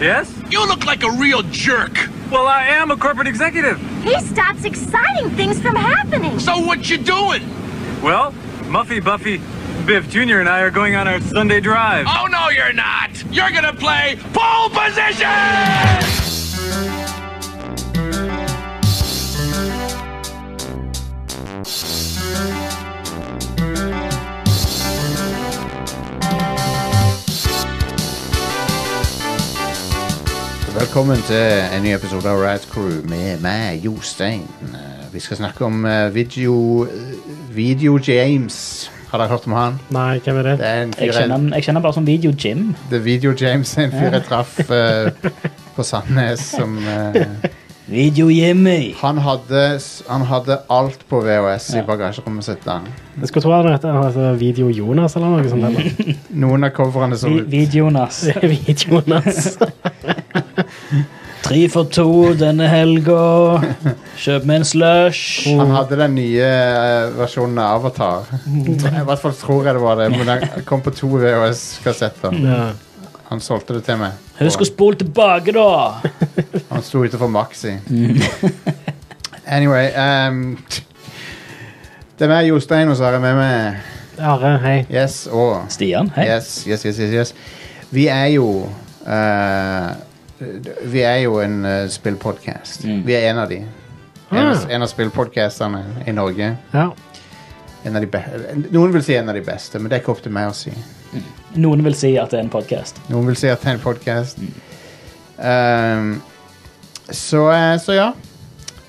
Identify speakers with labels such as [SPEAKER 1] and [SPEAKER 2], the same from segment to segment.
[SPEAKER 1] Yes?
[SPEAKER 2] You look like a real jerk.
[SPEAKER 1] Well, I am a corporate executive.
[SPEAKER 3] He stops exciting things from happening.
[SPEAKER 2] So what you doing?
[SPEAKER 1] Well, Muffy Buffy Biff Jr. and I are going on our Sunday drive.
[SPEAKER 2] Oh no, you're not. You're gonna play pole position.
[SPEAKER 4] Velkommen til en ny episode av Rad Crew med meg, Jostein. Eh, Vi skal snakke om eh, video, eh, video James. Har dere hørt om han?
[SPEAKER 5] Nei, hvem er det?
[SPEAKER 4] Det er en
[SPEAKER 6] Jeg
[SPEAKER 4] fyr
[SPEAKER 6] kjenner, han- jeg kjenner han bare som Video Jim.
[SPEAKER 4] Det er Video James, en fyr jeg traff eh, på Sandnes som eh,
[SPEAKER 6] Video Jimmy.
[SPEAKER 4] han, hadde, s- han hadde alt på VHS i
[SPEAKER 6] Ja.
[SPEAKER 4] bagasjerommet sitt. da.
[SPEAKER 5] Jeg skulle tro han het han heter Video Jonas eller noe sånt. Eller?
[SPEAKER 4] Noen av coverne så
[SPEAKER 6] Vi,
[SPEAKER 4] ut
[SPEAKER 6] Videonas.
[SPEAKER 5] Video Jonas.
[SPEAKER 6] Tre for to denne helga. Kjøp meg en slush.
[SPEAKER 4] Han hadde den nye eh, versjonen av Avatar.
[SPEAKER 6] Mm.
[SPEAKER 4] I hvert fall tror jeg det var det, men den kom på to VHS-kassetter.
[SPEAKER 5] Ja.
[SPEAKER 4] Han solgte det til meg.
[SPEAKER 6] Husk å spole tilbake, da.
[SPEAKER 4] Han sto utenfor Maxi. anyway ehm, Det er meg, Jostein, og så har jeg med meg
[SPEAKER 5] Are, hei.
[SPEAKER 4] Yes og
[SPEAKER 6] Stian, hei.
[SPEAKER 4] yes, yes, yes, yes, yes. Vi er jo eh, Vi er jo en uh, spillpodkast. Vi er en av de. En, av-
[SPEAKER 5] Ah.
[SPEAKER 4] en av spillpodkastene i Norge.
[SPEAKER 5] Ja.
[SPEAKER 4] En av de be Noen vil si en av de beste, men det er ikke opp til meg å si.
[SPEAKER 6] Noen vil si at det er en podkast.
[SPEAKER 4] Noen vil si at det er en podkast. så, eh, så ja.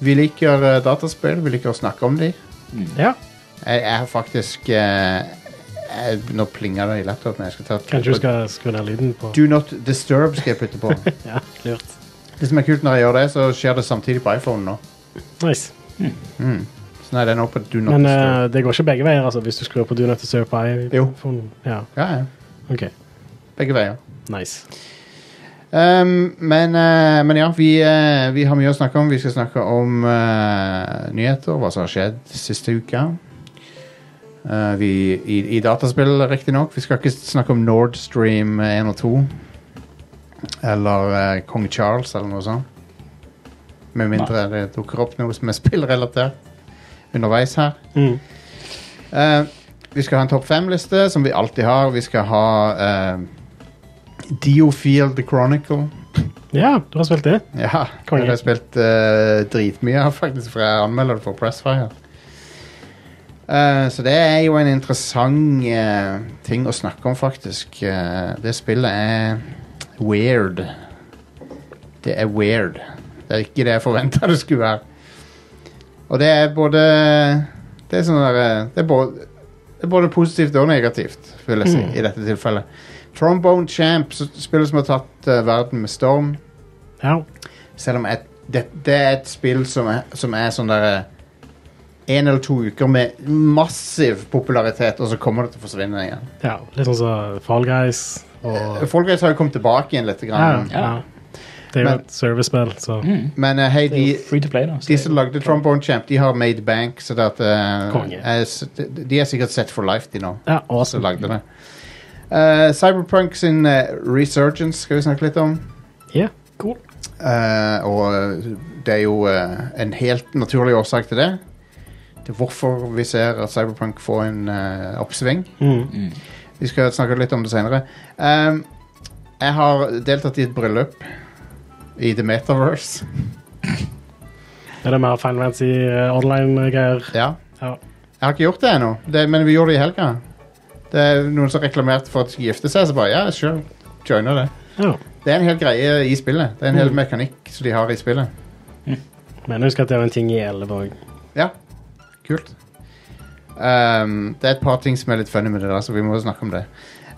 [SPEAKER 4] Vi liker eh, dataspill, vi liker å snakke om dem.
[SPEAKER 5] ja.
[SPEAKER 4] Jeg jeg har faktisk eh, jeg, Nå plinger det i laptopen. Jeg skal ta
[SPEAKER 5] Kanskje du skal skru ned lyden på
[SPEAKER 4] Do not disturb skal jeg putte på.
[SPEAKER 5] Ja, lurt.
[SPEAKER 4] det som er kult når jeg gjør det, så skjer det samtidig på iPhone nå.
[SPEAKER 5] Nice.
[SPEAKER 4] Så nå er den oppe do not
[SPEAKER 5] Men
[SPEAKER 4] disturb.
[SPEAKER 5] eh, det går ikke begge veier, altså, hvis du skrur på Do Not Disturb på
[SPEAKER 4] Jo.
[SPEAKER 5] iPhone. Ja,
[SPEAKER 4] Ja, ja.
[SPEAKER 5] ok.
[SPEAKER 4] Begge veier.
[SPEAKER 5] Nice.
[SPEAKER 4] Um, men, eh, men ja, vi, eh, vi har mye å snakke om. Vi skal snakke om eh, nyheter, hva som har skjedd siste uka. Eh, vi, i, I dataspill, riktignok. Vi skal ikke snakke om Nord Stream 1 og 2. Eller eh, Kong Charles, eller noe sånt. Med mindre det dukker opp noe som er spillrelatert underveis her.
[SPEAKER 5] Mm.
[SPEAKER 4] Eh, vi skal ha en topp fem-liste, som vi alltid har. Vi skal ha eh, Diofield The Chronicle.
[SPEAKER 5] Ja, du har spilt det?
[SPEAKER 4] Ja,
[SPEAKER 5] Konge.
[SPEAKER 4] jeg har spilt eh, dritmye av, faktisk, for jeg anmelder det for Pressfire. Eh, så det er jo en interessant eh, ting å snakke om, faktisk. Eh, det spillet er weird. Det er weird. Det er ikke det jeg forventa det skulle være. Og det er både Det er sånn der, eh, det, er både, det er både positivt og negativt, vil jeg si, i dette tilfellet. Trombone Champ, s- spillet som har tatt eh, verden med storm.
[SPEAKER 5] Ja.
[SPEAKER 4] Selv om et, det, det er et spill som er, som er sånn der eh, En eller to uker med massiv popularitet, og så kommer det til å forsvinne igjen.
[SPEAKER 5] ja. Litt sånn som Fall Guys og
[SPEAKER 4] Folk vet har jo kommet tilbake igjen litt,
[SPEAKER 5] ja,
[SPEAKER 4] grann,
[SPEAKER 5] ja. Det er jo
[SPEAKER 4] um, Men-
[SPEAKER 5] et servicespill, så
[SPEAKER 4] men eh, hei,
[SPEAKER 6] Det er
[SPEAKER 4] de,
[SPEAKER 6] jo Free to play, da. så-
[SPEAKER 4] de som lagde Trombone Champ, de har made bank, så det at eh,
[SPEAKER 5] Konge.
[SPEAKER 4] er s- de- De er sikkert set for life, de nå,
[SPEAKER 5] Ja,
[SPEAKER 4] som
[SPEAKER 5] awesome.
[SPEAKER 4] lagde det. Eh, Cyberpunk sin eh, resurgence skal vi snakke litt om.
[SPEAKER 5] Ja, cool.
[SPEAKER 4] Eh, og det er jo eh, en helt naturlig årsak til det. Til hvorfor vi ser at Cyberpunk får en eh, oppsving.
[SPEAKER 5] Mm.
[SPEAKER 4] Vi skal snakke litt om det senere. Ehm, jeg har deltatt i et bryllup i The Metaverse.
[SPEAKER 5] Er det mer Final Fantasy eh, online-greier?
[SPEAKER 4] Ja.
[SPEAKER 5] Ja.
[SPEAKER 4] Jeg har ikke gjort det ennå, det, men vi gjorde det i helga. Det er noen som reklamerte for at de skulle gifte seg, så bare ja, sure, joiner det.
[SPEAKER 5] ja.
[SPEAKER 4] Det er en hel greie i spillet. Det er en hel mekanikk som de har i spillet.
[SPEAKER 5] Men husk at det er en ting i 11 òg.
[SPEAKER 4] Ja, kult. Ehm, det er et par ting som er litt funny med det, da, så vi må snakke om det.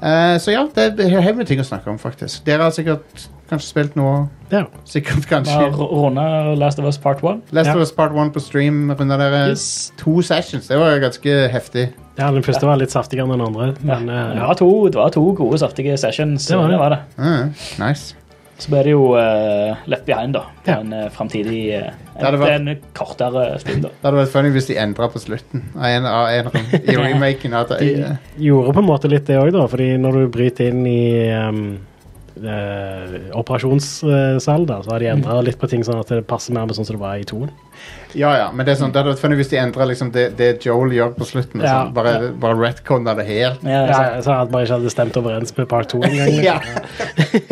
[SPEAKER 4] Eh, så ja, det er helt med ting å snakke om, faktisk. Dere har sikkert kanskje spilt noe
[SPEAKER 5] Ja.
[SPEAKER 4] Sikkert
[SPEAKER 6] Vi har
[SPEAKER 4] kanskje.
[SPEAKER 6] runda Last of Us Part 1.
[SPEAKER 4] Last of
[SPEAKER 5] Ja.
[SPEAKER 4] Us Part 1 på stream runder dere
[SPEAKER 6] Yes.
[SPEAKER 4] to sessions. Det var jo ganske heftig.
[SPEAKER 5] Ja, den første var litt saftigere enn den andre.
[SPEAKER 6] Ja.
[SPEAKER 5] Men eh,
[SPEAKER 6] Det var to, det var to gode, saftige sessions.
[SPEAKER 5] Det var det.
[SPEAKER 6] det, var det.
[SPEAKER 4] Mm, nice.
[SPEAKER 6] Så ble det jo eh, Left Behind, da. På
[SPEAKER 5] Ja.
[SPEAKER 6] en uh, framtidig eh,
[SPEAKER 4] Det hadde
[SPEAKER 6] en,
[SPEAKER 4] vært-
[SPEAKER 6] en kortere stund, da.
[SPEAKER 4] Det hadde vært funny hvis de endra på slutten av en, av en av dem, i remaken. At, eh,
[SPEAKER 5] de gjorde på en måte litt det òg, da. Fordi når du bryter inn i um, eh, operasjonssal, da, så har de
[SPEAKER 6] Mhm.
[SPEAKER 5] endra litt på ting sånn at det passer mer med sånn som det var i toen.
[SPEAKER 4] Ja, ja, men det, er sånn, det hadde vært funnet hvis de endra liksom det, det Joel gjør på slutten.
[SPEAKER 5] Ja,
[SPEAKER 4] sånn, bare
[SPEAKER 5] ja.
[SPEAKER 4] bare retconna det helt.
[SPEAKER 6] Ja,
[SPEAKER 5] Ja,
[SPEAKER 6] altså,
[SPEAKER 5] sånn at man ikke hadde stemt overens med part 2 engang.
[SPEAKER 4] Ja.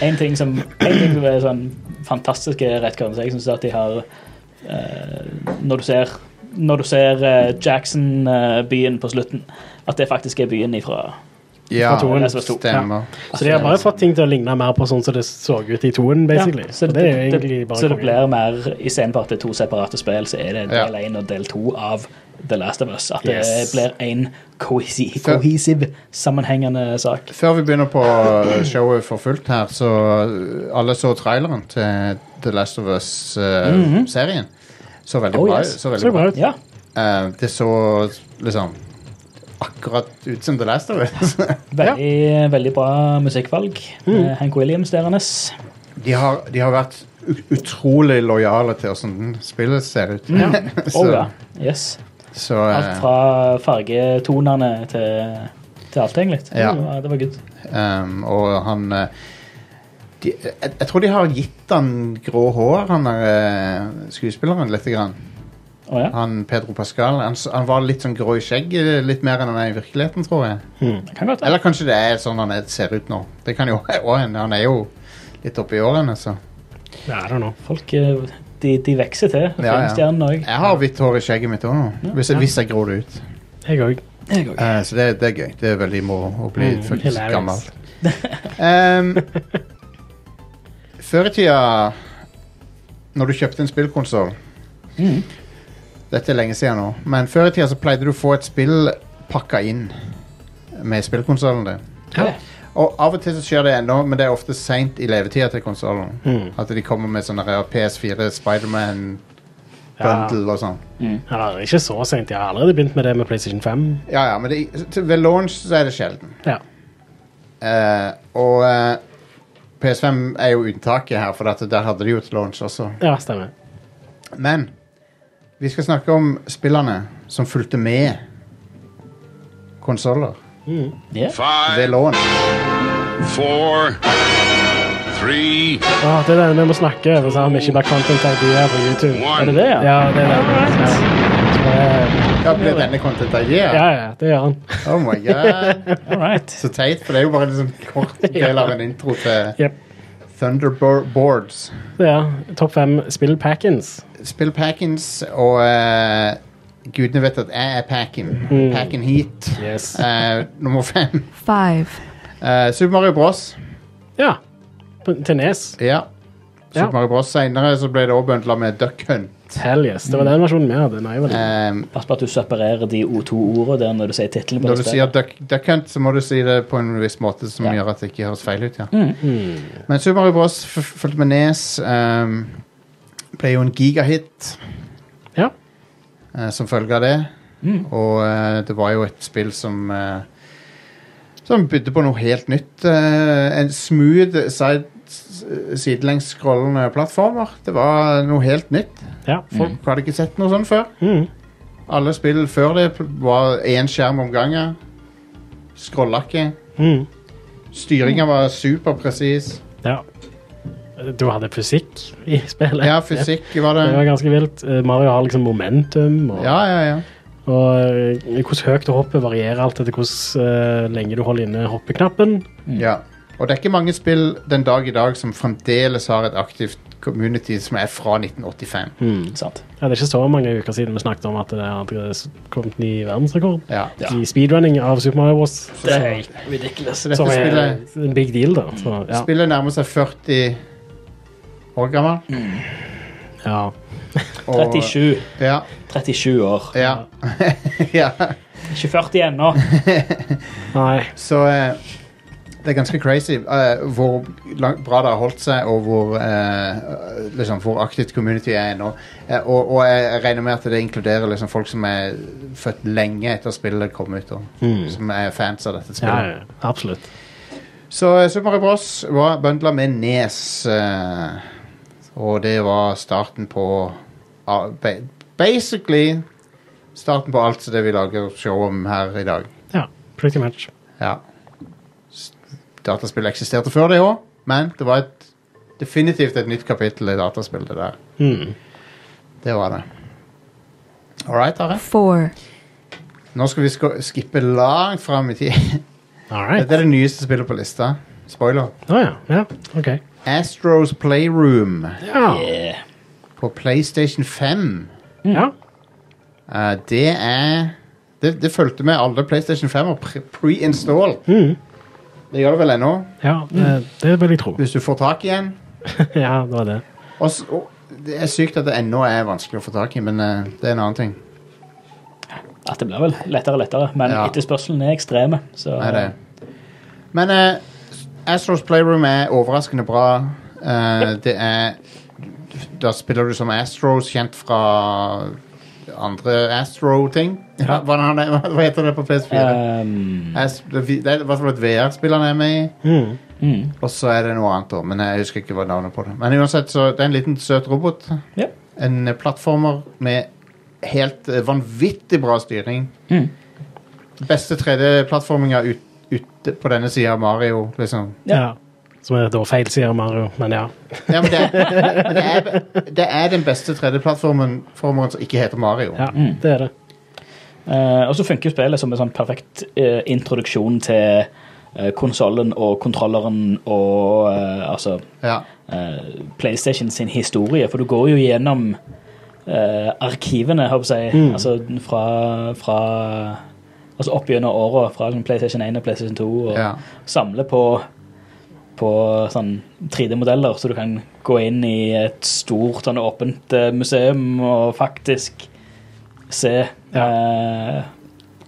[SPEAKER 6] en ting som en ting som er sånn fantastisk i retcon, så jeg syns at de har eh, Når du ser, når du ser eh, Jackson-byen på slutten, at det faktisk er byen ifra
[SPEAKER 4] ja,
[SPEAKER 5] Fra toen.
[SPEAKER 4] det stemmer.
[SPEAKER 5] Så de har bare fått ting til å ligne mer på sånn som det så ut i toen, basically.
[SPEAKER 6] så det,
[SPEAKER 5] Og det er jo egentlig bare
[SPEAKER 6] så det
[SPEAKER 5] konge.
[SPEAKER 6] blir mer i scenen på at det er to separate spill, så er det
[SPEAKER 4] Ja.
[SPEAKER 6] del 1 og del 2 av The Last of Us. At det
[SPEAKER 5] Yes.
[SPEAKER 6] blir en kohesi,
[SPEAKER 4] Så-
[SPEAKER 6] kohesiv, sammenhengende sak.
[SPEAKER 4] Før vi begynner på eh, showet for fullt her, så eh, alle så traileren til The Last of Us-serien. så veldig
[SPEAKER 6] Mhm. Oh,
[SPEAKER 4] bra
[SPEAKER 6] yes.
[SPEAKER 4] ut. Så veldig
[SPEAKER 5] Så bra
[SPEAKER 4] bra.
[SPEAKER 5] ut.
[SPEAKER 6] Ja.
[SPEAKER 4] Eh, det så liksom akkurat ut som The Last of Us.
[SPEAKER 6] Veldig, veldig bra musikkvalg.
[SPEAKER 5] Mm.
[SPEAKER 6] Eh, Hank Williams derende.
[SPEAKER 4] de, har, de har vært ut- utrolig lojale til åssen spillet ser ut. så
[SPEAKER 6] Oh, ja. Yes.
[SPEAKER 4] så
[SPEAKER 6] Alt
[SPEAKER 4] eh,
[SPEAKER 6] fra fargetonene til, til alt, egentlig.
[SPEAKER 4] Ja.
[SPEAKER 6] Det var- Det var good.
[SPEAKER 4] Um, og han eh, de, jeg, jeg tror de har gitt han grå hår, han der eh, skuespilleren, lite grann.
[SPEAKER 6] Å ja.
[SPEAKER 4] Han Pedro Pascal. Han, s- han var litt sånn grå i skjegget, litt mer enn han er i virkeligheten, tror jeg.
[SPEAKER 6] Det kan godt være.
[SPEAKER 4] Eller kanskje det er sånn han er, ser ut nå. Det kan jo også hende. Han er jo litt oppi årene, altså. så.
[SPEAKER 5] Ja, I don't know.
[SPEAKER 6] Folk eh, de, de vokser til.
[SPEAKER 4] ja.
[SPEAKER 6] Filmstjernene òg.
[SPEAKER 4] Jeg har hvitt hår i skjegget mitt òg nå, hvis, jeg- hvis jeg gror det ut.
[SPEAKER 5] Jeg òg.
[SPEAKER 4] Eh, så det, det er gøy. Det er veldig moro å bli
[SPEAKER 5] Mm,
[SPEAKER 4] faktisk
[SPEAKER 5] hilarious.
[SPEAKER 4] gammel. Ehm, før i tida, når du kjøpte en spillkonsoll
[SPEAKER 5] Mm.
[SPEAKER 4] Dette er lenge siden nå, men før i tida så pleide du å få et spill pakka inn med spillkonsollen din.
[SPEAKER 5] Ja.
[SPEAKER 4] Og av og til så skjer det ennå, men det er ofte seint i levetida til konsollen.
[SPEAKER 5] Mm.
[SPEAKER 4] At de kommer med sånne der PS4 Spiderman-bundle
[SPEAKER 5] Ja.
[SPEAKER 4] og sånn.
[SPEAKER 5] Ja, ikke så sent. Jeg har allerede begynt med det med PlayStation 5.
[SPEAKER 4] Ja, ja, men det, til- ved launch så er det sjelden.
[SPEAKER 5] Ja.
[SPEAKER 4] Eh, og eh, PS5 er jo unntaket her, for at der hadde de jo et launch også.
[SPEAKER 5] ja, stemmer.
[SPEAKER 4] Men vi skal snakke om spillene som fulgte med konsoller
[SPEAKER 6] Ja.
[SPEAKER 4] ved
[SPEAKER 2] Five,
[SPEAKER 4] launch.
[SPEAKER 2] four, three,
[SPEAKER 5] Å, det er det vi må snakke over, så har vi ikke bare content idea på YouTube.
[SPEAKER 6] Er det
[SPEAKER 2] one.
[SPEAKER 6] det, ja?
[SPEAKER 5] Ja, det er det. Ja. Så bare-
[SPEAKER 4] Ja, blir denne content
[SPEAKER 5] Ja,
[SPEAKER 4] idea?
[SPEAKER 5] ja, det gjør han.
[SPEAKER 4] Oh my god.
[SPEAKER 6] All right.
[SPEAKER 4] Så teit, for det er jo bare en liksom kort del av en intro til
[SPEAKER 5] Jep.
[SPEAKER 4] Thunderboards.
[SPEAKER 5] Det er topp fem spill packins.
[SPEAKER 4] Spill Packins, og eh, gudene vet at jeg er Packin. Packin Heat.
[SPEAKER 5] Mm. Yes.
[SPEAKER 4] Eh, nummer fem.
[SPEAKER 7] five,
[SPEAKER 4] Eh, Super Mario Bros.
[SPEAKER 5] Ja. På- Til Nes.
[SPEAKER 4] Ja. Super
[SPEAKER 5] Ja.
[SPEAKER 4] Mario Bros. Senere så ble det også bøndla med Duck Hunt.
[SPEAKER 5] Hell yes. Det var den versjonen vi hadde. Nei, vel.
[SPEAKER 4] Ehm,
[SPEAKER 6] Pass på at du separerer de O2-ordene der når du sier tittelen. på
[SPEAKER 4] når du
[SPEAKER 6] det
[SPEAKER 4] sier
[SPEAKER 6] spillet.
[SPEAKER 4] duck, duck Hunt, så må du si det på en viss måte som
[SPEAKER 6] Ja.
[SPEAKER 4] gjør at det ikke høres feil ut. ja. Men Super Mario Bros. f- fulgte med Nes. ehm, ble jo en gigahit
[SPEAKER 5] Ja.
[SPEAKER 4] eh, som følge av det. Og eh, det var jo et spill som eh, Som bydde på noe helt nytt. eh, en smooth side, s- sidelengsskrollende plattformer. Det var noe helt nytt.
[SPEAKER 5] ja.
[SPEAKER 4] Folk hadde ikke sett noe sånt før.
[SPEAKER 5] Mm.
[SPEAKER 4] Alle spill før det pl- var én skjerm om gangen. Scrolla ikke.
[SPEAKER 5] Mm.
[SPEAKER 4] Styringa var superpresis.
[SPEAKER 5] ja. Du hadde fysikk i spillet.
[SPEAKER 4] Ja, fysikk var
[SPEAKER 5] Det var
[SPEAKER 4] det.
[SPEAKER 5] ganske vilt. Eh, Mario har liksom momentum. Og,
[SPEAKER 4] Ja, ja, ja.
[SPEAKER 5] og eh, hvordan høyt du hopper varierer alt etter hvordan eh, lenge du holder inne hoppeknappen.
[SPEAKER 4] ja. Og det er ikke mange spill den dag i dag som fremdeles har et aktivt community som er fra 1985.
[SPEAKER 5] Mm.
[SPEAKER 6] Sant.
[SPEAKER 5] Ja, det er ikke så mange uker siden vi snakket om at det hadde kommet ny verdensrekord
[SPEAKER 4] Ja.
[SPEAKER 5] i speedrunning av Super Mario Bros.
[SPEAKER 6] Det er helt ridiculous.
[SPEAKER 4] Så dette
[SPEAKER 5] Som er
[SPEAKER 4] spillet,
[SPEAKER 5] en big deal, da. Så, ja.
[SPEAKER 4] spillet nærmer seg 40 år
[SPEAKER 5] Mm.
[SPEAKER 4] gammel.
[SPEAKER 5] ja.
[SPEAKER 4] og-
[SPEAKER 6] 37.
[SPEAKER 4] Ja.
[SPEAKER 6] 37 år.
[SPEAKER 4] ja. ja. Eh.
[SPEAKER 6] Ikke 40 ennå.
[SPEAKER 5] Nei.
[SPEAKER 4] Så eh, det er ganske crazy eh, hvor lang, bra det har holdt seg, og hvor, eh, liksom, hvor aktivt community er nå. Eh, og, og jeg regner med at det inkluderer liksom, folk som er født lenge etter spillet kom ut, og, som er fans av dette
[SPEAKER 5] Mm. Ja,
[SPEAKER 4] spillet.
[SPEAKER 5] ja, absolutt.
[SPEAKER 4] Så eh, Super Mario Bros var bundla med Nes, eh, og det var starten på ah, ba- Basically starten på alt som det vi lager show om her i dag.
[SPEAKER 5] Ja, pretty much.
[SPEAKER 4] Ja. S- dataspill eksisterte før det òg, men det var et, definitivt et nytt kapittel i dataspill, det der.
[SPEAKER 5] Mm.
[SPEAKER 4] Det var det. All right, Are.
[SPEAKER 7] Four.
[SPEAKER 4] Nå skal vi sk skippe langt fram i tid.
[SPEAKER 5] All
[SPEAKER 4] Dette
[SPEAKER 5] right.
[SPEAKER 4] er det nyeste spillet på lista. Spoiler.
[SPEAKER 5] Å ja. ja. OK.
[SPEAKER 4] Astros Playroom
[SPEAKER 5] Ja.
[SPEAKER 6] Yeah.
[SPEAKER 4] på PlayStation 5.
[SPEAKER 5] ja.
[SPEAKER 4] Eh, det er Det, det fulgte med alle PlayStation 5 og pre- pre-install.
[SPEAKER 5] Mm.
[SPEAKER 4] Det gjør det vel ennå,
[SPEAKER 5] ja det, det vil jeg tro.
[SPEAKER 4] hvis du får tak i en.
[SPEAKER 5] ja, det var det.
[SPEAKER 4] Og s- og det er sykt at det ennå er vanskelig å få tak i, men eh, det er en annen ting.
[SPEAKER 6] At det blir vel lettere og lettere, men
[SPEAKER 4] Ja.
[SPEAKER 6] etterspørselen er ekstreme. Så
[SPEAKER 4] Nei, det. Men eh, Astros Playroom er overraskende bra. Eh, Det er Da spiller du som Astros, kjent fra andre Astro-ting. Hva, han er- hva heter det på PS4?
[SPEAKER 6] ehm,
[SPEAKER 4] Ast- det er i hvert fall et VR-spill han er med i.
[SPEAKER 5] Mm.
[SPEAKER 6] mm.
[SPEAKER 4] Og så er det noe annet, da. Men jeg husker ikke hva navnet på det Men uansett, så det er en liten søt robot.
[SPEAKER 6] Ja.
[SPEAKER 4] En eh, plattformer med helt eh, vanvittig bra styring.
[SPEAKER 6] Mm.
[SPEAKER 4] Beste 3D-plattforminga ut, ute på denne sida av Mario, liksom.
[SPEAKER 5] Ja. Som er da feil, sier Mario. Men ja.
[SPEAKER 4] Ja, men det, men det, er, det er den beste 3D-plattformen formeren som ikke heter Mario.
[SPEAKER 5] ja det er det.
[SPEAKER 6] Eh, og så funker jo spillet som en sånn perfekt eh, introduksjon til uh, konsollen og kontrolleren og eh, altså
[SPEAKER 4] Ja.
[SPEAKER 6] eh, PlayStation sin historie, for du går jo gjennom eh, arkivene, håper jeg, å si, altså fra, fra altså opp gjennom åra, fra liksom PlayStation 1 og PlayStation 2, og
[SPEAKER 4] Ja.
[SPEAKER 6] samler på på sånn 3D-modeller, så du kan gå inn i et stort, sånn åpent eh, museum og faktisk se eh,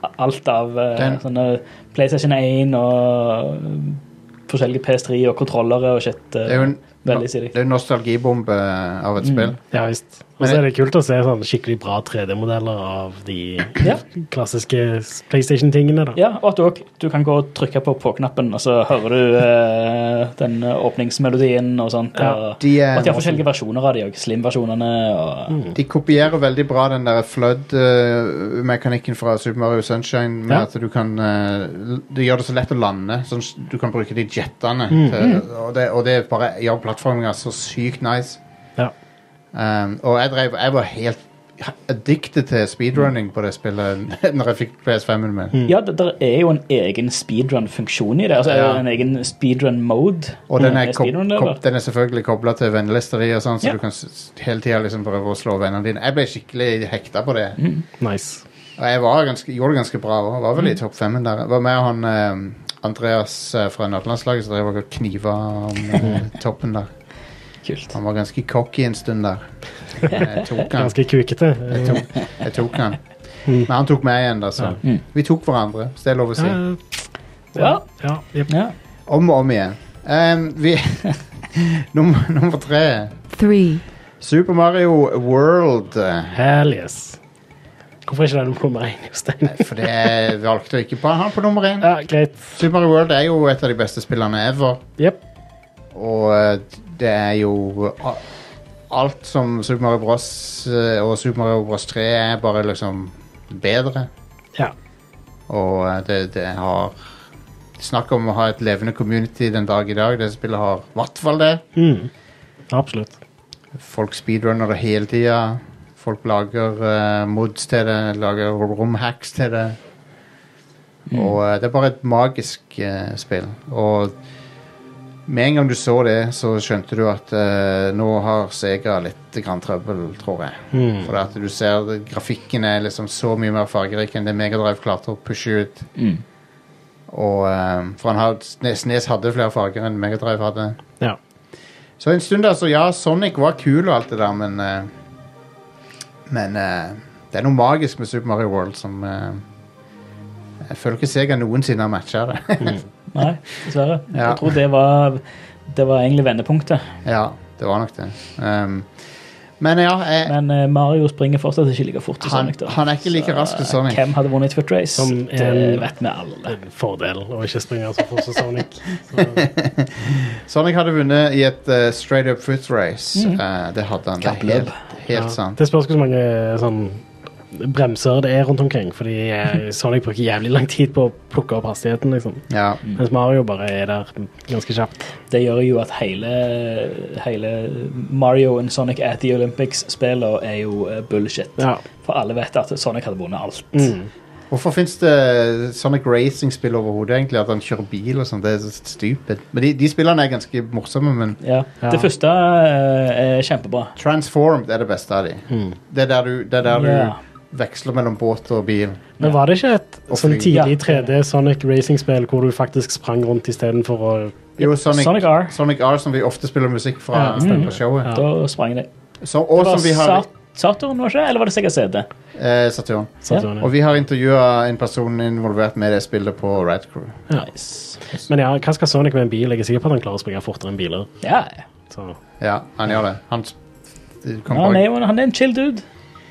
[SPEAKER 6] alt av eh,
[SPEAKER 4] Den-
[SPEAKER 6] sånne PlayStation 1 og forskjellige PS3 og kontrollere og shit. eh,
[SPEAKER 4] Det er jo en,
[SPEAKER 6] Veldig Mm. stilig.
[SPEAKER 4] det er jo en nostalgibombe eh, av et spill.
[SPEAKER 5] Ja visst. Og så er det kult å se sånne skikkelig bra 3D-modeller av de
[SPEAKER 6] Ja.
[SPEAKER 5] klassiske PlayStation-tingene. da.
[SPEAKER 6] Ja, og at du, også, du kan gå og trykke på på-knappen, og så hører du eh, den åpningsmelodien og sånt.
[SPEAKER 5] Ja,
[SPEAKER 6] og,
[SPEAKER 4] de er
[SPEAKER 6] og at de har forskjellige versjoner av de òg. Slim-versjonene og
[SPEAKER 4] De kopierer veldig bra den der flood-mekanikken fra Super Mario Sunshine. Med
[SPEAKER 5] Ja.
[SPEAKER 4] at du kan eh, l- Det gjør det så lett å lande. Sånn, s- du kan bruke de jetene. Til, og, det, og det bare gjør plattforminga så sykt nice.
[SPEAKER 5] Ja.
[SPEAKER 4] Um, og jeg, drev, jeg var helt addicted til speedrunning på det spillet når jeg fikk PS5-en min.
[SPEAKER 6] Ja, det der er jo en egen speedrun-funksjon i det. Altså
[SPEAKER 4] Ja.
[SPEAKER 6] en egen speedrun-mode.
[SPEAKER 4] Og den er,
[SPEAKER 6] Eh,
[SPEAKER 4] kob
[SPEAKER 6] speedrun, det,
[SPEAKER 4] kob
[SPEAKER 6] eller?
[SPEAKER 4] den er selvfølgelig kobla til vennelista di, og sånn, så
[SPEAKER 6] Ja.
[SPEAKER 4] du kan s- s- hele tida liksom prøve å slå vennene dine. Jeg ble skikkelig hekta på det.
[SPEAKER 5] Nice.
[SPEAKER 4] Og jeg var ganske, gjorde det ganske bra òg. Var vel
[SPEAKER 5] Mm.
[SPEAKER 4] i topp femmen der. Var med han eh, Andreas eh, fra Nederlandslaget som drev og kniva om eh, toppen der.
[SPEAKER 6] Kult.
[SPEAKER 4] Han var ganske cocky en stund der. Jeg tok han.
[SPEAKER 5] Ganske kukete. eh,
[SPEAKER 4] Jeg tok, jeg tok han. Men han tok meg igjen, da, så. Vi tok hverandre, hvis det er lov å si.
[SPEAKER 5] Mm. Ja,
[SPEAKER 6] Ja.
[SPEAKER 5] ja, jep.
[SPEAKER 6] ja.
[SPEAKER 4] Om og om igjen. Em, vi nummer, nummer tre.
[SPEAKER 7] Three.
[SPEAKER 4] Super Mario World.
[SPEAKER 5] Hell yes. Hvorfor er ikke den på nummer én, Jostein?
[SPEAKER 4] For det jeg valgte å ikke på han på nummer én.
[SPEAKER 5] Ja, greit.
[SPEAKER 4] Super Mario World er jo et av de beste spillene ever.
[SPEAKER 5] Jepp.
[SPEAKER 4] Og eh, det er jo a- Alt som Super Mario Bros. eh, og Super Mario Bros. 3 er bare liksom bedre.
[SPEAKER 5] Ja.
[SPEAKER 4] Og eh, det, det har Snakk om å ha et levende community den dag i dag. Det spillet har i hvert fall det.
[SPEAKER 5] Mm. Absolutt.
[SPEAKER 4] Folk speedrunner det hele tida. Folk lager eh, mods til det, lager romhacks til det. Og eh, det er bare et magisk eh, spill. Og med en gang du så det, så skjønte du at eh, nå har Sega litt grann trøbbel, tror jeg.
[SPEAKER 5] Mm.
[SPEAKER 4] For at du ser det- grafikken er liksom så mye mer fargerik enn det Megadrive klarte å pushe ut.
[SPEAKER 6] Mm.
[SPEAKER 4] Og, eh, for han har, Snes, Snes hadde flere farger enn Megadrive hadde.
[SPEAKER 5] Ja.
[SPEAKER 4] Så en stund altså, ja, Sonic var kul og alt det der, men eh, Men eh, det er noe magisk med Super Mario World som eh, Jeg føler ikke Sega noensinne har matcha det.
[SPEAKER 6] Mm. Nei, dessverre.
[SPEAKER 4] Ja.
[SPEAKER 6] Jeg tror det var, det var egentlig vendepunktet.
[SPEAKER 4] ja, det var nok det. Um, men ja, jeg,
[SPEAKER 6] Men eh, Mario springer fortsatt ikke like fort som
[SPEAKER 4] Han-
[SPEAKER 6] Sonic. da.
[SPEAKER 4] han er ikke like
[SPEAKER 6] Så,
[SPEAKER 4] rask som Sonic.
[SPEAKER 6] Eh, Hvem hadde vunnet Foot Race?
[SPEAKER 5] Som
[SPEAKER 6] det
[SPEAKER 5] en-
[SPEAKER 6] vet vi alle.
[SPEAKER 5] En fordel å ikke springe så fort som Sonic.
[SPEAKER 4] Sonic hadde vunnet i et eh, straight
[SPEAKER 6] Mm.
[SPEAKER 4] up foot race. Eh, det hadde han. Det er
[SPEAKER 6] Kapløp.
[SPEAKER 4] helt, helt
[SPEAKER 5] Ja.
[SPEAKER 4] sant.
[SPEAKER 5] Det spørs hvor mange sånn bremser det er rundt omkring. Fordi eh, Sonic bruker jævlig lang tid på å plukke opp hastigheten, liksom.
[SPEAKER 4] Ja.
[SPEAKER 6] Mm.
[SPEAKER 5] Mens Mario bare er der ganske kjapt.
[SPEAKER 6] Det gjør jo at hele, hele Mario and Sonic at the Olympics-spillene er jo eh, bullshit.
[SPEAKER 5] Ja. Mm.
[SPEAKER 6] For alle vet at Sonic hadde vunnet alt.
[SPEAKER 4] Hvorfor fins det Sonic Racing-spill overhodet, egentlig? At han kjører bil og sånn? Det er så stupid. Men de, de spillene er ganske morsomme, men
[SPEAKER 6] Ja.
[SPEAKER 5] Ja.
[SPEAKER 6] Det første eh, er kjempebra.
[SPEAKER 4] Transformed er det beste av de. Det er der du, det er der
[SPEAKER 6] Ja.
[SPEAKER 4] du veksler mellom båt og bil.
[SPEAKER 5] Men var det ikke et
[SPEAKER 4] Og
[SPEAKER 5] sånn
[SPEAKER 4] fly.
[SPEAKER 5] tidlig
[SPEAKER 6] Ja.
[SPEAKER 5] 3D Sonic Racing-spill hvor du faktisk sprang rundt istedenfor å
[SPEAKER 4] Jo, Sonic,
[SPEAKER 6] Sonic R.
[SPEAKER 4] Sonic R, som vi ofte spiller musikk fra
[SPEAKER 5] Ja.
[SPEAKER 4] mm. på showet.
[SPEAKER 5] Ja.
[SPEAKER 6] Da sprang det.
[SPEAKER 4] Så, og
[SPEAKER 6] Det var
[SPEAKER 4] som vi har
[SPEAKER 6] Sat- Saturn, var det ikke? Eller var det Sega CD?
[SPEAKER 4] eh, Saturn.
[SPEAKER 5] Saturn,
[SPEAKER 4] Og
[SPEAKER 5] ja.
[SPEAKER 4] vi har intervjua en person involvert med det spillet på Rad Crew.
[SPEAKER 6] Nice.
[SPEAKER 5] Men ja, hva skal Sonic med en bil? Jeg er sikker på at han klarer å springe fortere enn biler.
[SPEAKER 6] Ja, ja.
[SPEAKER 5] Så.
[SPEAKER 4] Ja, han gjør det. Han s- du kan
[SPEAKER 6] han, er,
[SPEAKER 4] bare,
[SPEAKER 6] jo- han er en chill dude.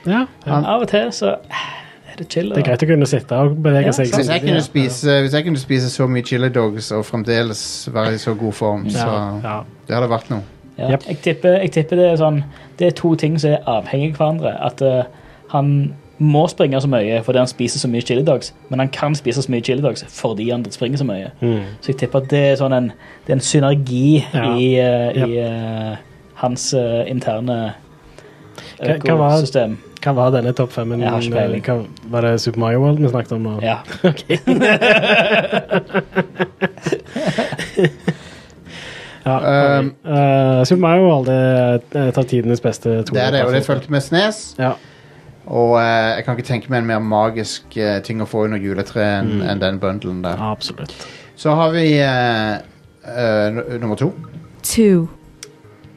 [SPEAKER 5] Ja, ja.
[SPEAKER 6] Av og til så eh, er det chill.
[SPEAKER 5] Det er greit å kunne sitte og bevege
[SPEAKER 6] Ja, sånn.
[SPEAKER 5] seg.
[SPEAKER 4] hvis, jeg
[SPEAKER 5] samtidig,
[SPEAKER 4] kunne
[SPEAKER 5] ja.
[SPEAKER 4] spise, hvis jeg kunne spise så mye chili dogs og fremdeles være i så god form, så
[SPEAKER 5] ja.
[SPEAKER 4] det hadde vært noe.
[SPEAKER 6] Ja.
[SPEAKER 5] Yep.
[SPEAKER 6] Jeg, tipper, jeg tipper det er sånn Det er to ting som er avhengige av hverandre. At eh, han må springe så mye fordi han spiser så mye chili dogs, men han kan spise så mye chili dogs fordi han springer så mye. Så jeg tipper at det er, sånn en, det er en synergi
[SPEAKER 5] Mm. Ja.
[SPEAKER 6] i, eh,
[SPEAKER 5] Yep.
[SPEAKER 6] i eh, hans eh, interne
[SPEAKER 5] Hva- hva var-
[SPEAKER 6] økosystem.
[SPEAKER 5] Hva var denne topp femmen?
[SPEAKER 6] Jeg har ikke peiling.
[SPEAKER 5] Hva- Var det Super Mario World vi snakket om? Og...
[SPEAKER 6] Ja.
[SPEAKER 5] Ja,
[SPEAKER 4] Um,
[SPEAKER 5] eh, Super Mario World er et av tidenes beste to.
[SPEAKER 4] Det er det, og det fulgte med Snes.
[SPEAKER 5] Ja.
[SPEAKER 4] Og eh, jeg kan ikke tenke meg en mer magisk eh, ting å få under juletreet enn enn den bundlen der.
[SPEAKER 5] Absolutt.
[SPEAKER 4] Så har vi eh, eh, nu- nummer to.
[SPEAKER 7] two,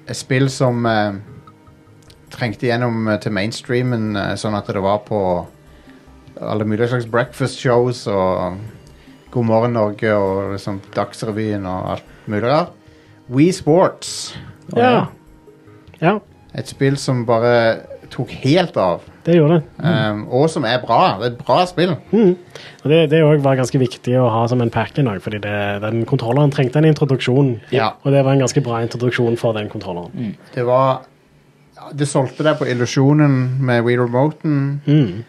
[SPEAKER 4] Et spill som eh, trengte gjennom eh, til mainstreamen, eh, sånn at det var på alle mulige slags breakfast shows og God morgen Norge og liksom Dagsrevyen og alt mulig rart. We Sports.
[SPEAKER 5] Ja. ja,
[SPEAKER 4] Et spill som bare tok helt av,
[SPEAKER 5] det gjorde det.
[SPEAKER 4] um, og som er bra. Det er et bra spill.
[SPEAKER 5] Og det, det også var ganske viktig å ha som en pack i dag, fordi det, den kontrolleren trengte en introduksjon.
[SPEAKER 4] Ja.
[SPEAKER 5] Og det var en ganske bra introduksjon for den
[SPEAKER 6] Mm.
[SPEAKER 5] kontrolleren.
[SPEAKER 4] Det var ja, Det solgte deg på illusjonen med Wii Remoten.
[SPEAKER 5] Mm.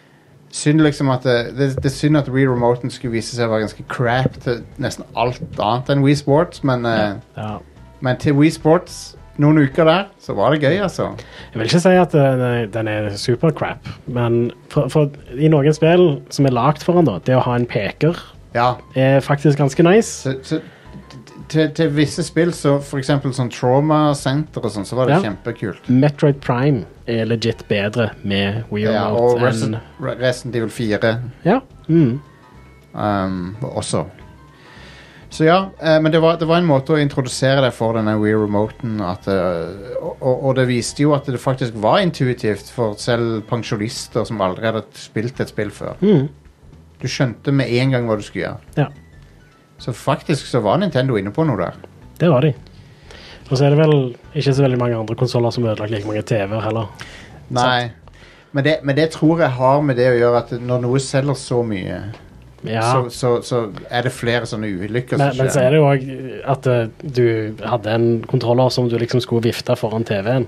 [SPEAKER 4] Synd liksom at det, det, det er synd at Wii Remoten skulle vise seg å være ganske crap til nesten alt annet enn Wii Sports, men, eh,
[SPEAKER 5] Ja.
[SPEAKER 4] men til Wii Sports noen uker der, så var det gøy, altså.
[SPEAKER 5] Jeg vil ikke si at eh, den er, den er super crap, men for, for i noen spill som er lagd for den, da, det å ha en peker
[SPEAKER 4] Ja,
[SPEAKER 5] er faktisk ganske nice.
[SPEAKER 4] så, så t- til, til visse spill, så for eksempel sånn Trauma Center og sånn, så var det
[SPEAKER 5] Ja.
[SPEAKER 4] kjempekult.
[SPEAKER 5] Metroid Prime er legit bedre med Wii
[SPEAKER 4] Ja,
[SPEAKER 5] Remote
[SPEAKER 4] og
[SPEAKER 5] enn
[SPEAKER 4] Resident, Resident Evil 4
[SPEAKER 5] Ja. Mm.
[SPEAKER 4] um, også. Så ja, eh, men det var, det var en måte å introdusere deg for denne Wii Remoten. At, eh, og, og- og det viste jo at det faktisk var intuitivt for selv pensjonister som aldri hadde spilt et spill før.
[SPEAKER 5] Mm.
[SPEAKER 4] Du skjønte med en gang hva du skulle gjøre.
[SPEAKER 5] ja.
[SPEAKER 4] Så faktisk så var Nintendo inne på noe der.
[SPEAKER 5] Det var de. Og så er det vel ikke så veldig mange andre konsoller som har ødelagt like mange TV-er heller.
[SPEAKER 4] Nei. Men det, men det tror jeg har med det å gjøre at når noe selger så mye,
[SPEAKER 5] Ja,
[SPEAKER 4] så, så, så er det flere sånne ulykker
[SPEAKER 5] men,
[SPEAKER 4] som
[SPEAKER 5] men så
[SPEAKER 4] skjer.
[SPEAKER 5] er det jo òg at eh, du hadde en kontroller som du liksom skulle vifte foran TV-en.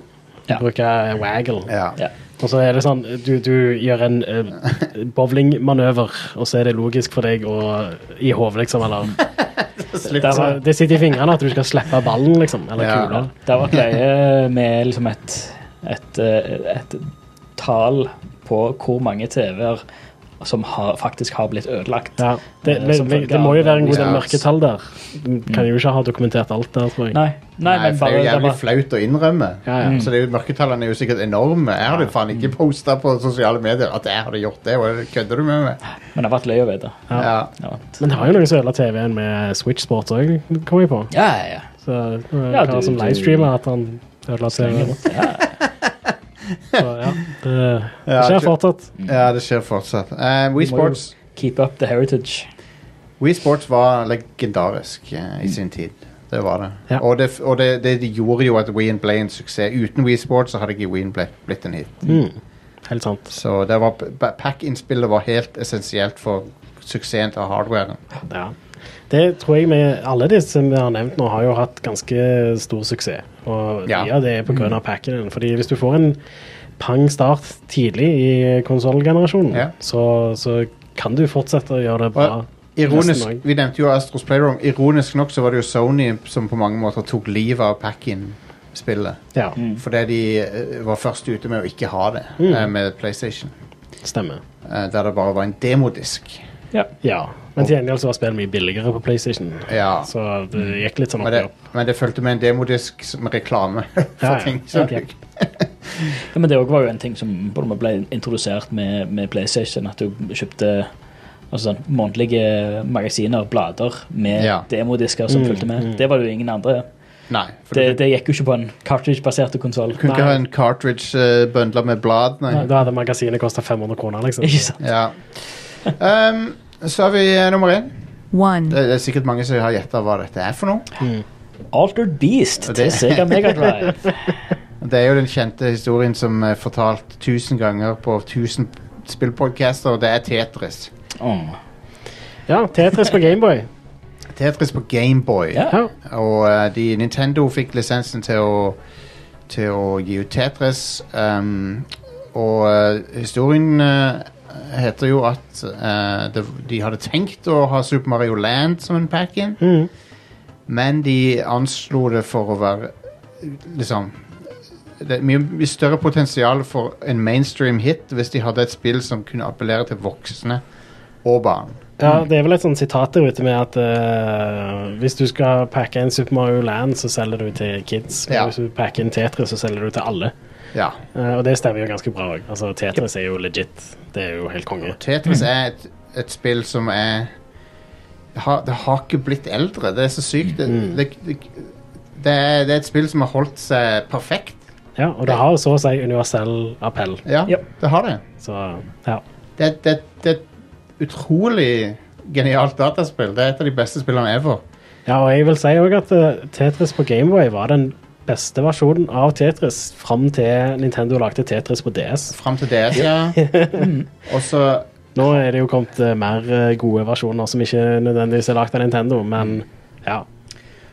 [SPEAKER 6] Ja.
[SPEAKER 5] Bruke eh, waggle.
[SPEAKER 4] Ja.
[SPEAKER 6] Ja.
[SPEAKER 5] Og så er det sånn, du, du gjør en uh, bowlingmanøver, og så er det logisk for deg å, i hodet, liksom. Eller,
[SPEAKER 4] Slipp
[SPEAKER 5] det,
[SPEAKER 4] sånn.
[SPEAKER 5] det sitter i fingrene at du skal slippe ballen, liksom. Eller
[SPEAKER 4] Ja.
[SPEAKER 5] kula.
[SPEAKER 6] Det var greie med liksom et, et, eh, et tall på hvor mange TV-er som har, faktisk har blitt ødelagt.
[SPEAKER 5] Ja. Det,
[SPEAKER 6] Eh,
[SPEAKER 5] det,
[SPEAKER 6] som
[SPEAKER 5] det,
[SPEAKER 6] følge
[SPEAKER 5] må jo
[SPEAKER 6] av-
[SPEAKER 5] være en god del
[SPEAKER 4] Ja.
[SPEAKER 5] mørketall der. Du kan jo ikke ha dokumentert alt der, tror jeg.
[SPEAKER 6] Nei, nei,
[SPEAKER 4] Nei,
[SPEAKER 6] men
[SPEAKER 4] for det er
[SPEAKER 6] bare Mm.
[SPEAKER 4] jo
[SPEAKER 6] det
[SPEAKER 4] jævlig
[SPEAKER 6] var,
[SPEAKER 4] flaut å innrømme. Mm.
[SPEAKER 5] Ja, ja.
[SPEAKER 4] Så det er jo, mørketallene er jo sikkert enorme. Jeg hadde faen
[SPEAKER 6] Mm.
[SPEAKER 4] ikke posta på sosiale medier at jeg hadde gjort det. og Kødder du med meg?
[SPEAKER 6] men det har vært løye å vite.
[SPEAKER 5] Ja.
[SPEAKER 4] Ja.
[SPEAKER 6] Ja,
[SPEAKER 5] Men det har jo noen som ødela TV-en med Switch Sports òg, kom jeg på.
[SPEAKER 6] ja, ja.
[SPEAKER 5] Så ja,
[SPEAKER 6] Ja,
[SPEAKER 5] du,
[SPEAKER 6] du-
[SPEAKER 5] som
[SPEAKER 6] du-
[SPEAKER 5] livestreamer at han ødela TV-en. Så ja, det, det
[SPEAKER 4] Ja,
[SPEAKER 5] skjer
[SPEAKER 4] ikke-
[SPEAKER 5] fortsatt.
[SPEAKER 4] ja, det skjer fortsatt. Eh, Wii
[SPEAKER 6] Du må jo-
[SPEAKER 4] Sports,
[SPEAKER 6] Keep up the heritage.
[SPEAKER 4] Wii Sports var legendarisk eh, i sin
[SPEAKER 6] Mm.
[SPEAKER 4] tid. Det var det.
[SPEAKER 5] Ja.
[SPEAKER 4] Og, det, og det, det gjorde jo at Wien ble en suksess. Uten Wii Sports så hadde ikke Wien ble, blitt en hit.
[SPEAKER 6] Mm.
[SPEAKER 5] Helt sant.
[SPEAKER 4] Så det var, pa- pack-innspillet var helt essensielt for suksessen til hardwaren.
[SPEAKER 5] Ja. Det tror jeg vi alle disse vi har nevnt nå, har jo hatt ganske stor suksess. Og
[SPEAKER 4] Ja.
[SPEAKER 5] mye av det er på grunn av packen. Fordi hvis du får en pang start tidlig i konsollgenerasjonen,
[SPEAKER 4] Ja.
[SPEAKER 5] så, så kan du fortsette å gjøre det bra.
[SPEAKER 4] Og Ironisk,
[SPEAKER 5] Nesten også.
[SPEAKER 4] vi nevnte jo Astros Playroom. Ironisk nok så var det jo Sony som på mange måter tok livet av Pack-In-spillet.
[SPEAKER 5] Ja,
[SPEAKER 4] Fordi de eh, var først ute med å ikke ha det
[SPEAKER 5] Mm.
[SPEAKER 4] eh, med PlayStation.
[SPEAKER 5] stemmer.
[SPEAKER 4] eh, der det bare var en demodisk.
[SPEAKER 5] Ja, men til gjengjeld så var spill mye billigere på PlayStation,
[SPEAKER 4] Ja.
[SPEAKER 5] så det gikk litt sånn
[SPEAKER 4] Men
[SPEAKER 5] opp i
[SPEAKER 4] det,
[SPEAKER 5] opp.
[SPEAKER 4] men det fulgte med en demodisk som reklame for
[SPEAKER 5] Ja, ja.
[SPEAKER 4] ting. Så
[SPEAKER 5] Ok.
[SPEAKER 4] du-
[SPEAKER 6] Ja, men det også var jo en ting som på en måte ble introdusert med, med PlayStation, at du kjøpte altså sånn, månedlige magasiner, blader, med
[SPEAKER 4] Ja. Mm,
[SPEAKER 6] demodisker som fulgte med. Det var det jo ingen andre.
[SPEAKER 4] Nei. For
[SPEAKER 6] Det,
[SPEAKER 4] du,
[SPEAKER 6] det gikk jo ikke på en cartridge-basert konsoll.
[SPEAKER 4] kunne ikke
[SPEAKER 5] Nei.
[SPEAKER 4] ha en cartridge uh, bøndla med blad, nei.
[SPEAKER 5] Da hadde magasinet kosta 500 kroner, liksom.
[SPEAKER 6] Ikke sant?
[SPEAKER 4] Ja. Um, så har vi eh, nummer én.
[SPEAKER 7] one,
[SPEAKER 4] Det, det er sikkert mange som har gjetta hva dette er for noe.
[SPEAKER 6] Altered Beast
[SPEAKER 4] Og det-
[SPEAKER 6] til Sega Mega Drive.
[SPEAKER 4] Det er jo den kjente historien som er fortalt tusen ganger på tusen spillpodcaster, og det er Tetris.
[SPEAKER 6] Åh.
[SPEAKER 5] Ja, Tetris på Gameboy.
[SPEAKER 4] Tetris på Gameboy.
[SPEAKER 6] Ja.
[SPEAKER 5] Ja.
[SPEAKER 4] Og eh, de, Nintendo fikk lisensen til å, til å gi ut Tetris. ehm, og eh, historien eh, heter jo at eh, det, de hadde tenkt å ha Super Mario Land som en pack-in,
[SPEAKER 5] Mhm.
[SPEAKER 4] men de anslo det for å være liksom det er mye større potensial for en mainstream hit hvis de hadde et spill som kunne appellere til voksne og barn.
[SPEAKER 5] Ja, det er vel et sånt sitat der ute med at eh, hvis du skal pakke inn Super Mario Land, så selger du til kids. Men
[SPEAKER 4] Ja.
[SPEAKER 5] Hvis du pakker inn Tetris, så selger du til alle.
[SPEAKER 4] Ja.
[SPEAKER 5] Eh, og det stemmer jo ganske bra òg. Altså, Tetris er jo legit. Det er jo helt konge.
[SPEAKER 4] Tetris er et, et spill som er det har, det har ikke blitt eldre. Det er så sykt. Det,
[SPEAKER 5] Mm.
[SPEAKER 4] det, det, det, er, det er et spill som har holdt seg perfekt.
[SPEAKER 5] Ja, og det har så å si universell appell.
[SPEAKER 4] Ja,
[SPEAKER 6] Ja.
[SPEAKER 4] det har det.
[SPEAKER 5] Så ja.
[SPEAKER 4] Det, det, det er et utrolig genialt dataspill. Det er et av de beste spillene ever.
[SPEAKER 5] ja, og jeg vil si òg at eh, Tetris på Gameboy var den beste versjonen av Tetris fram til Nintendo lagde Tetris på DS.
[SPEAKER 4] Fram til DS, ja.
[SPEAKER 5] Mm.
[SPEAKER 4] Og så
[SPEAKER 5] Nå er det jo kommet eh, mer eh, gode versjoner som ikke nødvendigvis er lagd av Nintendo, men ja.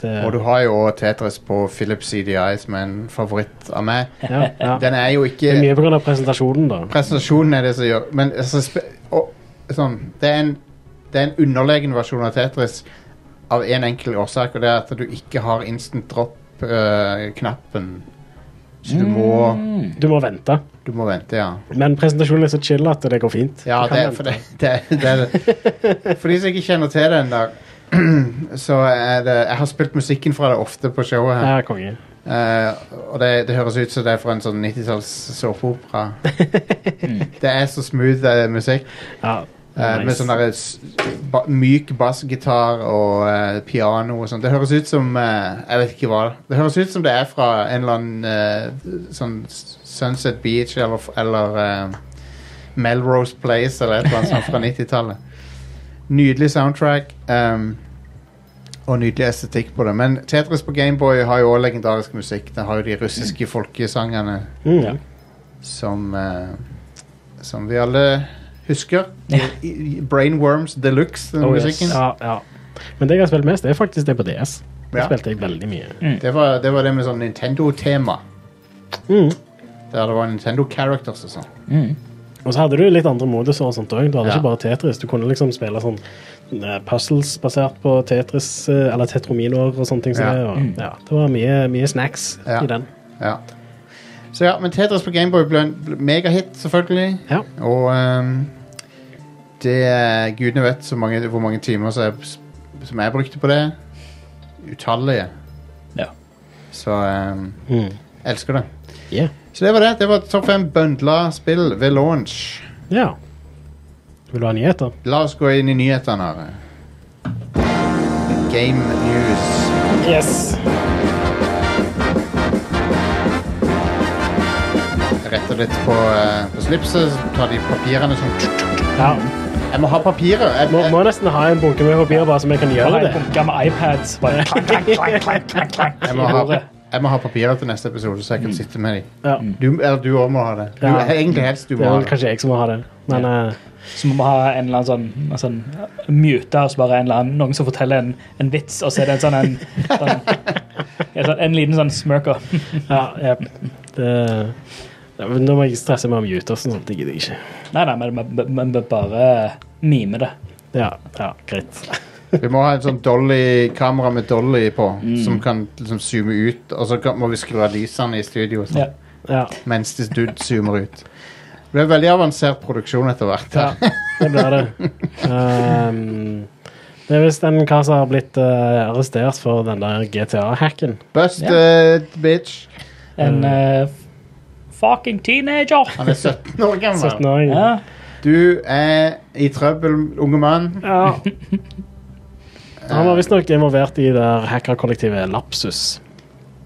[SPEAKER 5] Det,
[SPEAKER 4] Og du har jo også Tetris på Philips CDI, som er en favoritt av meg.
[SPEAKER 5] ja, ja.
[SPEAKER 4] Den er jo ikke
[SPEAKER 5] Det er mye på grunn av presentasjonen, da.
[SPEAKER 4] presentasjonen er det som gjør Men altså, sp- og, sånn, det, er en, det er en underlegen versjon av Tetris av en enkel årsak, og det er at du ikke har instant drop-knappen. så du må,
[SPEAKER 5] Du må vente.
[SPEAKER 4] du må vente, ja.
[SPEAKER 5] Men presentasjonen er så chill at det går fint.
[SPEAKER 4] Ja,
[SPEAKER 5] Du kan
[SPEAKER 4] det, er-
[SPEAKER 5] vente.
[SPEAKER 4] for, det, det, er- det er det. For de som ikke kjenner til den der, så er det Jeg har spilt musikken fra det ofte på showet her.
[SPEAKER 5] Ja, konge.
[SPEAKER 4] Eh, og det, det høres ut som det er fra en sånn 90-talls såpeopera. det er så smooth eh, musikk.
[SPEAKER 5] Ja,
[SPEAKER 4] Eh, Med
[SPEAKER 5] nice.
[SPEAKER 4] sånn derre s- ba myk bassgitar og eh, piano og sånn. Det høres ut som eh, Jeg vet ikke hva. Det høres ut som det er fra en eller annen eh, sånn S- Sunset Beach eller, f- eller eh, Melrose Place eller et eller annet sånt fra 90-tallet. Nydelig soundtrack. ehm, og nydelig estetikk på det. Men Tetris på Gameboy har jo også legendarisk musikk. Den har jo de russiske folkesangene
[SPEAKER 5] Mm.
[SPEAKER 6] Ja.
[SPEAKER 4] som eh, Som vi alle husker. I- i- Brainworms Deluxe, den
[SPEAKER 5] Oh, yes.
[SPEAKER 4] musikken.
[SPEAKER 5] Ja, ja. Men det jeg har spilt mest, det er faktisk det på DS. Det
[SPEAKER 4] Ja.
[SPEAKER 5] spilte jeg veldig mye.
[SPEAKER 4] Det, var, det var det med sånn Nintendo-tema.
[SPEAKER 5] Mm.
[SPEAKER 4] Der det var Nintendo-characters og sånn.
[SPEAKER 5] Og så hadde du litt andre moduser og sånt òg. Du
[SPEAKER 4] Ja.
[SPEAKER 5] hadde ikke bare Tetris. Du kunne liksom spille sånn eh, puzzles basert på Tetris eh, eller Tetrominoer og sånne ting. Som
[SPEAKER 4] Ja.
[SPEAKER 5] det, og, ja, det var mye, mye snacks
[SPEAKER 4] Ja.
[SPEAKER 5] i den.
[SPEAKER 4] Ja. Så ja, men Tetris på Gameboy ble en ble megahit, selvfølgelig.
[SPEAKER 5] Ja.
[SPEAKER 4] Og ehm, det er- Gudene vet så mange, hvor mange timer som jeg, som jeg brukte på det. Utallige.
[SPEAKER 6] Ja.
[SPEAKER 4] Så ehm,
[SPEAKER 5] Mm.
[SPEAKER 4] elsker det.
[SPEAKER 5] Yeah.
[SPEAKER 4] Så det var det. Det var topp fem bundla spill ved launch.
[SPEAKER 5] ja. Vil du ha nyheter?
[SPEAKER 4] La oss gå inn i nyhetene. her. Game news.
[SPEAKER 5] Yes.
[SPEAKER 4] Jeg retter litt på, eh, på slipset, så tar de papirene som
[SPEAKER 5] Ja.
[SPEAKER 4] Jeg må ha papirer! Jeg,
[SPEAKER 5] Må, må
[SPEAKER 4] jeg,
[SPEAKER 5] nesten ha en bunke med papirer bare så vi kan gjøre
[SPEAKER 6] Bare
[SPEAKER 5] det.
[SPEAKER 6] en bunke med iPads. Bare klank, klank, klank, klank, klank, klank,
[SPEAKER 4] jeg,
[SPEAKER 6] i
[SPEAKER 4] må ha,
[SPEAKER 6] bordet.
[SPEAKER 4] jeg må ha papirer til neste episode, så jeg kan sitte med dem.
[SPEAKER 5] Ja.
[SPEAKER 4] Du, eller du òg må ha det. Du,
[SPEAKER 5] Mm. Ja.
[SPEAKER 4] Egentlig helst du Mm. må
[SPEAKER 5] Det er
[SPEAKER 4] ha
[SPEAKER 5] vel
[SPEAKER 4] det.
[SPEAKER 5] kanskje jeg som må ha det. Men eh,
[SPEAKER 6] Så må vi ha en eller annen sånn, en sånn muter, så bare en eller annen, noen som forteller en, en vits, og så er det en sånn en, sånn, en, sånn, en liten sånn smirker.
[SPEAKER 5] ja, jeg, det, eh, Ja, men Nå må jeg stresse meg om Jutersen, sånn, det gidder jeg ikke.
[SPEAKER 6] Nei, nei, men- men men- men bare mime det.
[SPEAKER 5] Ja, ja, greit.
[SPEAKER 4] Vi må ha et sånt dolly, kamera med dolly på,
[SPEAKER 5] Mm.
[SPEAKER 4] som kan liksom zoome ut. Og så kan, må vi skru av lysene i studio sånn,
[SPEAKER 6] Ja.
[SPEAKER 5] Ja,
[SPEAKER 4] mens det du zoomer ut. Det blir en veldig avansert produksjon etter hvert.
[SPEAKER 5] ja det blir det. Ehm, det er visst en kar som har blitt eh, arrestert for den der GTA-hacken.
[SPEAKER 4] Busted, eh, bitch.
[SPEAKER 6] En eh, fucking teenager!
[SPEAKER 4] Han er 17 år gammel.
[SPEAKER 5] 17-åring.
[SPEAKER 6] Ja.
[SPEAKER 4] Du er i trøbbel, unge mann.
[SPEAKER 5] Ja. Han var visstnok involvert i det der hackerkollektivet Lapsus.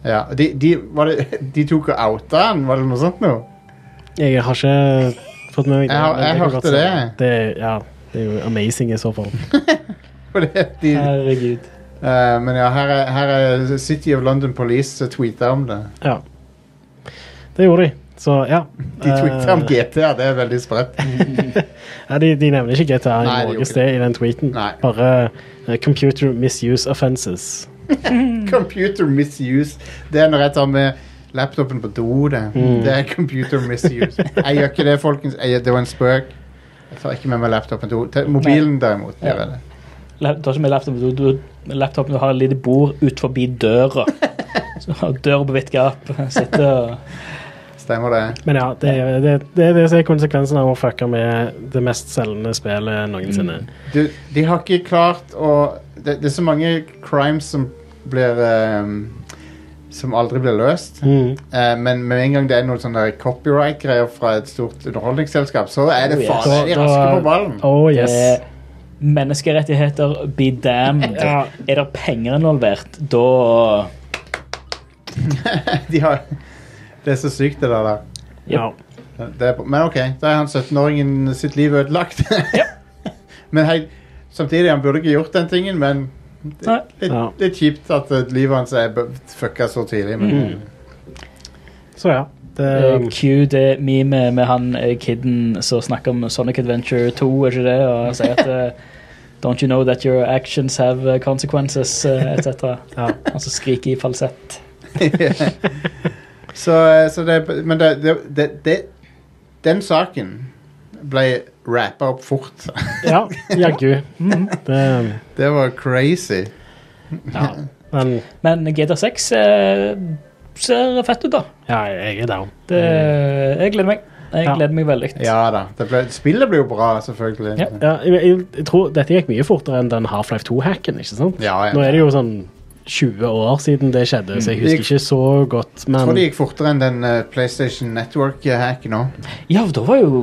[SPEAKER 4] Ja, de, de, var det, de tok og outa han, var det noe sånt nå?
[SPEAKER 5] Jeg har ikke fått med meg
[SPEAKER 4] Jeg har-
[SPEAKER 5] men
[SPEAKER 4] jeg
[SPEAKER 5] kan
[SPEAKER 4] hørte
[SPEAKER 5] godt se.
[SPEAKER 4] det.
[SPEAKER 5] det. Ja, det er jo amazing i så fall.
[SPEAKER 4] For det, de,
[SPEAKER 6] Herregud.
[SPEAKER 4] eh, men ja, her er, her er City of London Police som tweeta om det.
[SPEAKER 5] Ja. Det gjorde de. Så ja.
[SPEAKER 4] De tweeta om GTA, det er veldig sprøtt.
[SPEAKER 5] Nei, de, de nevner ikke GTA i
[SPEAKER 4] Nei, de
[SPEAKER 5] noe
[SPEAKER 4] gjorde
[SPEAKER 5] sted i den tweeten.
[SPEAKER 4] Nei.
[SPEAKER 5] Bare eh, computer misuse offenses.
[SPEAKER 4] Computer misuse. Det er når jeg tar med laptopen på do, det.
[SPEAKER 6] Mm.
[SPEAKER 4] Det er computer misuse. Jeg gjør ikke det, folkens. Jeg, gjør- det var en spøk. Jeg tar ikke med meg laptopen på do. Te- Mobilen, derimot,
[SPEAKER 6] Ja.
[SPEAKER 4] gjør jeg det.
[SPEAKER 6] La- Du har ikke med laptopen, du, du, laptopen, du har et lite bord ut forbi døra. Så har døra på vidt gap. Sitte og
[SPEAKER 4] Stemmer det.
[SPEAKER 5] Men ja, det, er- det, det er det som er konsekvensen av å fucke med det mest selgende spillet noensinne.
[SPEAKER 4] du, de har ikke klart å det, det er så mange crimes som blir ehm, Som aldri blir løst.
[SPEAKER 5] Mm.
[SPEAKER 4] Eh, men med en gang det er noen sånne copyright-greier fra et stort underholdningsselskap, så er det
[SPEAKER 6] Oh, yes.
[SPEAKER 4] faen er de raske på ballen.
[SPEAKER 5] Oh,
[SPEAKER 6] Det
[SPEAKER 5] yes.
[SPEAKER 6] er Menneskerettigheter, be damned.
[SPEAKER 5] Ja.
[SPEAKER 6] Er det penger involvert, da
[SPEAKER 4] De har, det er så sykt, det der. der.
[SPEAKER 5] Ja.
[SPEAKER 4] Det er, på- men OK, da er han 17-åringen sitt liv ødelagt. men hei, samtidig, han burde ikke gjort den tingen, men det,
[SPEAKER 6] Nei.
[SPEAKER 4] litt,
[SPEAKER 5] Ja.
[SPEAKER 4] litt kjipt at eh, livet hans er b- fucka så tidlig. Men,
[SPEAKER 5] Så ja. Det,
[SPEAKER 4] Mm.
[SPEAKER 6] Eh, Cue det meme med han eh, kidden som snakker om Sonic Adventure 2, er ikke det? Og han sier at eh, Don't you know that your actions have eh, consequences, eh, etc.
[SPEAKER 5] Ja.
[SPEAKER 6] Han som skriker i falsett.
[SPEAKER 4] så, eh, så det, men det, det, det, det Den saken ble rappa opp fort.
[SPEAKER 5] Ja, jaggu. Det-
[SPEAKER 4] det var crazy.
[SPEAKER 5] Ja. Men
[SPEAKER 6] Men GT6 eh, ser fett ut, da.
[SPEAKER 5] ja, jeg er down.
[SPEAKER 6] Det, jeg gleder meg. Jeg
[SPEAKER 5] Ja.
[SPEAKER 6] gleder meg veldig.
[SPEAKER 4] Mm. Ja da. Det ble, spillet ble jo bra, selvfølgelig.
[SPEAKER 6] Ja.
[SPEAKER 5] Ja, jeg, jeg, jeg tror dette gikk mye fortere enn den Half-Life 2-hacken. ikke sant?
[SPEAKER 4] Ja, ja.
[SPEAKER 5] Nå er det jo sånn 20 år siden det skjedde, så jeg husker
[SPEAKER 4] Jeg-
[SPEAKER 5] ikke så godt.
[SPEAKER 4] Jeg tror
[SPEAKER 5] Men
[SPEAKER 4] det gikk fortere enn den eh, PlayStation Network-hacken òg.
[SPEAKER 6] Ja, da var jo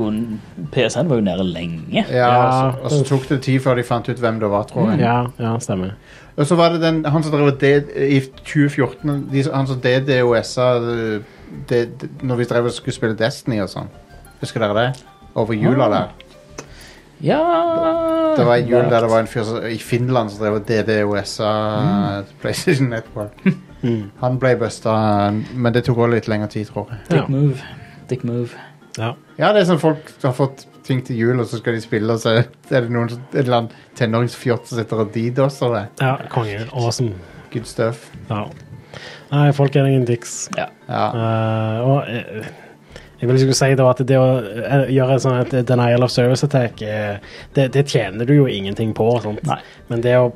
[SPEAKER 6] PSN var jo nede lenge.
[SPEAKER 4] Ja,
[SPEAKER 5] Ja.
[SPEAKER 4] og så- Og så tok det tid før de fant ut hvem det var, tror jeg.
[SPEAKER 5] ja, ja, stemmer.
[SPEAKER 4] Og så var det den, han som drev og D- i 2014 de, Han som DDoS-a eh, det- det- når vi drev og skulle spille Destiny og sånn. Husker dere det? Over jula der.
[SPEAKER 6] Ja
[SPEAKER 4] Det var en jul der det var en fyr som- i Finland som drev og DDoS-a eh, PlayStation Network. Han ble busta, men det tok også litt lengre tid, tror jeg.
[SPEAKER 5] Ja.
[SPEAKER 6] Dick move. Dick move.
[SPEAKER 5] Ja.
[SPEAKER 4] Ja, det er sånn folk har fått ting til jul, og så skal de spille, og så er det noen som- en eller annen tenåringsfjott som sitter og DDoS-er det.
[SPEAKER 5] ja, konge. Awesome.
[SPEAKER 4] Good stuff.
[SPEAKER 5] Ja. Nei, folk er ingen dicks.
[SPEAKER 6] Ja.
[SPEAKER 4] Ja.
[SPEAKER 5] Eh, og eh, jeg vil skulle si da at det å eh, gjøre en sånn et denial of service attack, eh, det, det tjener du jo ingenting på. Sant?
[SPEAKER 6] Nei.
[SPEAKER 5] Men det å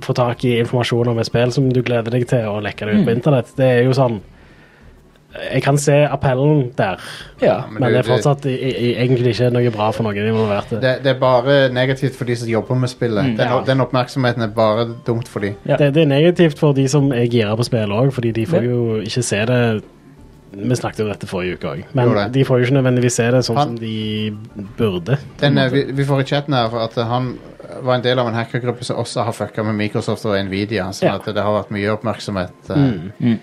[SPEAKER 5] få tak i informasjon om et spill som du gleder deg til, og lekke det ut på internett, det er jo sånn eh, Jeg kan se appellen der,
[SPEAKER 6] ja.
[SPEAKER 4] men
[SPEAKER 5] men,
[SPEAKER 4] det-
[SPEAKER 5] det er fortsatt i, i, egentlig ikke noe bra for noen involverte. Det,
[SPEAKER 4] Det, det er bare negativt for de som jobber med spillet. den,
[SPEAKER 5] Mm. Ja.
[SPEAKER 4] den oppmerksomheten er bare dumt for de.
[SPEAKER 6] Ja.
[SPEAKER 5] det, er negativt for de som er gira på spill òg, fordi de får
[SPEAKER 6] Ja.
[SPEAKER 5] jo ikke se det Vi snakket om dette forrige uke òg,
[SPEAKER 4] Jo,
[SPEAKER 5] men
[SPEAKER 4] det.
[SPEAKER 5] de får jo ikke nødvendigvis se det sånn
[SPEAKER 4] Han-
[SPEAKER 5] som de burde.
[SPEAKER 4] Den, eh, vi, vi får i chatten her at eh, han var en del av en hackergruppe som også har fucka med Microsoft og Nvidia, sånn
[SPEAKER 5] Ja. Mm.
[SPEAKER 4] at det har vært mye oppmerksomhet. eh.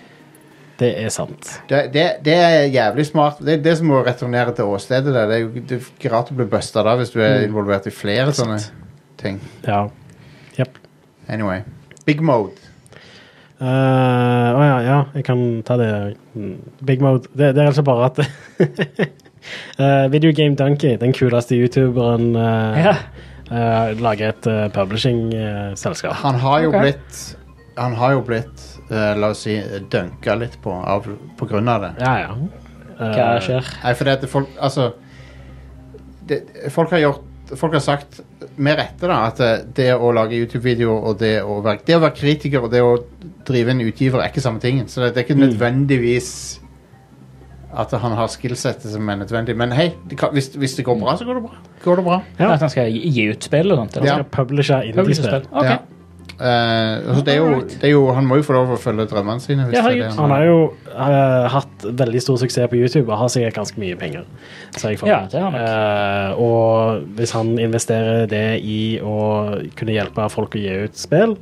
[SPEAKER 5] Det er sant.
[SPEAKER 4] Det, det, det er jævlig smart. Det er det som å returnere til åstedet. Det, det er jo det er ikke rart å bli busta da hvis du
[SPEAKER 5] Mm.
[SPEAKER 4] er involvert i flere sånne ting.
[SPEAKER 5] Ja. Jepp.
[SPEAKER 4] Anyway. Big mode.
[SPEAKER 5] Eh, Å ja, ja, jeg kan ta det. Mm, Big Mode. Det, det er altså bare at eh, Video Game Donkey, den kuleste youtuberen, eh,
[SPEAKER 6] Ja.
[SPEAKER 5] eh, lager et publishing-selskap.
[SPEAKER 4] Han har jo
[SPEAKER 6] Ok.
[SPEAKER 4] blitt Han har jo blitt eh, La oss si dunka litt på av, på grunn av det.
[SPEAKER 5] ja, ja. Eh,
[SPEAKER 6] Hva skjer?
[SPEAKER 4] Nei, for det at folk Altså det, Folk har gjort Folk har sagt med rette da at eh, det å lage YouTube-videoer og det å, være, det å være kritiker og det å drive en utgiver er ikke samme tingen. Så det, det er
[SPEAKER 5] Mm.
[SPEAKER 4] ikke nødvendigvis at han har skillsettet som er nødvendig. Men hei, det kan, hvis, hvis det går bra, så går det bra. Går det bra.
[SPEAKER 5] Ja.
[SPEAKER 6] At han skal gi- gi ut spill og sånt? Eller?
[SPEAKER 4] Ja.
[SPEAKER 5] Skal publishe indiespill.
[SPEAKER 6] Publisherspill. Ok.
[SPEAKER 4] Ja. Eh, så det er, jo, det er jo Han må jo få lov å følge drømmene sine. Hvis
[SPEAKER 6] Ja,
[SPEAKER 4] det er det
[SPEAKER 6] herregud.
[SPEAKER 5] Han har jo eh, hatt veldig stor suksess på YouTube og har sikkert ganske mye penger. ser jeg for
[SPEAKER 6] Ja,
[SPEAKER 5] meg.
[SPEAKER 6] det har han nok.
[SPEAKER 5] Eh, og hvis han investerer det i å kunne hjelpe folk å gi ut spill,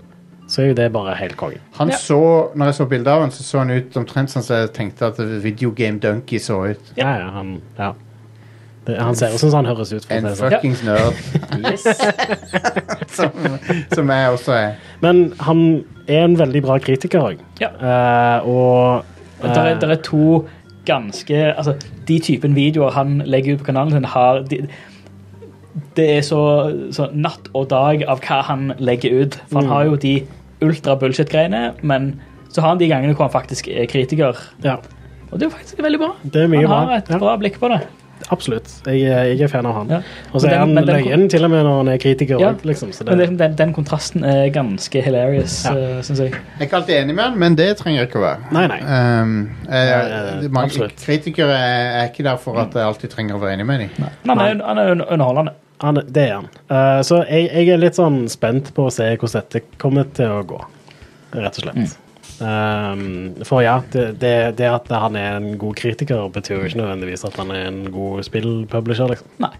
[SPEAKER 5] så er jo det bare helt konge.
[SPEAKER 4] Han
[SPEAKER 6] Ja.
[SPEAKER 4] så, når jeg så bilder av han, så så han ut omtrent sånn som jeg tenkte at Videogame Donkey så ut.
[SPEAKER 5] Ja, ja, han, ja. Det, han ser ut som han høres ut. For å si
[SPEAKER 4] En
[SPEAKER 5] det sånn.
[SPEAKER 4] fuckings nerd. som, som jeg også er.
[SPEAKER 5] Men han er en veldig bra kritiker òg.
[SPEAKER 6] Ja.
[SPEAKER 5] og
[SPEAKER 6] Der er, der er to ganske Altså, de typen videoer han legger ut på kanalen sin, har de, Det er så, så natt og dag av hva han legger ut. For
[SPEAKER 5] Mm.
[SPEAKER 6] han har jo de ultra-bullshit-greiene, men så har han de gangene hvor han faktisk er kritiker.
[SPEAKER 5] ja,
[SPEAKER 6] Og det er jo faktisk veldig bra.
[SPEAKER 5] Det er
[SPEAKER 6] han
[SPEAKER 5] mye
[SPEAKER 6] har
[SPEAKER 5] bra,
[SPEAKER 6] et
[SPEAKER 5] ja.
[SPEAKER 6] bra blikk på det.
[SPEAKER 5] absolutt. Jeg, er- jeg er fan av han.
[SPEAKER 6] Ja.
[SPEAKER 5] Og så
[SPEAKER 6] Men den-
[SPEAKER 5] er han
[SPEAKER 6] men den-
[SPEAKER 5] løyen til og med når han er kritiker.
[SPEAKER 6] Ja.
[SPEAKER 5] også, Liksom, så
[SPEAKER 6] Men
[SPEAKER 5] det,
[SPEAKER 6] det, den, den kontrasten er ganske hilarious,
[SPEAKER 5] Ja.
[SPEAKER 6] ja. syns jeg.
[SPEAKER 4] Jeg er ikke alltid enig med han, men det trenger jeg ikke å være.
[SPEAKER 5] Nei, nei.
[SPEAKER 4] Um, jeg,
[SPEAKER 5] Nei,
[SPEAKER 4] det- mange
[SPEAKER 5] absolutt.
[SPEAKER 4] kritikere er, er ikke der for at jeg alltid trenger å være enig med dem.
[SPEAKER 6] Men han er, han er un- underholdende.
[SPEAKER 5] Han, det er han. Eh, så jeg, jeg er litt sånn spent på å se hvordan dette kommer til å gå, rett og slett. Um, for ja, det, det, det at han er en god kritiker, betyr jo ikke nødvendigvis at han er en god spillpublisher, liksom.
[SPEAKER 6] Nei.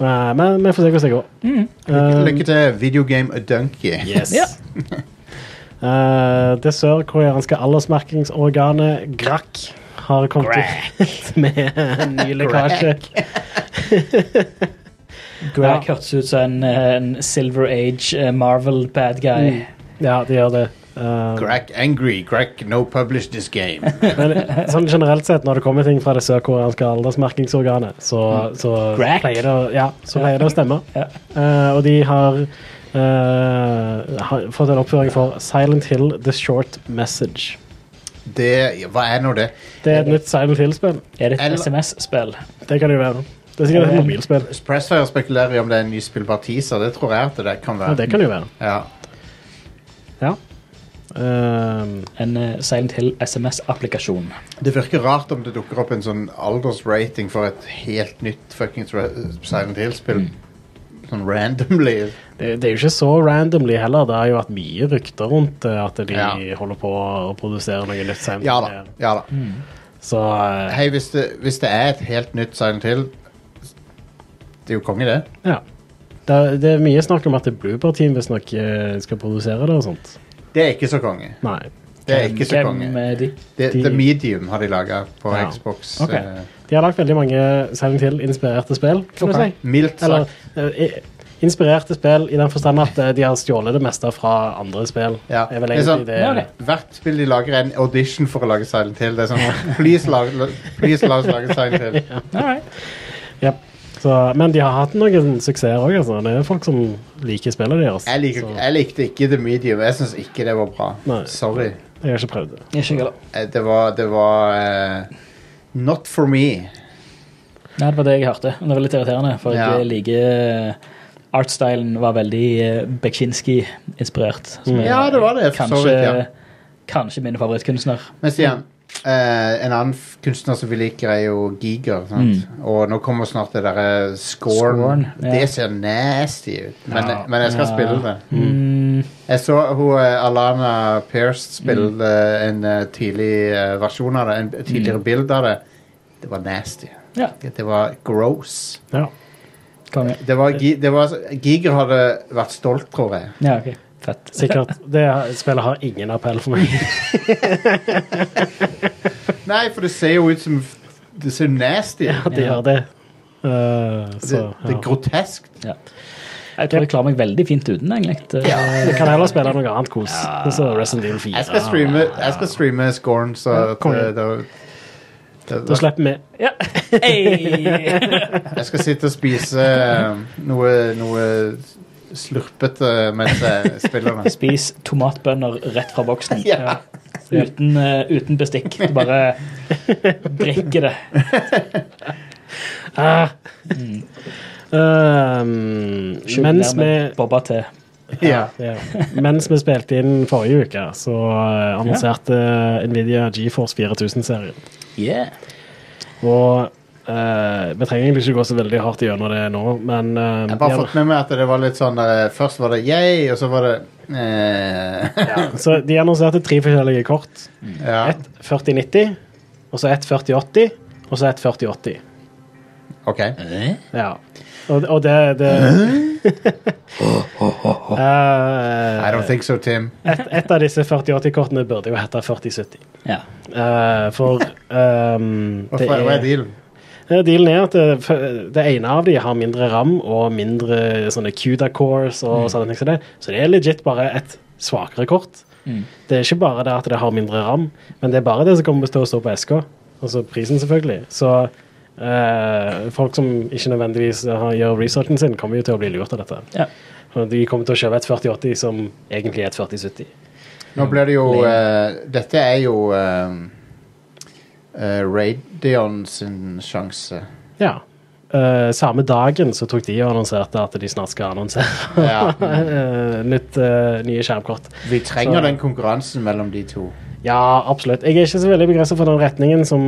[SPEAKER 5] Eh, men vi får se hvordan det går. Um,
[SPEAKER 4] Lykke til Videogame Donkey.
[SPEAKER 5] Yes.
[SPEAKER 6] Ja.
[SPEAKER 5] Eh, det sørkoreanske aldersmerkingsorganet GRAK har kommet ut med en ny lekkasje.
[SPEAKER 6] Greg hørtes ut som en, eh, en Silver Age eh, Marvel bad guy.
[SPEAKER 5] Mm. Ja, det gjør det. Um,
[SPEAKER 4] Crack angry, crack no publish this game.
[SPEAKER 5] Men sånn generelt sett, når det kommer ting fra det sørkoreanske aldersmerkingsorganet, så, så,
[SPEAKER 6] Crack.
[SPEAKER 5] pleier, det å, ja, så pleier det å stemme.
[SPEAKER 6] Ja.
[SPEAKER 5] Eh, og de har, eh, har fått en oppføring for Silent Hill The Short Message.
[SPEAKER 4] Det, hva er nå det?
[SPEAKER 5] Det er et nytt Silent Hill-spill.
[SPEAKER 6] Er det et
[SPEAKER 4] Eller-
[SPEAKER 6] SMS-spill?
[SPEAKER 5] Det kan det jo være. Det er sikkert et mobilspill.
[SPEAKER 4] Pressfire spekulerer i om det er en ny spillbar teaser. Det tror jeg at det kan
[SPEAKER 5] Ja,
[SPEAKER 4] være.
[SPEAKER 5] det kan det jo være.
[SPEAKER 4] Ja.
[SPEAKER 5] Ja. Ehm,
[SPEAKER 6] En eh, Silent Hill SMS-applikasjon.
[SPEAKER 4] Det virker rart om det dukker opp en sånn aldersrating for et helt nytt fuckings Re- Silent
[SPEAKER 5] Mm.
[SPEAKER 4] Hill-spill. Sånn randomly.
[SPEAKER 5] det, det er jo ikke så randomly heller. Det har jo vært mye rykter rundt eh, at de
[SPEAKER 4] Ja.
[SPEAKER 5] holder på å produsere noe nytt. Silent
[SPEAKER 4] Ja da.
[SPEAKER 5] Hill.
[SPEAKER 4] ja da.
[SPEAKER 5] Så eh,
[SPEAKER 4] Hei, hvis det, hvis det er et helt nytt Silent Hill Det er jo konge, det.
[SPEAKER 5] Ja. Det er, det er mye snakk om at Blooper Team visstnok eh, skal produsere det og sånt.
[SPEAKER 4] Det er ikke så konge.
[SPEAKER 5] Nei.
[SPEAKER 4] Det er ikke så
[SPEAKER 6] Hvem
[SPEAKER 4] konge.
[SPEAKER 6] er de?
[SPEAKER 4] Det,
[SPEAKER 5] de-
[SPEAKER 4] The Medium har de laga på
[SPEAKER 5] Ja.
[SPEAKER 4] Xbox.
[SPEAKER 6] Ok.
[SPEAKER 4] eh,
[SPEAKER 5] De har lagt veldig mange Silent Hill-inspirerte spill, kan
[SPEAKER 4] ok.
[SPEAKER 5] du si.
[SPEAKER 4] Mildt
[SPEAKER 5] Eller
[SPEAKER 4] sagt.
[SPEAKER 5] eh, i- inspirerte spill i den forstand at eh, de har stjålet det meste fra andre spill.
[SPEAKER 4] Ja.
[SPEAKER 5] Er vel
[SPEAKER 4] Det er
[SPEAKER 5] egentlig
[SPEAKER 4] sånn-
[SPEAKER 5] det,
[SPEAKER 6] Ja, det.
[SPEAKER 4] Hvert spill de lager, er en audition for å lage Silent Hill. Det er sånn Please, la, la, please la oss lage Silent Hill.
[SPEAKER 6] All right.
[SPEAKER 5] Ja. Så, men de har hatt noen suksesser òg. Altså. Det er folk som liker spillet deres.
[SPEAKER 4] Jeg, liker,
[SPEAKER 5] så
[SPEAKER 4] jeg likte ikke The Medium. Jeg syns ikke det var bra.
[SPEAKER 5] Nei.
[SPEAKER 4] Sorry.
[SPEAKER 5] jeg har ikke prøvd det.
[SPEAKER 6] Ikke jeg heller.
[SPEAKER 4] Eh, Det var, det var eh, Not for me.
[SPEAKER 6] Nei, det var det jeg hørte. Det var litt irriterende, for
[SPEAKER 4] Ja.
[SPEAKER 6] jeg eh, liker Artstylen var veldig eh, Bekinski-inspirert. som er eh,
[SPEAKER 4] Ja, det var det, for så
[SPEAKER 6] Kanskje,
[SPEAKER 4] vidt, ja.
[SPEAKER 6] kanskje min favorittkunstner.
[SPEAKER 4] Men Stian, eh, en annen f- kunstner som vi liker, er jo Giger. Sant? Og nå kommer snart det derre scoren.
[SPEAKER 6] Scorn, ja.
[SPEAKER 4] Det ser nasty ut, men,
[SPEAKER 5] Ja.
[SPEAKER 4] men jeg skal
[SPEAKER 6] Ja.
[SPEAKER 4] spille det.
[SPEAKER 6] Mm.
[SPEAKER 4] Jeg så hun eh, Alana Pierce spille eh, en eh, tidlig eh, versjon av det, en tidligere bilde av det. Det var nasty.
[SPEAKER 6] Ja,
[SPEAKER 4] Det var gross.
[SPEAKER 5] Ja.
[SPEAKER 6] konge.
[SPEAKER 4] Det var, Gi- det var, Giger hadde vært stolt, tror jeg.
[SPEAKER 6] Ja, ok. Fett.
[SPEAKER 5] Sikkert. Det spillet har ingen appell for meg.
[SPEAKER 4] Nei, for det ser jo ut som Det ser nasty ut.
[SPEAKER 5] Ja, de gjør det. Eh,
[SPEAKER 4] Det,
[SPEAKER 5] så,
[SPEAKER 4] det er
[SPEAKER 5] ja.
[SPEAKER 4] grotesk.
[SPEAKER 6] Ja. Jeg tror jeg klarer meg veldig fint uten, egentlig. Eh,
[SPEAKER 5] Jeg kan heller spille noe annet kos. Sånn som Resident Evil 4.
[SPEAKER 4] Jeg skal streame, jeg skal streame Scorn, så
[SPEAKER 5] Ja,
[SPEAKER 4] at,
[SPEAKER 5] kom
[SPEAKER 4] eh,
[SPEAKER 5] igjen.
[SPEAKER 4] da, da,
[SPEAKER 5] Da slipper vi.
[SPEAKER 6] Ja. Hey.
[SPEAKER 4] Jeg skal sitte og spise eh, noe, noe slurpete mens jeg spiller. den.
[SPEAKER 6] Spis tomatbønner rett fra boksen.
[SPEAKER 4] Ja.
[SPEAKER 6] Uten, eh, uten bestikk. Du bare drikker det.
[SPEAKER 5] Ah. Um,
[SPEAKER 6] Skjul
[SPEAKER 5] mens,
[SPEAKER 6] der
[SPEAKER 5] vi,
[SPEAKER 6] med Boba te.
[SPEAKER 4] Ja.
[SPEAKER 5] ja, mens vi spilte inn forrige uke, så eh, annonserte eh, Nvidia GeForce 4000-serien.
[SPEAKER 6] Yeah.
[SPEAKER 5] Og eh, vi trenger egentlig ikke gå så veldig hardt gjennom det nå, men eh,
[SPEAKER 4] Jeg har bare
[SPEAKER 5] ja,
[SPEAKER 4] fått med meg at det var litt sånn eh, Først var det yay, og så var det eh,
[SPEAKER 5] Så de annonserte tre forskjellige kort.
[SPEAKER 4] ja.
[SPEAKER 5] Ett 4090, og så ett 4080, og så ett 4080.
[SPEAKER 4] OK.
[SPEAKER 6] Eh?
[SPEAKER 5] Ja. Og, og det, det
[SPEAKER 4] I
[SPEAKER 5] Eh,
[SPEAKER 4] don't think so, Tim.
[SPEAKER 5] et, et av disse 4080-kortene burde jo hete 4070.
[SPEAKER 6] Ja.
[SPEAKER 5] Eh, for ehm,
[SPEAKER 4] Hva
[SPEAKER 5] det
[SPEAKER 4] hva er
[SPEAKER 5] er,
[SPEAKER 4] dealen?
[SPEAKER 5] Eh, dealen er at det, f- det ene av de har mindre ram og mindre sånne CUDA-cores og sånne ting som det. Så det er legit bare et svakere kort. Det er ikke bare det at det har mindre ram, men det er bare det som kommer til å stå på SK. Altså prisen, selvfølgelig. Så eh, folk som ikke nødvendigvis har, gjør researchen sin, kommer jo til å bli lurt av dette.
[SPEAKER 6] Ja.
[SPEAKER 5] Og de kommer til å kjøpe et 4080 som egentlig er et 4070.
[SPEAKER 4] Nå blir det jo eh, Dette er jo uh, Radion sin sjanse.
[SPEAKER 5] Ja. Eh, samme dagen så tok de og annonserte at de snart skal annonsere
[SPEAKER 4] Ja.
[SPEAKER 5] Eh, nytt, eh, nye skjermkort.
[SPEAKER 4] Vi trenger
[SPEAKER 5] Så-
[SPEAKER 4] den konkurransen mellom de to.
[SPEAKER 5] Ja, absolutt. Jeg er ikke så veldig begrenset for den retningen som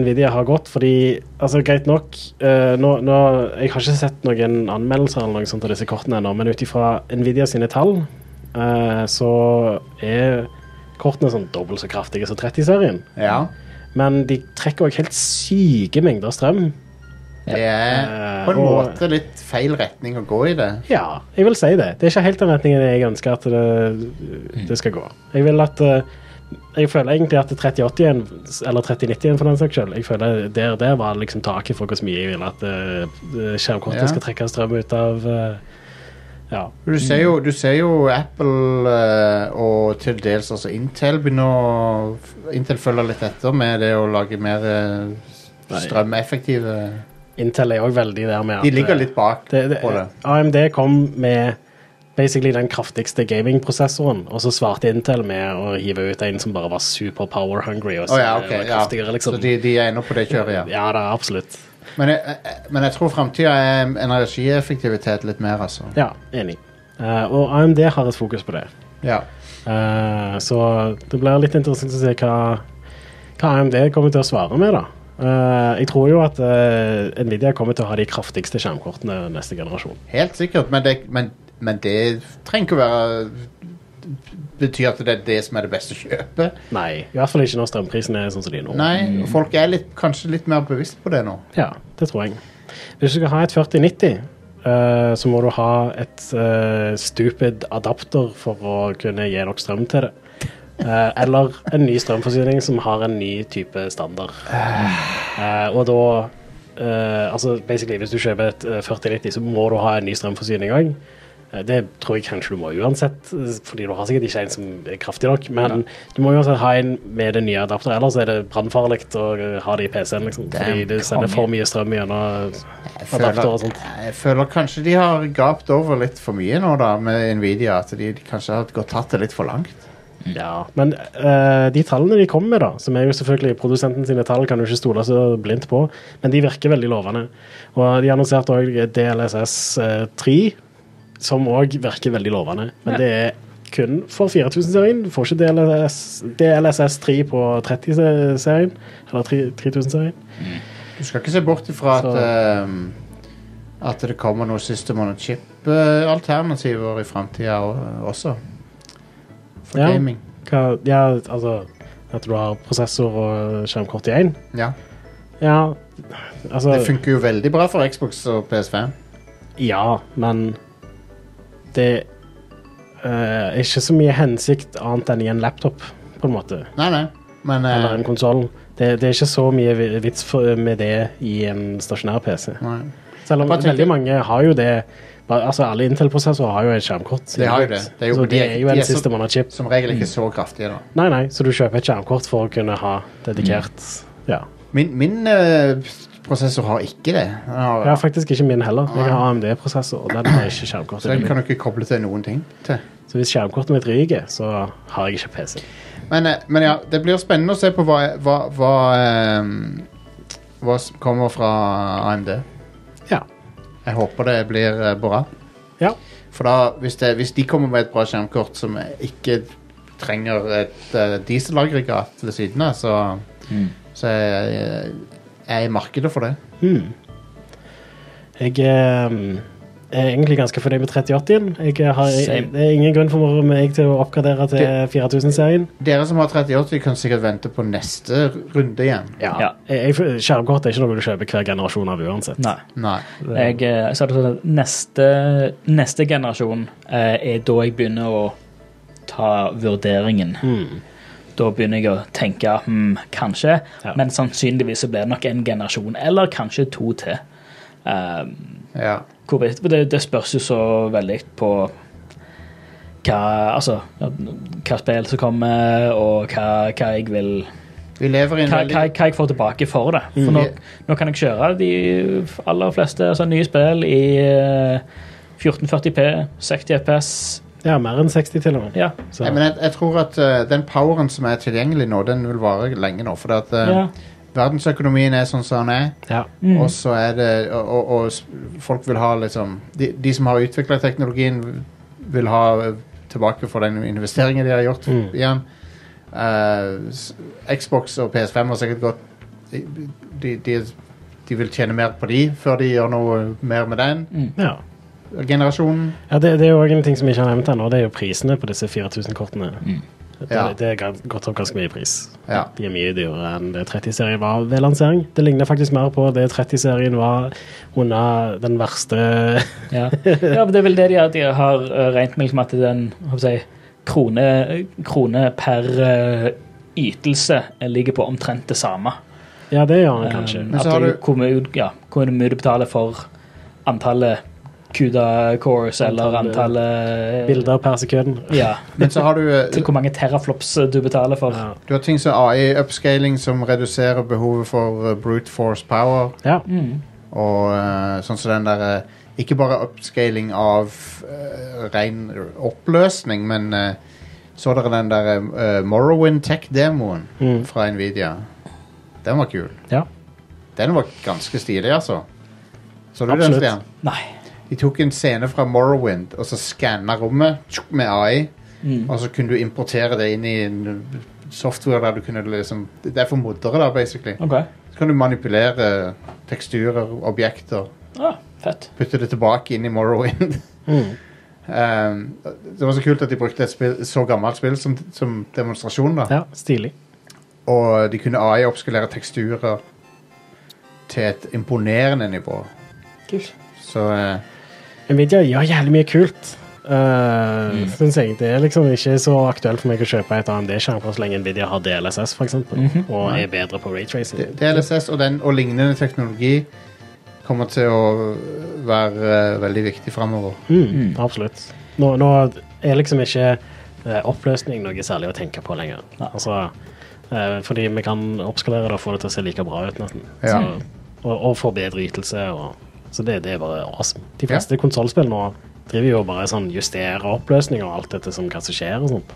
[SPEAKER 5] Nvidia har gått, fordi altså, greit nok eh, nå, nå, Jeg har ikke sett noen anmeldelser eller noe sånt av disse kortene ennå, men ut ifra Nvidia sine tall eh, så er kortene sånn dobbelt så kraftige som 30-serien.
[SPEAKER 4] Ja.
[SPEAKER 5] Men de trekker òg helt syke mengder strøm.
[SPEAKER 4] Det er på en
[SPEAKER 5] Eh, og-
[SPEAKER 4] måte litt feil retning å gå i det.
[SPEAKER 5] Ja, jeg vil si det. Det er ikke helt den retningen jeg ønsker at det, det skal gå. Jeg vil at eh, Jeg føler egentlig at 3080-en, eller 3090-en for den saks skyld, jeg føler der der var liksom taket for hvor mye jeg vil at eh, skjermkortet
[SPEAKER 4] Ja.
[SPEAKER 5] skal trekke strøm ut av eh, Ja.
[SPEAKER 4] Du ser
[SPEAKER 5] Mm.
[SPEAKER 4] jo, du ser jo Apple eh, og til dels altså Intel begynner å Intel følger litt etter med det å lage mer eh, strømeffektive
[SPEAKER 5] Intel er òg veldig der med at eh,
[SPEAKER 4] De ligger litt bak
[SPEAKER 5] det, det,
[SPEAKER 4] på det.
[SPEAKER 5] AMD kom med basically den kraftigste gamingprosessoren, og så svarte Intel med å hive ut en som bare var super power hungry
[SPEAKER 4] Å
[SPEAKER 5] og så
[SPEAKER 4] ja, ok.
[SPEAKER 5] var
[SPEAKER 4] Ja.
[SPEAKER 5] kraftigere,
[SPEAKER 4] Så
[SPEAKER 5] liksom.
[SPEAKER 4] de, de er inne på det kjøret, ja.
[SPEAKER 5] ja da, absolutt.
[SPEAKER 4] Men jeg, jeg- men jeg tror framtida er energieffektivitet litt mer, altså.
[SPEAKER 5] Ja, enig. Eh, og AMD har et fokus på det.
[SPEAKER 4] Ja.
[SPEAKER 5] Eh, så det blir litt interessant å se hva, hva AMD kommer til å svare med, da. Eh, jeg tror jo at eh, Nvidia kommer til å ha de kraftigste skjermkortene neste generasjon.
[SPEAKER 4] Helt sikkert, men det, men, men det trenger ikke å være Betyr at det er det som er det beste kjøpet.
[SPEAKER 5] Nei, i hvert fall ikke når strømprisene er sånn som de er nå.
[SPEAKER 4] Nei, folk er litt, kanskje litt mer bevisst på det nå.
[SPEAKER 5] Ja, det tror jeg. Hvis du skal ha et 4090, eh, så må du ha et eh, stupid adapter for å kunne gi nok strøm til det. Eh, eller en ny strømforsyning som har en ny type standard. Eh, og da eh, Altså basically, hvis du kjøper et eh, 4090, så må du ha en ny strømforsyning òg. Det tror jeg kanskje du må uansett, eh, fordi du har sikkert ikke en som er kraftig nok. Men du må uansett ha en med den nye adapteren, ellers er det brannfarlig å eh, ha det i PC-en. Liksom, fordi det sender for mye strøm gjennom
[SPEAKER 4] Jeg
[SPEAKER 5] adapter og
[SPEAKER 4] føler,
[SPEAKER 5] sånt.
[SPEAKER 4] jeg føler kanskje de har gapt over litt for mye nå, da, med Nvidia. At de kanskje har gått tatt det litt for langt.
[SPEAKER 5] Ja, Men eh, de tallene de kommer med, da, som er jo selvfølgelig produsenten sine tall, kan du ikke stole så blindt på, men de virker veldig lovende. Og de annonserte òg DLSS3, eh, som òg virker veldig lovende. Men det er kun for 4000-serien. Du får ikke DLSS, DLSS3 på 30-serien, eller 3000-serien.
[SPEAKER 4] Du skal ikke se bort ifra at,
[SPEAKER 5] Så-
[SPEAKER 4] ehm, at det kommer noen system on a chip-alternativer i framtida også. For
[SPEAKER 5] Ja.
[SPEAKER 4] gaming.
[SPEAKER 5] Hva, ja, altså At du har prosessor og skjermkort i én?
[SPEAKER 4] Ja.
[SPEAKER 5] Ja, altså
[SPEAKER 4] Det funker jo veldig bra for Xbox og PS5.
[SPEAKER 5] Ja, men det eh, er ikke så mye hensikt annet enn i en laptop, på en måte.
[SPEAKER 4] Nei, nei. Men eh,
[SPEAKER 5] Eller en konsoll. Det, det er ikke så mye vi- vits for, med det i en stasjonær PC.
[SPEAKER 4] nei.
[SPEAKER 5] Selv
[SPEAKER 4] Jeg
[SPEAKER 5] om
[SPEAKER 4] bare tenker-
[SPEAKER 5] veldig mange har jo det bare, Altså Alle Intel-prosessorer har jo et skjermkort.
[SPEAKER 4] De har jo det. Det er jo-
[SPEAKER 5] så
[SPEAKER 4] de
[SPEAKER 5] det
[SPEAKER 4] er-
[SPEAKER 5] er jo
[SPEAKER 4] de er
[SPEAKER 5] en
[SPEAKER 4] så-
[SPEAKER 5] system on a chip.
[SPEAKER 4] Som regel ikke så kraftige, da.
[SPEAKER 5] Nei, nei, så du kjøper et skjermkort for å kunne ha dedikert
[SPEAKER 4] Mm.
[SPEAKER 5] Ja.
[SPEAKER 4] Min, min eh, prosessor har ikke det. Den har,
[SPEAKER 5] Jeg har faktisk ikke min heller. Jeg har AMD-prosessor, og den har ikke
[SPEAKER 4] så den
[SPEAKER 5] skjermkort.
[SPEAKER 4] kan du ikke koble til noen ting. til.
[SPEAKER 5] Så hvis skjermkortet mitt ryker, så har jeg ikke PC.
[SPEAKER 4] Men, eh, men ja, det blir spennende å se på hva Hva, hva, ehm, hva som kommer fra AMD.
[SPEAKER 5] Ja.
[SPEAKER 4] Jeg håper det blir eh, bra.
[SPEAKER 5] Ja.
[SPEAKER 4] For da, hvis, det, hvis de kommer med et bra skjermkort som ikke trenger et eh, dieselaggregat ved siden av, så, så er jeg, jeg er i markedet for det.
[SPEAKER 5] Jeg eh, er egentlig ganske fornøyd med 3080-en. Jeg har,
[SPEAKER 6] Same.
[SPEAKER 5] det er ingen grunn for meg til å oppgradere til 4000-serien.
[SPEAKER 4] Dere som har 38, kan sikkert vente på neste runde igjen.
[SPEAKER 6] Ja.
[SPEAKER 5] Jeg- jeg- Skjermkort er ikke noe du kjøper hver generasjon av uansett.
[SPEAKER 6] Nei.
[SPEAKER 4] Nei.
[SPEAKER 6] Jeg, eh, jeg sa det sånn at neste, neste generasjon eh, er da jeg begynner å ta vurderingen.
[SPEAKER 5] Mm.
[SPEAKER 6] Da begynner jeg å tenke hmm, kanskje,
[SPEAKER 5] Ja.
[SPEAKER 6] men sannsynligvis så blir det nok en generasjon, eller kanskje to til. Eh,
[SPEAKER 4] Ja.
[SPEAKER 6] hvor, vidt- det, det spørs jo så veldig på hva, altså, ja, hva spill som kommer, og hva, hva jeg vil
[SPEAKER 4] Vi lever i en
[SPEAKER 6] hva, hva,
[SPEAKER 4] veldig
[SPEAKER 6] hva jeg får tilbake for det. For nå, nå kan jeg kjøre de aller fleste altså, nye spill i eh, 1440P, 60 FPS.
[SPEAKER 5] Ja, mer enn 60 til og med.
[SPEAKER 6] Ja.
[SPEAKER 5] Så,
[SPEAKER 4] Nei, men jeg, jeg tror at eh, den poweren som er tilgjengelig nå, den vil vare lenge nå. For at, eh,
[SPEAKER 6] Ja.
[SPEAKER 4] verdensøkonomien er sånn som den er.
[SPEAKER 5] ja.
[SPEAKER 6] Mm.
[SPEAKER 4] Og så er det og, og, og s- folk vil ha liksom De, de som har utvikla teknologien, vil ha eh, tilbake for den investeringen de har gjort
[SPEAKER 5] Mm.
[SPEAKER 4] igjen. Eh, s- Xbox og PS5 har sikkert gått de, de, de, de vil tjene mer på de før de gjør noe mer med den
[SPEAKER 6] Mm.
[SPEAKER 5] ja.
[SPEAKER 4] generasjonen.
[SPEAKER 5] ja det, det er jo også en ting som jeg ikke har nevnt ennå, det er jo prisene på disse 4000-kortene.
[SPEAKER 6] Mm.
[SPEAKER 5] Det,
[SPEAKER 4] Ja.
[SPEAKER 5] det er gan- gått opp ganske mye i pris.
[SPEAKER 4] Ja.
[SPEAKER 5] De er mye dyrere enn det 30-serien var ved lansering. Det ligner faktisk mer på det 30-serien var under den verste
[SPEAKER 6] Ja. ja, men det er vel det de, har- de har eh, regnet med, liksom at den hva skal jeg, si, krone, krone per eh, ytelse ligger på omtrent det samme.
[SPEAKER 5] Ja, det gjør han
[SPEAKER 6] Um,
[SPEAKER 5] kanskje.
[SPEAKER 4] Men
[SPEAKER 6] at
[SPEAKER 4] så har
[SPEAKER 6] du,
[SPEAKER 4] du-
[SPEAKER 6] hvor, mye, ja, hvor mye du betaler for antallet CUDA cores eller antallet
[SPEAKER 5] Bilder per sekund.
[SPEAKER 6] Ja,
[SPEAKER 4] Men så har du eh,
[SPEAKER 6] til hvor mange teraflops eh, du betaler for.
[SPEAKER 5] Ja.
[SPEAKER 4] Du har ting som AI-upscaling som reduserer behovet for uh, brute force power.
[SPEAKER 5] Ja.
[SPEAKER 4] Og uh, sånn som den der uh, Ikke bare upscaling av uh, ren oppløsning, men uh, så dere den der uh, Morrowind Tech-demoen
[SPEAKER 5] Mm.
[SPEAKER 4] fra Nvidia. Den var kul.
[SPEAKER 5] Ja.
[SPEAKER 4] Den var ganske stilig, altså. Så du den,
[SPEAKER 5] Absolutt.
[SPEAKER 4] Stian?
[SPEAKER 6] Nei.
[SPEAKER 4] De tok en scene fra Morrowind og så skanna rommet tsk, med AI. Og så kunne du importere det inn i en eh, software der du kunne liksom Det er for moddere, da, basically.
[SPEAKER 6] Ok.
[SPEAKER 4] Så kan du manipulere teksturer, objekter,
[SPEAKER 6] Ah, fett.
[SPEAKER 4] putte det tilbake inn i Morrowind.
[SPEAKER 5] Mm.
[SPEAKER 4] um, det var så kult at de brukte et spill, så gammelt spill som, som demonstrasjon, da.
[SPEAKER 5] ja, stilig.
[SPEAKER 4] Og de kunne AI oppskalere teksturer til et imponerende nivå.
[SPEAKER 6] Kult.
[SPEAKER 4] Så eh,
[SPEAKER 5] Nvidia gjør jævlig mye kult. Uh, synes jeg. Det er liksom ikke så aktuelt for meg å kjøpe et AMD-skjermkort så lenge Nvidia har DLSS, for eksempel, og er bedre på raytracing.
[SPEAKER 4] D- DLSS og den og lignende teknologi kommer til å være eh, veldig viktig framover.
[SPEAKER 5] Mm, absolutt. Nå, nå er liksom ikke eh, oppløsning noe særlig å tenke på lenger. Altså, eh, fordi vi kan oppskalere det og få det til å se like bra ut, nesten.
[SPEAKER 4] Ja.
[SPEAKER 5] Så, og, og få bedre ytelse. Og, så det, det er bare awesome. De fleste konsollspill nå driver jo og bare sånn justerer oppløsning og alt dette som hva som skjer, og sånt.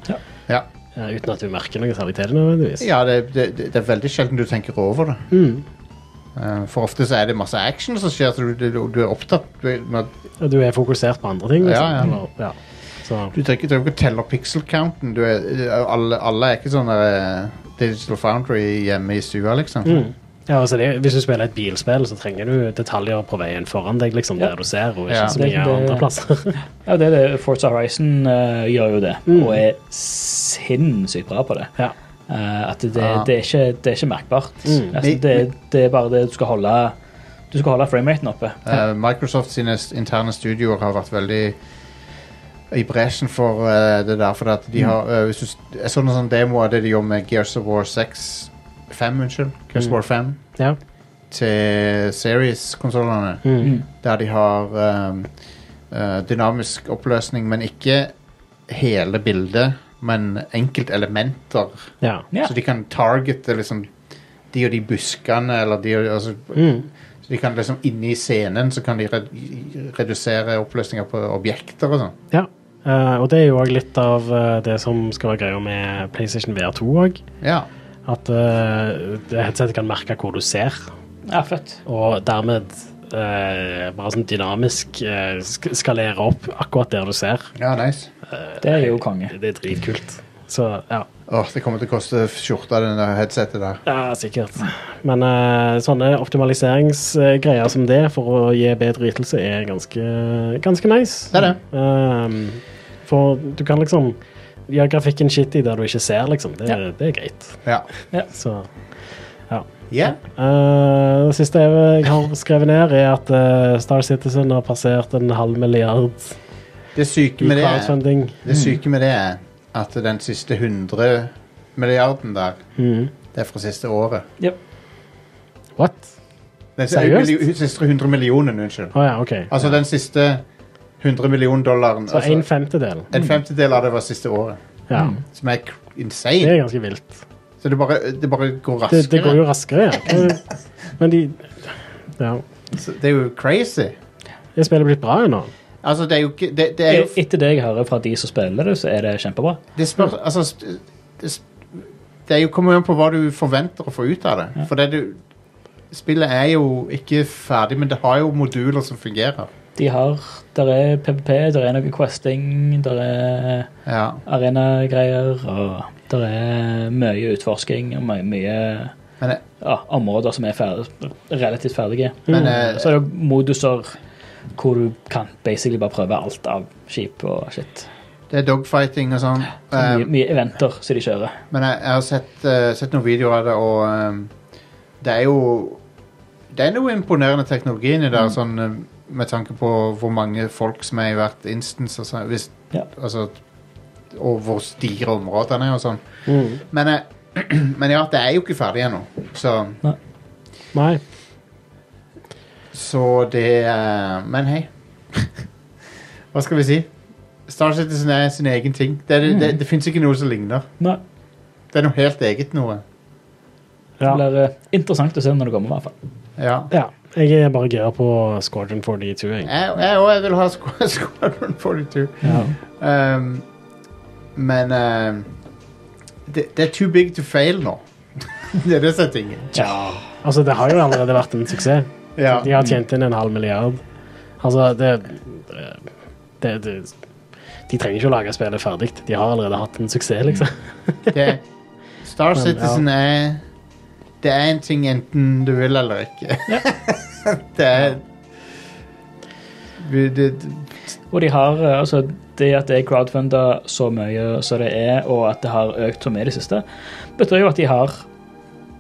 [SPEAKER 4] Ja,
[SPEAKER 5] Eh, uten at du merker noe særlig til det, nødvendigvis.
[SPEAKER 4] ja det, det, det er veldig sjelden du tenker over det. Eh, For ofte så er det masse action som skjer, så du, du, du er opptatt du er- med at
[SPEAKER 5] Og Du er fokusert på andre ting. Liksom.
[SPEAKER 4] Ja, ja.
[SPEAKER 5] Eller, ja. Så,
[SPEAKER 4] Du trenger ikke trenger ikke å telle pixel-counten. Du er, alle, alle er ikke sånn eh, Digital Foundry hjemme i stua, liksom.
[SPEAKER 5] ja, altså det, hvis du spiller et bilspill, så trenger du detaljer på veien foran deg, liksom,
[SPEAKER 6] Ja.
[SPEAKER 5] der du ser, og ikke
[SPEAKER 4] Ja.
[SPEAKER 5] så
[SPEAKER 6] Det-
[SPEAKER 5] mye
[SPEAKER 6] det-
[SPEAKER 5] andre plasser.
[SPEAKER 6] Ja, det er det. Forza Horizon eh, gjør jo det, og er sinnssykt bra på det.
[SPEAKER 5] ja.
[SPEAKER 6] Eh, at det,
[SPEAKER 4] Ja.
[SPEAKER 6] det, er ikke, det er ikke merkbart. Altså,
[SPEAKER 4] Vi-
[SPEAKER 6] det, det er bare det du skal holde Du skal holde frameraten oppe.
[SPEAKER 4] Eh, Microsoft sine s- interne studioer har vært veldig i bresjen for eh, det der. For at de har, eh, hvis du, s- jeg så en sånn demo av det de gjorde med Gears of War 6 5, unnskyld. Gears of War 5
[SPEAKER 5] ja.
[SPEAKER 4] til Series-konsollene. Der de har ehm, eh, dynamisk oppløsning, men ikke hele bildet, men enkeltelementer.
[SPEAKER 5] ja.
[SPEAKER 6] Ja.
[SPEAKER 4] Så de kan targete liksom de og de buskene, eller de og altså,
[SPEAKER 5] Mm.
[SPEAKER 4] Så de kan liksom inne i scenen så kan de red redusere oppløsninger på objekter og sånn.
[SPEAKER 5] ja. Eh, og det er jo òg litt av eh, det som skal være greia med PlayStation VR2 òg.
[SPEAKER 4] Ja.
[SPEAKER 5] At eh, det headsetet kan merke hvor du ser,
[SPEAKER 6] Ja, fett.
[SPEAKER 5] og dermed eh, bare sånn dynamisk eh, sk skalere opp akkurat der du ser.
[SPEAKER 4] ja, nice.
[SPEAKER 6] Det er jo konge.
[SPEAKER 5] Det er dritkult. Så ja.
[SPEAKER 4] Åh, det kommer til å koste skjorta, den der headsetet der.
[SPEAKER 5] Ja, sikkert. Men eh, sånne optimaliseringsgreier som det for å gi bedre ytelse er ganske, ganske nice.
[SPEAKER 4] Det er det.
[SPEAKER 5] Ehm, for du kan liksom gjøre grafikken shitty der du ikke ser, liksom. Det,
[SPEAKER 6] Ja.
[SPEAKER 5] det er greit.
[SPEAKER 4] Ja.
[SPEAKER 5] Så
[SPEAKER 4] Yeah.
[SPEAKER 5] eh, Det siste jeg har skrevet ned, er at eh, Star Citizen har passert en halv milliard
[SPEAKER 4] Det syke
[SPEAKER 5] i
[SPEAKER 4] med det er,
[SPEAKER 5] crowdfunding.
[SPEAKER 4] det syke med det er at den siste 100 milliarden der,
[SPEAKER 5] Mhm.
[SPEAKER 4] det er fra siste året.
[SPEAKER 6] Yep.
[SPEAKER 5] What?
[SPEAKER 4] Den siste,
[SPEAKER 5] Seriøst?
[SPEAKER 4] milli- siste 100 millionen, unnskyld.
[SPEAKER 5] Å ja, OK.
[SPEAKER 4] Altså den siste 100 millionen dollaren.
[SPEAKER 5] Så
[SPEAKER 4] altså, Mm.
[SPEAKER 5] en femtedel.
[SPEAKER 4] en femtedel av det var siste året.
[SPEAKER 5] Ja.
[SPEAKER 4] Som er cr-
[SPEAKER 5] Det er
[SPEAKER 4] insane.
[SPEAKER 5] ganske vilt.
[SPEAKER 4] Så det bare, det bare går raskere.
[SPEAKER 5] det, det går jo raskere, ja. Men de Ja.
[SPEAKER 4] Så det er jo crazy.
[SPEAKER 5] Er spillet blitt bra ennå?
[SPEAKER 4] Altså, det er jo ikke Det, det er jo
[SPEAKER 6] Etter det jeg hører fra de som spiller det, så er det kjempebra.
[SPEAKER 4] det spør, altså, st- det, s- det er jo kommer jo an på hva du forventer å få ut av det. For det du Spillet er jo ikke ferdig, men det har jo moduler som fungerer.
[SPEAKER 6] De har Der er PPP, der er noe questing, der er
[SPEAKER 4] Ja.
[SPEAKER 6] arenagreier, og der er mye utforsking og mye, mye
[SPEAKER 4] Men det-
[SPEAKER 6] ja, områder som er ferdig, relativt ferdige.
[SPEAKER 4] Men, eh,
[SPEAKER 6] så er det jo moduser hvor du kan basically bare prøve alt av skip og shit.
[SPEAKER 4] Det er dogfighting og sånn.
[SPEAKER 6] Mye,
[SPEAKER 4] Um,
[SPEAKER 6] mye eventer som de kjører.
[SPEAKER 4] men jeg, jeg har sett, eh, sett noen videoer av det, og um, det er jo Det er noe imponerende teknologi inni der, sånn, um, med tanke på hvor mange folk som er i hvert instance, og, sånn, hvis,
[SPEAKER 6] Ja.
[SPEAKER 4] altså, og hvor store områdene er og sånn.
[SPEAKER 5] Mm.
[SPEAKER 4] Men, eh, men ja, det er jo ikke ferdig ennå. Så,
[SPEAKER 5] Nei.
[SPEAKER 4] så det eh, Men hei. Hva skal vi si? Star Citizen er sin egen ting. Det, det, det, det fins ikke noe som ligner.
[SPEAKER 6] Nei,
[SPEAKER 4] Det er noe helt eget noe.
[SPEAKER 6] det
[SPEAKER 5] Ja.
[SPEAKER 6] blir eh, interessant å se når det kommer, i hvert fall.
[SPEAKER 4] Ja.
[SPEAKER 5] ja. Jeg er bare gira på Squadron 42,
[SPEAKER 4] Jeg,
[SPEAKER 5] jeg.
[SPEAKER 4] jeg, og jeg vil ha Squ- Squadron 42. Um, men um, det, det er too big to fail nå. det er det som er tingen.
[SPEAKER 5] Altså, det har jo allerede vært en suksess.
[SPEAKER 4] Ja.
[SPEAKER 5] De har tjent inn en halv milliard. Altså, det det, det de trenger ikke å lage spillet ferdig. De har allerede hatt en suksess, liksom.
[SPEAKER 4] Mm. Det, Star
[SPEAKER 5] Men,
[SPEAKER 4] Citizen er Det er en ting enten du vil eller ikke. det er vi- det, det,
[SPEAKER 6] Og de har eh, altså det at det er crowdfunda så mye som det er, og at det har økt så mye i det siste, betyr jo at de har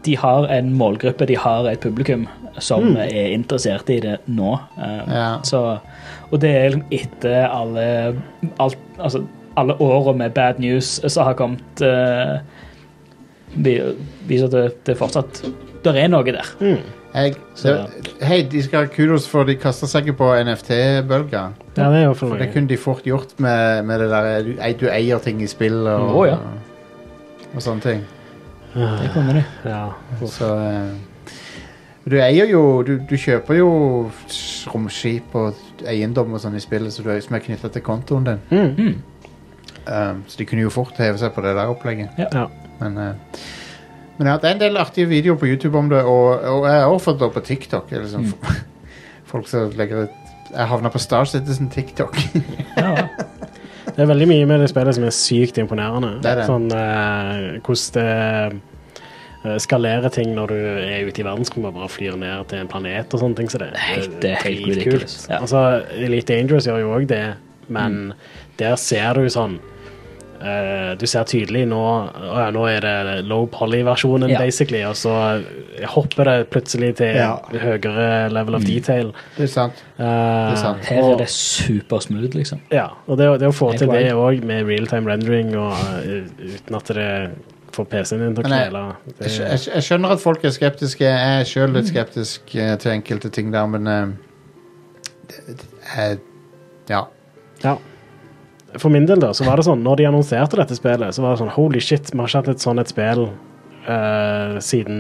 [SPEAKER 6] de har en målgruppe, de har et publikum som er interessert i det nå. Eh,
[SPEAKER 4] Ja.
[SPEAKER 6] så, og det er liksom etter alle alt, altså, alle åra med bad news som har kommet eh, vi- Viser at det, det fortsatt Der er noe der.
[SPEAKER 4] jeg,
[SPEAKER 6] Så-
[SPEAKER 4] det Hei, de skal ha kudos for de kaster seg ikke på NFT-bølga.
[SPEAKER 5] Ja, det er jo for
[SPEAKER 4] For det
[SPEAKER 5] noe.
[SPEAKER 4] kunne de fort gjort med, med det der du, ei- du eier ting i spill og,
[SPEAKER 6] Å, ja.
[SPEAKER 4] og, sånne ting.
[SPEAKER 6] Det kommer de.
[SPEAKER 5] Ja.
[SPEAKER 4] Så eh, Du eier jo Du, du kjøper jo romskip og eiendom og sånn i spillet så du, er- som er knytta til kontoen din.
[SPEAKER 5] Mm.
[SPEAKER 4] Um, så de kunne jo fort heve seg på det der opplegget.
[SPEAKER 5] Ja.
[SPEAKER 4] Men, eh, men ja, det er en del artige videoer på YouTube om det, og, og jeg har også fått det opp på TikTok. eller Liksom. Folk som legger ut Jeg havna på Star Citizen TikTok.
[SPEAKER 6] Ja,
[SPEAKER 5] Det er veldig mye med det spillet som er sykt imponerende.
[SPEAKER 4] Det er det.
[SPEAKER 5] Sånn eh, hvordan det eh, skalerer ting når du er ute i verdensrommet og bare flyr ned til en planet og sånne ting. Så det,
[SPEAKER 6] Helt-
[SPEAKER 5] det
[SPEAKER 6] det er helt
[SPEAKER 5] dritkult.
[SPEAKER 6] ridiculous. Ja.
[SPEAKER 5] Altså, Elite Dangerous gjør jo òg det, men der ser du sånn eh, du ser tydelig nå å ja, Nå er det low poly-versjonen,
[SPEAKER 6] Ja.
[SPEAKER 5] basically, og så hopper det plutselig til
[SPEAKER 4] Ja.
[SPEAKER 5] høyere level of detail.
[SPEAKER 4] det er sant.
[SPEAKER 5] Eh,
[SPEAKER 4] sant.
[SPEAKER 6] her er det supersmooth, liksom.
[SPEAKER 5] ja, og det, å- det å få
[SPEAKER 6] Helt
[SPEAKER 5] til det
[SPEAKER 6] wild.
[SPEAKER 5] òg med realtime rendering og uh, uten at det får PC-en din til å
[SPEAKER 4] Men jeg-
[SPEAKER 5] knele
[SPEAKER 4] Jeg, skj-
[SPEAKER 5] det- Mm.
[SPEAKER 4] jeg, skj- jeg skjønner at folk er skeptiske. Jeg er sjøl litt skeptisk eh, til enkelte ting der, men eh, det, det, jeg- Ja.
[SPEAKER 5] ja. For min del, da, så var det sånn Når de annonserte dette spillet, så var det sånn Holy shit, vi har ikke hatt et sånn et spill eh, siden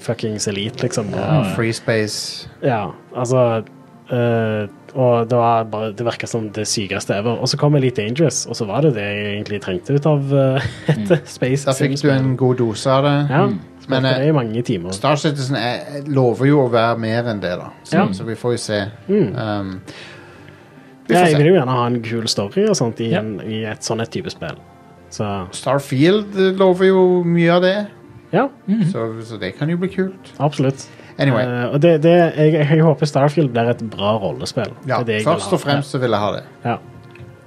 [SPEAKER 5] fuckings Elite, liksom. Og,
[SPEAKER 4] Free Space.
[SPEAKER 5] ja, altså Eh, og det, var bare, det virka som det sykeste ever. Og så kom Elite Dangerous, og så var det det jeg egentlig trengte ut av eh, et space.
[SPEAKER 4] Der Mm. fikk du
[SPEAKER 5] sim-spill.
[SPEAKER 4] en god dose av det.
[SPEAKER 5] Ja,
[SPEAKER 4] Men,
[SPEAKER 5] spilte
[SPEAKER 4] eh,
[SPEAKER 5] det i mange timer.
[SPEAKER 4] Star Citizen er, lover jo å være mer enn det, da. Så,
[SPEAKER 5] Ja. Mm.
[SPEAKER 4] så vi får jo se. Um, vi
[SPEAKER 5] Ja,
[SPEAKER 4] får
[SPEAKER 5] jeg
[SPEAKER 4] se.
[SPEAKER 5] vil jo gjerne ha en kul story og sånt i, en, i et sånn et type spill. Så
[SPEAKER 4] Starfield eh, lover jo mye av det,
[SPEAKER 5] ja,
[SPEAKER 4] så, så det kan jo bli kult.
[SPEAKER 5] absolutt.
[SPEAKER 4] Anyway.
[SPEAKER 5] Mm. Eh, og det, det, jeg, jeg håper Starfield blir et bra rollespill.
[SPEAKER 4] Ja,
[SPEAKER 5] Det er det jeg vil
[SPEAKER 4] først
[SPEAKER 5] ha.
[SPEAKER 4] og fremst så vil jeg ha det.
[SPEAKER 5] Ja.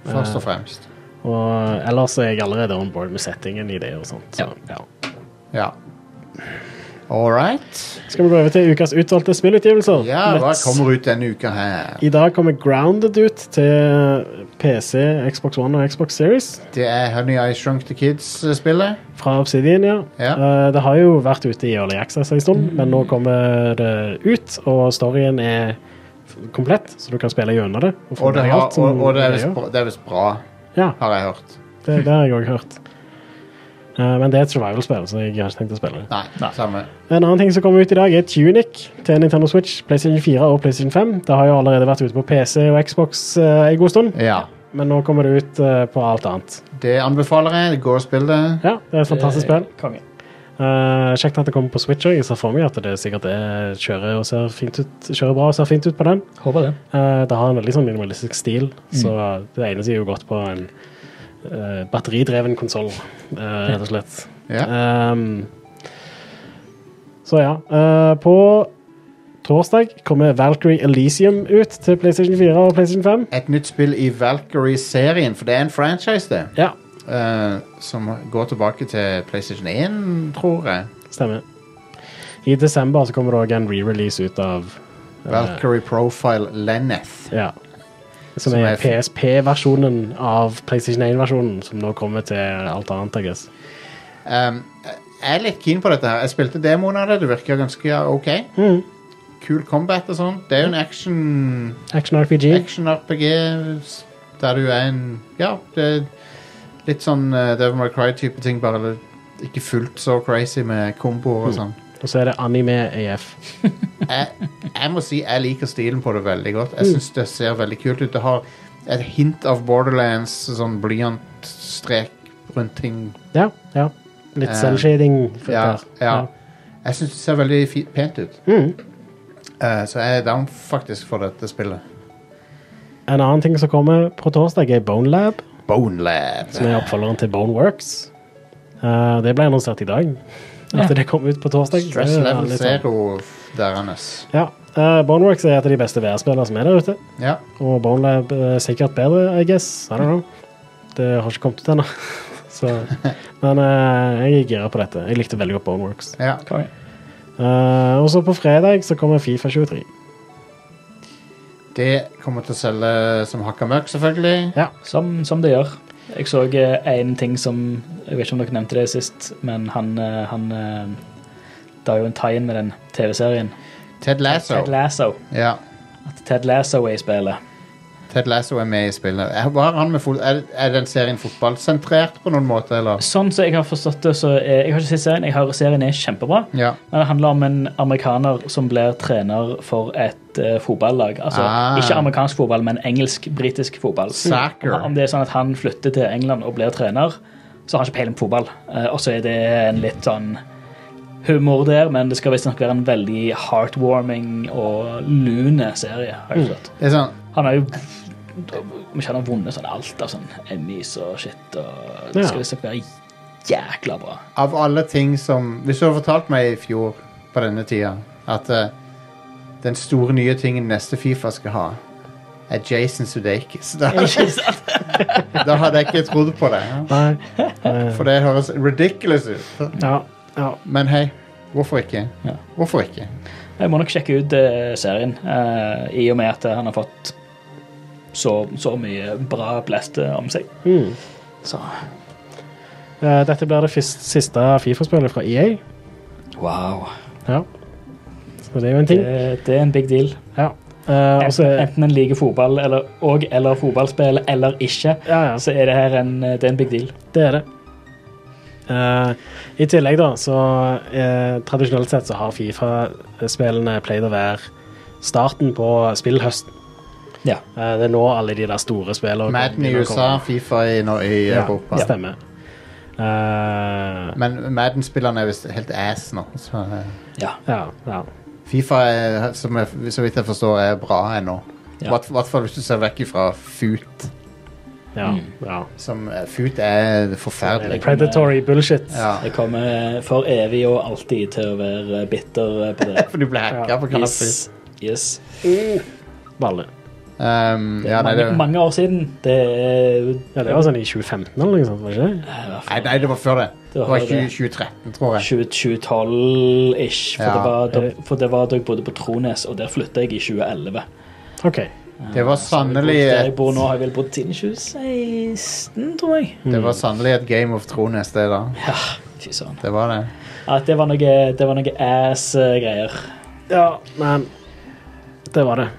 [SPEAKER 4] Først og fremst.
[SPEAKER 5] Og eh, ellers er jeg allerede on board med settingen i det og sånt. Så, ja.
[SPEAKER 4] Ja. All right.
[SPEAKER 5] Skal vi gå over til ukas utvalgte spillutgivelser?
[SPEAKER 4] Ja, hva
[SPEAKER 5] Let's-
[SPEAKER 4] kommer ut denne uka her?
[SPEAKER 5] I dag kommer Grounded ut til PC, Xbox One og Xbox Series
[SPEAKER 4] Det er Honey I Shrunk the Kids-spillet.
[SPEAKER 5] fra Obsidian. ja.
[SPEAKER 4] Ja.
[SPEAKER 5] Eh, Det har jo vært ute i Early Access en stund, men nå kommer det ut, og storyen er f- komplett, så du kan spille gjennom det. få
[SPEAKER 4] Og det,
[SPEAKER 5] med deg
[SPEAKER 4] har,
[SPEAKER 5] alt som
[SPEAKER 4] og, og det er
[SPEAKER 5] det
[SPEAKER 4] visst
[SPEAKER 5] gjør.
[SPEAKER 4] bra- det er visst bra,
[SPEAKER 5] Ja,
[SPEAKER 4] har jeg hørt.
[SPEAKER 5] det, det har jeg òg hørt. Eh, Men det er et survival-spill, så jeg har ikke tenkt å spille det.
[SPEAKER 4] Nei, samme.
[SPEAKER 5] En annen ting som kommer ut i dag, er Tunic til Nintendo Switch, PlayStation 4 og PlayStation 5. Det har jo allerede vært ute på PC og Xbox eh, en god stund,
[SPEAKER 4] Ja.
[SPEAKER 5] men nå kommer det ut eh, på alt annet.
[SPEAKER 4] Det anbefaler jeg. Gå og spill det.
[SPEAKER 5] Ja, det er et fantastisk
[SPEAKER 6] Eh,
[SPEAKER 5] spill.
[SPEAKER 6] Konge.
[SPEAKER 5] Eh, kjekt at det kommer på Switch òg. Jeg ser for meg at det sikkert er kjører, og ser fint ut, kjører bra og ser fint ut på den.
[SPEAKER 6] Håper det.
[SPEAKER 5] Eh, det har en veldig sånn minimalistisk stil, så
[SPEAKER 4] Mm.
[SPEAKER 5] det egner seg jo godt på en eh, batteridreven konsoll, rett og slett.
[SPEAKER 4] Ja.
[SPEAKER 5] Ehm, så ja. eh, på torsdag kommer Valkyrie Elisium ut til PlayStation 4 og PlayStation 5.
[SPEAKER 4] Et nytt spill i Valkyrie-serien, for det er en franchise, det.
[SPEAKER 5] Ja,
[SPEAKER 4] eh, som går tilbake til PlayStation 1, tror jeg.
[SPEAKER 5] stemmer. I desember så kommer det òg en re-release ut av
[SPEAKER 4] Valkyrie Profile Lenneth.
[SPEAKER 5] Ja. Som,
[SPEAKER 4] Som
[SPEAKER 5] er,
[SPEAKER 4] er f-
[SPEAKER 5] PSP-versjonen av PlayStation 1-versjonen, som nå kommer til alt annet, I guess.
[SPEAKER 4] Um, jeg er litt keen på dette her. Jeg spilte demoen av det. Det virker ganske OK. Kul combat og sånn. Det er jo en action
[SPEAKER 5] Action RPG.
[SPEAKER 4] action-RPG der du er en Ja, det er litt sånn uh, Devil May Cry-type ting, bare litt- ikke fullt så crazy med komboer og sånn.
[SPEAKER 5] Og så er det anime E AF.
[SPEAKER 4] Jeg, jeg må si jeg liker stilen på det veldig godt. Jeg syns det ser veldig kult ut. Det har et hint av Borderlands, sånn blyantstrek rundt ting.
[SPEAKER 5] Ja. ja. Litt
[SPEAKER 4] Eh,
[SPEAKER 5] selvshading. for
[SPEAKER 4] Ja,
[SPEAKER 5] der.
[SPEAKER 4] ja. Jeg syns det ser veldig fi- pent ut. Eh, så jeg er down faktisk for dette spillet.
[SPEAKER 5] En annen ting som kommer på torsdag, er Bone Lab,
[SPEAKER 4] Bone Lab.
[SPEAKER 5] som er oppfølgeren til Bone Works. Eh, det ble annonsert i dag, at det kom ut på torsdag.
[SPEAKER 4] Stress
[SPEAKER 5] Det er
[SPEAKER 4] level
[SPEAKER 5] litt sånn.
[SPEAKER 4] zero deres.
[SPEAKER 5] Ja. Eh, Bone Works er et av de beste VR-spillene som er der ute.
[SPEAKER 4] Ja.
[SPEAKER 5] Og Bone Lab er sikkert bedre, I guess. I don't know. Det har ikke kommet ut ennå. Så, men eh, jeg er gira på dette. Jeg likte veldig godt Boneworks.
[SPEAKER 4] ja.
[SPEAKER 6] Konge.
[SPEAKER 5] Eh, og så på fredag så kommer Fifa 23.
[SPEAKER 4] Det kommer til å selge som hakka møkk, selvfølgelig.
[SPEAKER 5] Ja.
[SPEAKER 6] Som, som det gjør. Jeg så én ting som Jeg vet ikke om dere nevnte det sist, men han, eh, han eh, Det er jo en tie-in med den TV-serien.
[SPEAKER 4] Ted Lasso.
[SPEAKER 6] Ted Lasso.
[SPEAKER 4] Ja.
[SPEAKER 6] At Ted Lasso er i spillet.
[SPEAKER 4] Ted Lasso er med i spillet. Er, var han med fot er, er den serien fotballsentrert på noen måte, eller?
[SPEAKER 6] Sånn som jeg har forstått det, så er, Jeg har ikke sett serien. Jeg hører serien er kjempebra.
[SPEAKER 4] Ja.
[SPEAKER 6] Men det handler om en amerikaner som blir trener for et eh, fotballag. Altså
[SPEAKER 4] Ah.
[SPEAKER 6] ikke amerikansk fotball, men engelsk-britisk fotball.
[SPEAKER 4] Soccer.
[SPEAKER 6] Om det er sånn at han flytter til England og blir trener, så har han ikke peiling på fotball. Eh, og så er det en litt sånn humor der, men det skal visstnok være en veldig heartwarming og lune serie. har jeg forstått.
[SPEAKER 4] Det er sånn,
[SPEAKER 6] Han har jo Vi kjenner han har vunnet sånn alt av sånn Emmys og shit, og det
[SPEAKER 5] Ja.
[SPEAKER 6] skal visstnok være jækla bra.
[SPEAKER 4] av alle ting som Hvis du hadde fortalt meg i fjor på denne tida at eh, den store nye tingen neste Fifa skal ha, er Jason Sudeikis, da, da hadde jeg ikke trodd på det.
[SPEAKER 5] Nei.
[SPEAKER 4] For det høres ridiculous ut.
[SPEAKER 5] Ja. ja.
[SPEAKER 4] Men hei, hvorfor ikke?
[SPEAKER 6] Ja.
[SPEAKER 4] Hvorfor ikke?
[SPEAKER 6] Jeg må nok sjekke ut eh, serien, eh, i og med at han har fått så, så mye bra blest eh, om seg.
[SPEAKER 5] Mm.
[SPEAKER 6] Så
[SPEAKER 5] Eh, dette blir det fis- siste Fifa-spillet fra EA.
[SPEAKER 6] wow.
[SPEAKER 5] Ja. Så det er jo en
[SPEAKER 6] Det,
[SPEAKER 5] ting.
[SPEAKER 6] det er en big deal.
[SPEAKER 5] Ja. Eh, og
[SPEAKER 6] Enten,
[SPEAKER 5] så er
[SPEAKER 6] enten en liker fotball eller, og eller fotballspill eller ikke,
[SPEAKER 5] Ja, ja.
[SPEAKER 6] så er det her en, eh, det er en big deal.
[SPEAKER 5] Det er det. Eh, I tillegg, da, så eh, Tradisjonelt sett så har Fifa-spillene pleid å være starten på spillhøsten.
[SPEAKER 6] Ja.
[SPEAKER 5] Eh, det er nå alle de der store spillene
[SPEAKER 4] Madden i
[SPEAKER 5] begynner å
[SPEAKER 4] USA,
[SPEAKER 5] komme.
[SPEAKER 4] Fifa i, nå, i
[SPEAKER 5] ja,
[SPEAKER 4] Europa.
[SPEAKER 5] Stemmer. Eh,
[SPEAKER 4] Men Madden-spillerne er visst helt ass nå. Så, eh,
[SPEAKER 6] ja.
[SPEAKER 5] ja, ja.
[SPEAKER 4] Fifa, er, som jeg, så vidt jeg forstår, er bra ennå. I
[SPEAKER 6] Ja.
[SPEAKER 4] hvert hvert fall hvis du ser vekk ifra FUT.
[SPEAKER 5] ja,
[SPEAKER 6] Mm.
[SPEAKER 5] ja.
[SPEAKER 4] Som, eh, FUT er
[SPEAKER 5] Det er
[SPEAKER 4] forferdelig.
[SPEAKER 5] Predatory bullshit.
[SPEAKER 4] Ja.
[SPEAKER 6] Jeg kommer for evig og alltid til å være bitter på det.
[SPEAKER 4] For du ble hacka
[SPEAKER 5] Ja.
[SPEAKER 4] på Call of Duty.
[SPEAKER 6] Yes. yes.
[SPEAKER 5] Balle.
[SPEAKER 4] Um, ja, nei,
[SPEAKER 6] mange,
[SPEAKER 4] det,
[SPEAKER 6] mange år siden. Det er eh,
[SPEAKER 5] Ja, det var sånn i 2015 eller noe sånt, var det ikke?
[SPEAKER 4] nei, nei, det var før det. Det
[SPEAKER 6] var
[SPEAKER 4] var
[SPEAKER 6] det.
[SPEAKER 4] 20, 2013, tror jeg.
[SPEAKER 6] 2012-ish. For,
[SPEAKER 4] Ja.
[SPEAKER 6] det var da- for det var da jeg bodde på Trones, og der flytta jeg i 2011.
[SPEAKER 5] det? OK.
[SPEAKER 4] Det var sannelig
[SPEAKER 6] Jeg bodde Der jeg
[SPEAKER 4] et,
[SPEAKER 6] bor nå, har jeg vel bodd siden 2016, tror jeg.
[SPEAKER 4] det var sannelig et Game of Thrones, det da.
[SPEAKER 6] Ja, fy søren.
[SPEAKER 4] Det var det.
[SPEAKER 6] Ja, det var noe, det var noe eh, ass-greier.
[SPEAKER 5] Ja, men det var det.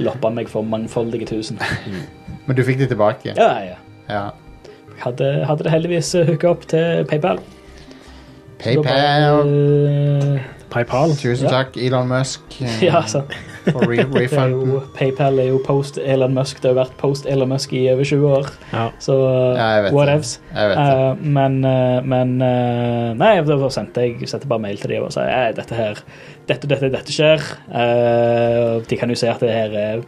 [SPEAKER 6] Loppa meg for mangfoldige tusen.
[SPEAKER 4] Men du fikk det tilbake.
[SPEAKER 6] Ja, ja.
[SPEAKER 4] Ja.
[SPEAKER 6] Jeg hadde, hadde det heldigvis hooka opp til PayPal. Så da bare,
[SPEAKER 4] PayPal.
[SPEAKER 6] eh,
[SPEAKER 5] PayPal.
[SPEAKER 4] Tusen
[SPEAKER 6] Ja.
[SPEAKER 4] takk, Elon Musk, eh,
[SPEAKER 6] Ja, sant.
[SPEAKER 4] for re
[SPEAKER 6] Det er jo,
[SPEAKER 4] refunden.
[SPEAKER 6] PayPal er jo post Elon Musk. Det har jo vært post Elon Musk i over 20 år,
[SPEAKER 5] Ja.
[SPEAKER 6] så
[SPEAKER 4] Ja, jeg vet
[SPEAKER 6] whatevs.
[SPEAKER 4] det. Jeg vet det.
[SPEAKER 6] Eh, men eh, men eh, Nei, da sendte jeg sendte bare mail til dem og sa at dette her Dette og dette, dette skjer. Eh, og de kan jo se at det her er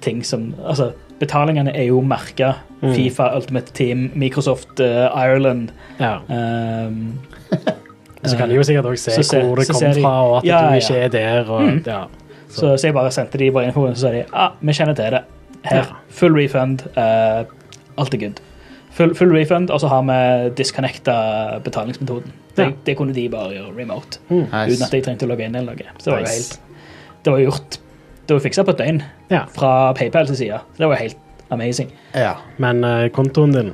[SPEAKER 6] ting som Altså, betalingene er jo merka.
[SPEAKER 5] Mm.
[SPEAKER 6] Fifa, Ultimate Team, Microsoft, eh, Ireland.
[SPEAKER 5] ja.
[SPEAKER 6] eh,
[SPEAKER 5] Så kan de jo sikkert òg se
[SPEAKER 6] Så ser-
[SPEAKER 5] hvor det
[SPEAKER 6] så
[SPEAKER 5] kom
[SPEAKER 6] ser de-
[SPEAKER 5] fra, og at
[SPEAKER 6] Ja,
[SPEAKER 5] du
[SPEAKER 6] ja. Mm.
[SPEAKER 5] ikke er der. Og, ja.
[SPEAKER 6] Så, så jeg bare sendte de bare infoen, så sa de ah, vi kjenner til det. Her, Full refund. eh, alt er good. Full, full refund, og så har vi disconnecta betalingsmetoden. Det,
[SPEAKER 5] Ja. Mm.
[SPEAKER 6] det kunne de bare gjøre remote, uten
[SPEAKER 4] Nice.
[SPEAKER 6] at jeg trengte å logge inn. eller noe. Så det var jo
[SPEAKER 5] Nice.
[SPEAKER 6] helt, det var gjort. Det var fiksa på et døgn
[SPEAKER 5] ja.
[SPEAKER 6] fra PayPal sin side. Så det var helt amazing.
[SPEAKER 4] Ja.
[SPEAKER 5] Men eh, kontoen din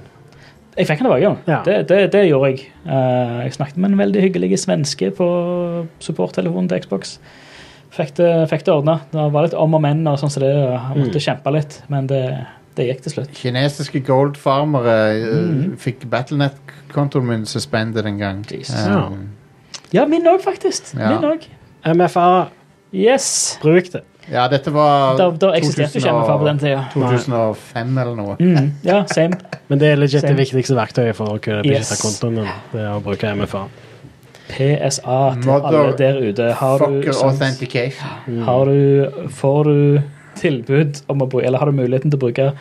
[SPEAKER 6] Jeg fikk den tilbake. jo.
[SPEAKER 5] Ja.
[SPEAKER 6] Det, det, det gjorde jeg. Eh, jeg snakket med en veldig hyggelig svenske på supporttelefonen til Xbox. Fikk det, fikk det ordna. Det var litt om og men, og sånn som det. Jeg måtte kjempe litt, men det, det gikk til slutt.
[SPEAKER 4] Kinesiske goldfarmere
[SPEAKER 6] Mhm.
[SPEAKER 4] eh, fikk Battlenet-kontoen min suspended en gang.
[SPEAKER 6] Jesus.
[SPEAKER 4] Um,
[SPEAKER 6] Ja, min òg, faktisk.
[SPEAKER 4] Ja.
[SPEAKER 6] Min òg.
[SPEAKER 5] MFA,
[SPEAKER 6] Yes.
[SPEAKER 5] bruk det.
[SPEAKER 4] ja, dette var
[SPEAKER 6] Da, da eksisterte jo ikke
[SPEAKER 4] 2000 og-
[SPEAKER 6] MFA på den tida.
[SPEAKER 4] 2005 eller noe.
[SPEAKER 6] Mm, ja, same.
[SPEAKER 5] Men det er legit det
[SPEAKER 6] Same.
[SPEAKER 5] viktigste verktøyet for å kunne
[SPEAKER 6] Yes.
[SPEAKER 5] beskytte kontoen din. Det er å bruke MFA.
[SPEAKER 6] PSA til
[SPEAKER 4] Mother
[SPEAKER 6] alle der ute. Har du,
[SPEAKER 4] Fucker
[SPEAKER 6] sånn-
[SPEAKER 4] authentication.
[SPEAKER 6] har du Får du tilbud om å bruke, eller har du muligheten til å bruke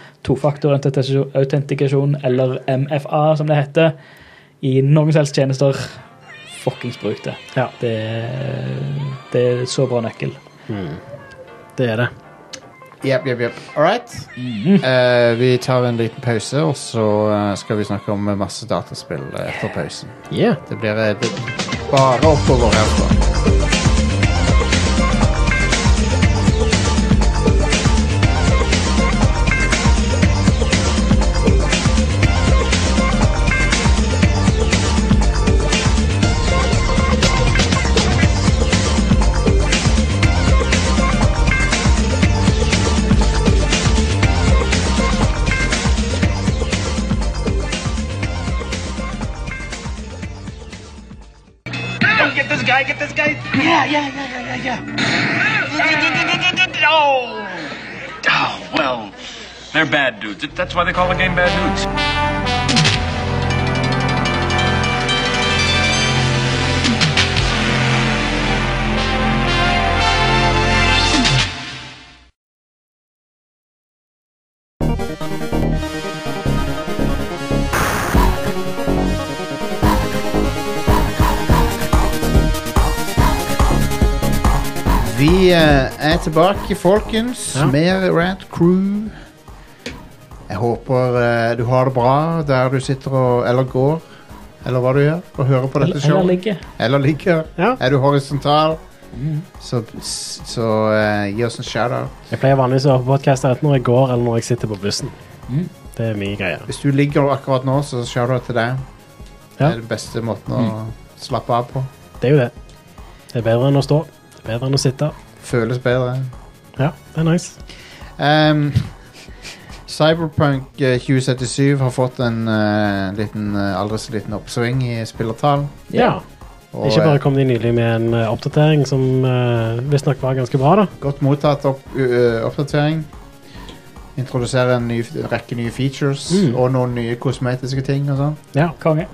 [SPEAKER 6] tofaktorautentikasjon, eller MFA, som det heter, i noen som helst tjenester, fuckings bruk det.
[SPEAKER 5] Ja.
[SPEAKER 6] Det, det er så bra nøkkel.
[SPEAKER 5] Det er det.
[SPEAKER 4] Jep, jep, jep. All right.
[SPEAKER 6] Mhm.
[SPEAKER 4] Eh, vi tar en liten pause, og så eh, skal vi snakke om masse dataspill eh, etter pausen.
[SPEAKER 5] Yeah.
[SPEAKER 4] Det blir eh, det, bare oppover herfra.
[SPEAKER 2] Get this guy, get this guy. Yeah, yeah, yeah, yeah, yeah, yeah. Oh. oh, well, they're bad dudes. That's why they call the game Bad Dudes.
[SPEAKER 4] Vi eh, er tilbake, folkens.
[SPEAKER 5] Ja.
[SPEAKER 4] Mer Rant Crew. Jeg håper eh, du har det bra der du sitter og eller går, eller hva du gjør, og hører på dette
[SPEAKER 6] Eller, eller
[SPEAKER 4] showet.
[SPEAKER 6] ligge.
[SPEAKER 4] Eller ligger.
[SPEAKER 5] Ja. Mm.
[SPEAKER 4] Er du horisontal, så, så eh, gi oss en shout-out.
[SPEAKER 5] Jeg pleier vanligvis å høre på podkaster enten når jeg går eller når jeg sitter på bussen.
[SPEAKER 4] Mm.
[SPEAKER 5] Det er min greie.
[SPEAKER 4] Hvis du ligger akkurat nå, så shout-out til deg. Det
[SPEAKER 5] Ja. Mm.
[SPEAKER 4] er den beste måten å slappe av på.
[SPEAKER 5] Det er jo det. Det er bedre enn å stå. Det er bedre enn å sitte.
[SPEAKER 4] Føles bedre.
[SPEAKER 5] Ja, det er nice.
[SPEAKER 4] Ehm, Cyberpunk eh, 2077 har fått en eh, liten, eh, aldri så liten oppsving i spillertall.
[SPEAKER 5] Ja.
[SPEAKER 4] Og,
[SPEAKER 5] Ikke bare
[SPEAKER 4] eh,
[SPEAKER 5] kom de nylig med en eh, oppdatering som uh, visstnok var ganske bra, da.
[SPEAKER 4] Godt mottatt opp, ø, ø, oppdatering. Introduserer en, ny, en rekke nye features
[SPEAKER 5] Mm.
[SPEAKER 4] og noen nye kosmetiske ting og sånn.
[SPEAKER 5] Ja.
[SPEAKER 6] Konge.